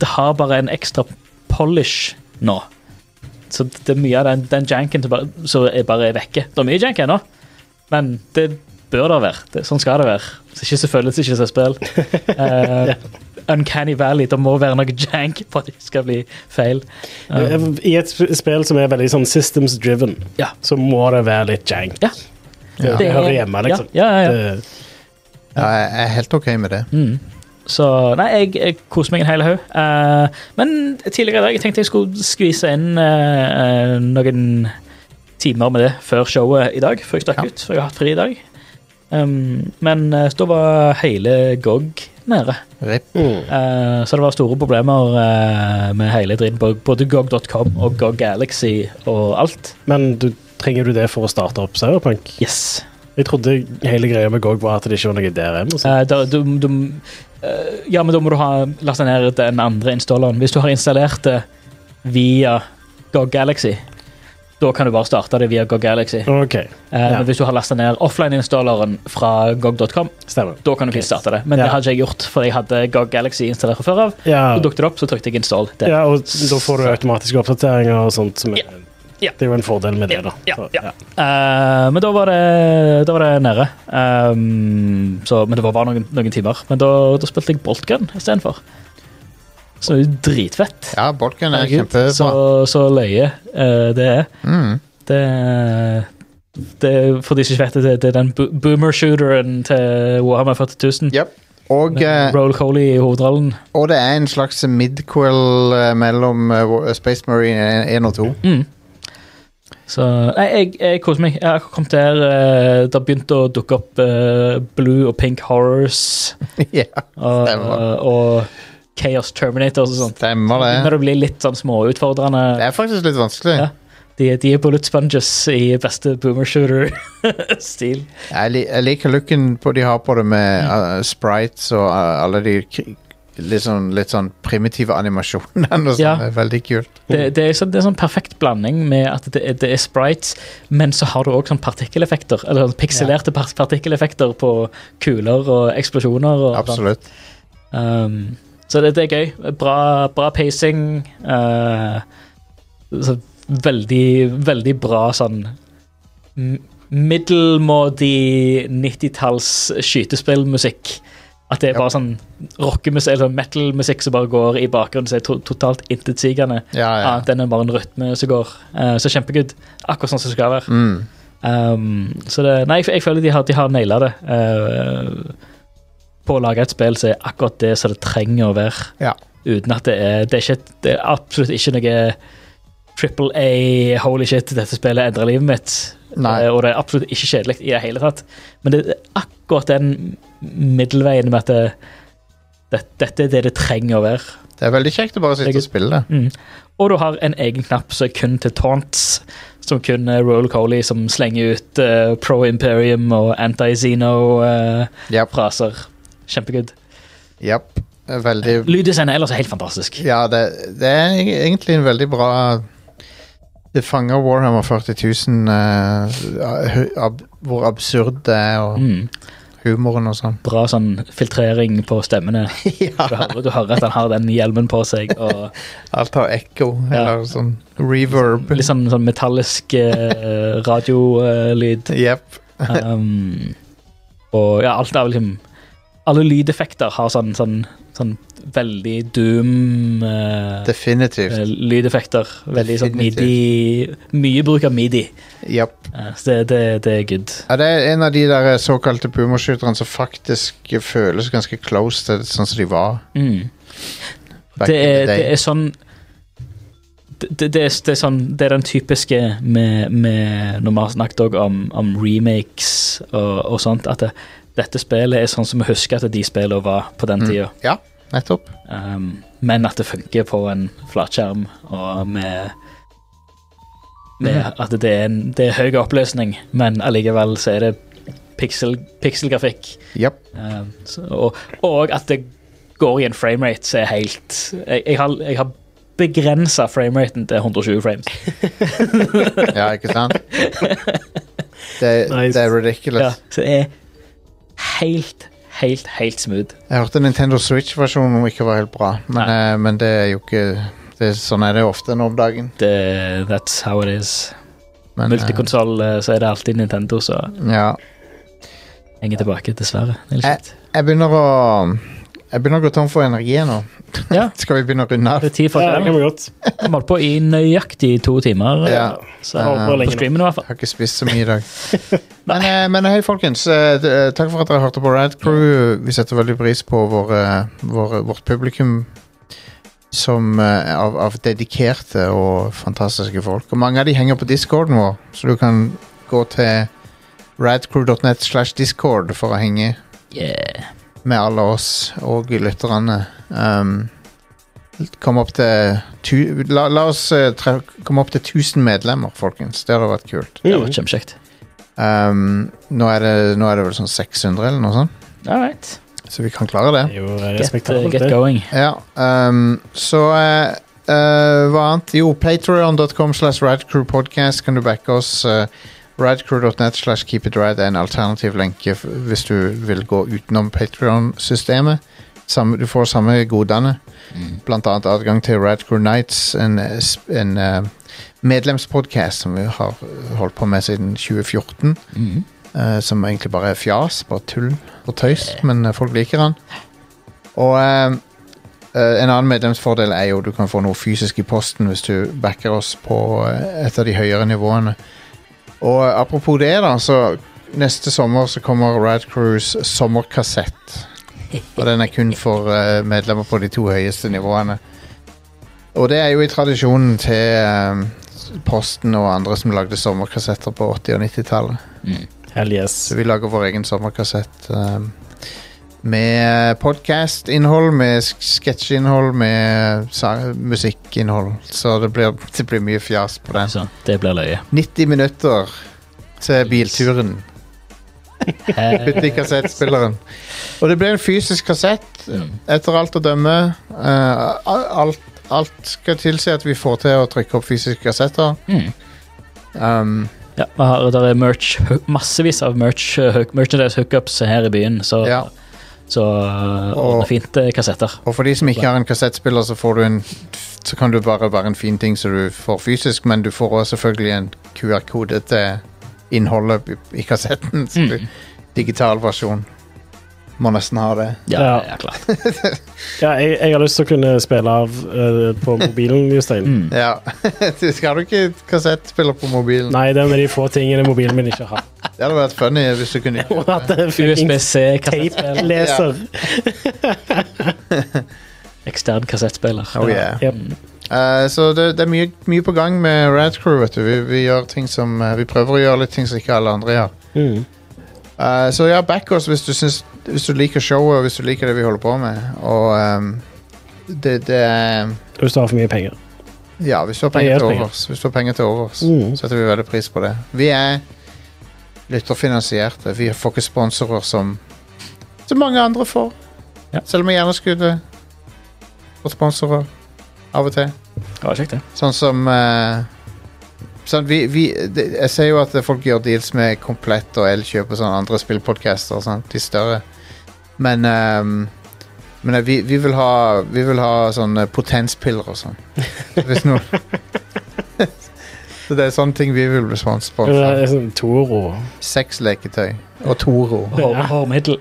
Speaker 6: Det har bare en ekstra polish nå. Så det er mye av den, den janken som bare- som er bare er vekke. Det er mye jank ennå, men det bør det være. Det, sånn skal det være. Så ikke så føles det ikke som et spill. Eh, Uncanny Valley. Det må være noe jank for at det skal bli feil. Eh,
Speaker 4: I et sp- spill som er veldig sånn systems driven,
Speaker 6: Ja.
Speaker 4: så må det være litt jank.
Speaker 6: Ja.
Speaker 4: Det,
Speaker 6: Det er-
Speaker 4: hører hjemme, liksom.
Speaker 6: Ja, ja, ja.
Speaker 4: Det-
Speaker 1: Ja, jeg jeg er helt OK med det.
Speaker 6: Mm. Så nei, jeg, jeg koser meg en hel haug. Eh, men tidligere i dag jeg tenkte jeg skulle skvise inn eh, eh, noen timer med det før showet i dag, før jeg stakk
Speaker 1: Ja.
Speaker 6: ut. For jeg har hatt fri i dag. Um, men eh, da var hele GOG nede.
Speaker 1: Rip.
Speaker 4: Mm.
Speaker 6: Eh, så det var store problemer eh, med hele dritten på både GOG.com og GOG Galaxy og alt.
Speaker 4: Men du, trenger du det for å starte opp Cyberpunk?
Speaker 6: Yes.
Speaker 4: Jeg trodde hele greia med GOG var at det ikke var noe DRM. Og sånt.
Speaker 6: Eh, da, du, du, eh, ja, men da må du ha lasta ned den andre installeren. Hvis du har installert det via GOG Galaxy, da kan du bare starte det via GOG Galaxy.
Speaker 4: OK,
Speaker 6: Eh, Men hvis du har lasta ned offline-installeren fra gog.com,
Speaker 4: stemmer.
Speaker 6: da kan du ikke starte det. Men
Speaker 4: Ja.
Speaker 6: det hadde jeg gjort, for jeg hadde GOG Galaxy installert fra før av.
Speaker 4: Ja,
Speaker 6: Så dukket det opp, så trykte jeg install. Det.
Speaker 4: ja, og da får du automatiske oppdateringer og sånt. Som er,
Speaker 6: Ja.
Speaker 4: Det er jo en fordel med det, da.
Speaker 6: Ja,
Speaker 4: Så,
Speaker 6: ja. Eh, men da var det, da var det nede. Ehm, så, men det var bare noen, noen timer. Men da, da spilte jeg boltgun istedenfor. Så det er jo dritfett.
Speaker 1: Ja, Bolken er
Speaker 6: Herregud, så,
Speaker 1: kjempebra.
Speaker 6: så løye eh, det er.
Speaker 1: Mm.
Speaker 6: Det, det er- For de som ikke vet det, det er den bo- boomer shooteren til Warhammer 40 000.
Speaker 1: Yep. Og, eh,
Speaker 6: Roll Coley i hovedrollen.
Speaker 1: og det er en slags midquel eh, mellom eh, Wa- Space Marine 1 og 2.
Speaker 6: Mm. Så Nei, jeg, jeg koser meg. Jeg har kommet der. eh, det har begynt å dukke opp eh, blue og pink horrors
Speaker 1: ja,
Speaker 6: og, eh,
Speaker 1: Stemmer.
Speaker 6: og Chaos Terminators og sånt.
Speaker 1: stemmer det.
Speaker 6: Når det blir litt sånn
Speaker 1: Det
Speaker 6: småutfordrende.
Speaker 1: er faktisk litt vanskelig.
Speaker 6: Ja. De, de er bullet sponges i beste boomer shooter-stil.
Speaker 1: Jeg, li jeg liker looken på de har på det med
Speaker 6: Mm.
Speaker 1: uh, sprites og uh, alle de k- litt sånn, litt sånn primitive animasjonene. og sånn.
Speaker 6: Ja.
Speaker 1: Det er veldig kult.
Speaker 6: Det, det, er sånn, det er sånn perfekt blanding med at det, er- det er sprites, men så har du òg sånn partikkeleffekter. Eller sånn pikselerte par- partikkeleffekter på kuler og eksplosjoner. Og sånn.
Speaker 1: Absolutt.
Speaker 6: Um, så det, det er gøy. Bra, bra pacing. eh, så veldig, veldig bra sånn m- middelmådig 90-talls skytespillmusikk. At det er bare sånn rockemusikk, eller sånn metal-musikk som bare går i bakgrunnen, som er to totalt intetsigende.
Speaker 1: Ja, ja.
Speaker 6: Annet enn bare en rytme som går. Eh, så kjempegud. Akkurat sånn som det skal være.
Speaker 1: Mm.
Speaker 6: Um, så det, nei, jeg, jeg føler de har, de har naila det. eh, på å lage et spill som er akkurat det som det trenger å være.
Speaker 1: Ja.
Speaker 6: Uten at det er Det er, ikke, et- det er absolutt ikke noe triple A, holy shit, dette spillet endrer livet mitt.
Speaker 1: Nei.
Speaker 6: Eh, og det er absolutt ikke kjedelig i det hele tatt. Men det er akkurat den middelveien med at det, det, dette er det det trenger å være.
Speaker 1: Det er veldig kjekt å bare sitte
Speaker 6: Jeg-
Speaker 1: og spille det.
Speaker 6: Mm. Og du har en egen knapp som er kun til taunts, som kun er Roll Coley, som slenger ut eh, Pro Imperium og eh, Anti-Zeno-fraser.
Speaker 1: Japp,
Speaker 6: Kjempegod.
Speaker 1: japp. Veldig
Speaker 6: Lyddesignet ellers er helt fantastisk.
Speaker 1: Ja, det, det er eg- egentlig en veldig bra Det fanger Warhammer 40 000, eh, hu- ab, hvor absurd det er, og
Speaker 6: Mm.
Speaker 1: humoren og sånn.
Speaker 6: Bra sånn filtrering på stemmene. Du hører, du hører at han har den hjelmen på seg, og
Speaker 1: Alt har ekko,
Speaker 6: Ja.
Speaker 1: eller sånn reverb.
Speaker 6: litt sånn, sånn metallisk eh, radiolyd.
Speaker 1: Jepp.
Speaker 6: Um, og ja, alt er liksom Alle lydeffekter har sånn, sånn, sånn veldig doom eh,
Speaker 1: Definitivt.
Speaker 6: eh, Lydeffekter. Veldig sånn
Speaker 1: Definitivt.
Speaker 6: midi Mye bruk av midi.
Speaker 1: Japp.
Speaker 6: Eh, så det, det, det er good.
Speaker 1: Ja, det er en av de der eh, såkalte boomerskyterne som faktisk føles ganske close til sånn som de var.
Speaker 6: Mm.
Speaker 1: back
Speaker 6: Det,
Speaker 1: in the
Speaker 6: er,
Speaker 1: day.
Speaker 6: det er sånn det, det, det, er, det er sånn Det er den typiske med, med Når vi har snakket også om, om remakes og, og sånt, at det, dette spillet er sånn som vi husker at de spillene var på
Speaker 1: Mm.
Speaker 6: den tida.
Speaker 1: Ja, nettopp.
Speaker 6: Um, men at det funker på en flatskjerm, og med, med at det er, en, det er høy oppløsning, men allikevel så er det pixel, pixelgrafikk.
Speaker 1: Japp.
Speaker 6: Um, så, og, og at det går i en framerate som er helt Jeg, jeg har, jeg har begrensa frameraten til 120 frames.
Speaker 1: Ja, ikke sant? Det,
Speaker 4: Nice.
Speaker 1: det er
Speaker 6: Ja,
Speaker 1: ridiculous.
Speaker 6: så det er helt, helt, helt smooth.
Speaker 1: Jeg hørte Nintendo Switch-versjonen ikke var helt bra, men, eh, men det er jo ikke det, er- Sånn er det ofte nå om dagen.
Speaker 6: Det, that's how it is.
Speaker 1: Men, eh,
Speaker 6: Multikonsoll, eh, så er det alltid Nintendo, så
Speaker 1: ja.
Speaker 6: henger tilbake, dessverre. Det
Speaker 1: Eh,
Speaker 6: er litt kjipt.
Speaker 1: Jeg begynner å Jeg begynner å gå tom for energi nå.
Speaker 6: Ja.
Speaker 1: Skal vi begynne å runde av?
Speaker 6: Det er tid for
Speaker 4: Ja, det
Speaker 6: skjerm.
Speaker 4: kan vi godt.
Speaker 6: Vi holdt på i nøyaktig to timer. eh,
Speaker 1: Ja.
Speaker 6: Så,
Speaker 4: Jeg håper
Speaker 6: på
Speaker 4: lenge nå.
Speaker 6: streamen i hvert fall.
Speaker 1: Jeg har ikke spist så mye i dag. men, eh, men hei, folkens. eh, d- eh, Takk for at dere hørte på Rad Crew. Vi setter veldig pris på vår, eh, vår, vårt publikum som, eh, av, av dedikerte og fantastiske folk. Og mange av de henger på discorden vår, så du kan gå til radcrew.net slash discord for å henge
Speaker 6: Yeah.
Speaker 1: med alle oss og lytterne. Um, kom opp til tu, la, la oss eh, tre, komme opp til 1000 medlemmer, folkens. Det hadde vært kult.
Speaker 6: Det var kjempekjekt.
Speaker 1: Um, nå, er det, nå er det vel sånn 600 eller noe sånt,
Speaker 6: All right.
Speaker 1: så vi kan klare det.
Speaker 4: Det er jo eh,
Speaker 6: Get, uh,
Speaker 4: respektabelt,
Speaker 6: get
Speaker 4: det.
Speaker 6: going.
Speaker 1: Ja, um, så eh, eh, hva annet? Jo, patreon.com slash radcrewpodcast kan du backe oss. eh, radcrew.net slash keepitrad er en alternativ lenke f- hvis du vil gå utenom Patreon-systemet. Samme- Du får samme godene. Blant annet adgang til Radcrew Nights, en, eh, sp- en eh, medlemspodcast som vi har holdt på med siden 2014.
Speaker 6: Mm.
Speaker 1: eh, som egentlig bare er fjas, bare tull og tøys, men eh, folk liker den. Og eh, Eh, en annen medlemsfordel er jo du kan få noe fysisk i posten hvis du backer oss på eh, et av de høyere nivåene. Og eh, apropos det, da, så neste sommer så kommer Rad Crews sommerkassett. Og den er kun for eh, medlemmer på de to høyeste nivåene. Og det er jo i tradisjonen til eh, Posten og andre som lagde sommerkassetter på 80- og 90-tallet.
Speaker 4: Hell yes.
Speaker 1: Så vi lager vår egen sommerkassett um, med podkast-innhold, med sk- sketsjinnhold, med sa- musikkinnhold. Så det blir, det blir mye fjas på den.
Speaker 6: Så Altså, det blir løye.
Speaker 1: 90 minutter til bilturen.
Speaker 6: Eh,
Speaker 1: Putt i kassettspilleren. Og det ble en fysisk kassett,
Speaker 6: mm.
Speaker 1: etter alt å dømme. Eh, al- alt, alt skal tilsi at vi får til å trykke opp fysiske kassetter.
Speaker 6: Mm.
Speaker 1: Um,
Speaker 6: Ja, vi har, der er merch, hø- massevis av merch, eh, hook, merchandise hookups her i byen, så,
Speaker 1: Ja.
Speaker 6: så eh, ordner fint eh, kassetter.
Speaker 1: Og for de som ikke har en kassettspiller, så, får du en, så kan du bare være en fin ting som du får fysisk, men du får også selvfølgelig en QR-kode til innholdet i- i kassetten. Så du, Digital versjon. Må nesten ha det.
Speaker 6: Ja,
Speaker 4: Ja.
Speaker 6: ja klart.
Speaker 4: Ja, jeg, jeg har lyst til å kunne spille av eh, på mobilen, Jostein.
Speaker 6: Mm.
Speaker 1: Ja. Du skal du ikke kassettspiller på mobilen?
Speaker 4: Nei, det er en av de få tingene mobilen min ikke har.
Speaker 1: Det hadde vært funny hvis du kunne
Speaker 4: Og at det er fuckings
Speaker 6: USB-C-kassettspiller.
Speaker 4: Tape-leser.
Speaker 6: Ekstern kassettspiller.
Speaker 1: Oh yeah.
Speaker 4: Jep.
Speaker 1: Eh, så det, det er mye, mye på gang med Rad Crew, vet du. Vi, vi, gjør ting som, eh, vi prøver å gjøre litt ting som ikke alle andre gjør.
Speaker 4: Mm.
Speaker 1: Eh, så ja, back oss hvis du, syns, hvis du liker showet og hvis du liker det vi holder på med. Og ehm, det, det er
Speaker 4: Hvis du har for mye penger.
Speaker 1: Ja, hvis du har
Speaker 4: Det
Speaker 1: penger
Speaker 4: gjør
Speaker 1: til
Speaker 4: penger.
Speaker 1: overs, hvis du har penger til overs
Speaker 4: Mm.
Speaker 1: setter vi veldig pris på det. Vi er lytterfinansierte. Vi får ikke sponsorer som som mange andre får.
Speaker 6: Ja.
Speaker 1: Selv om jeg gjerne skulle fått sponsorer av og til.
Speaker 6: Det var kjekt, det.
Speaker 1: Sånn som eh, sånn, vi, vi, det, Jeg ser jo at folk gjør deals med Komplett og Elkjøp og sånn andre spillpodcaster, sant? de større. Men, ehm, men eh, vi, vi vil ha Vi vil ha sånne potenspiller og sånn. Hvis noen Så det er sånne ting vi vil bli sponset på.
Speaker 4: Det er sånn Toro.
Speaker 1: Sexleketøy og Toro.
Speaker 6: Hår- Hårmiddel.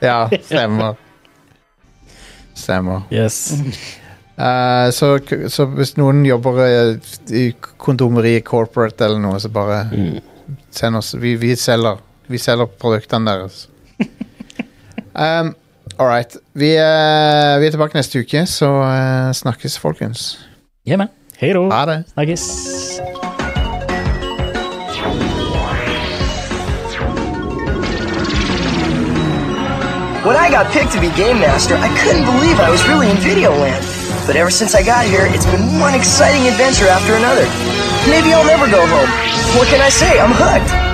Speaker 1: Ja, stemmer. Stemmer.
Speaker 4: Yes.
Speaker 1: Eh, så, så hvis noen jobber eh, i kondomeriet corporate eller noe, så bare send oss. Vi, vi selger. Vi selger produktene deres. um, All right. Vi, eh, vi er tilbake neste uke, så eh, snakkes, folkens.
Speaker 6: Ja, men.
Speaker 4: Hei da.
Speaker 1: Ha det.
Speaker 6: Snakkes.
Speaker 12: When I got picked to be Game Master, I couldn't believe I was really in Video Land. But ever since I got here, it's been one exciting adventure after another. Maybe I'll never go home. What can I say? I'm hooked.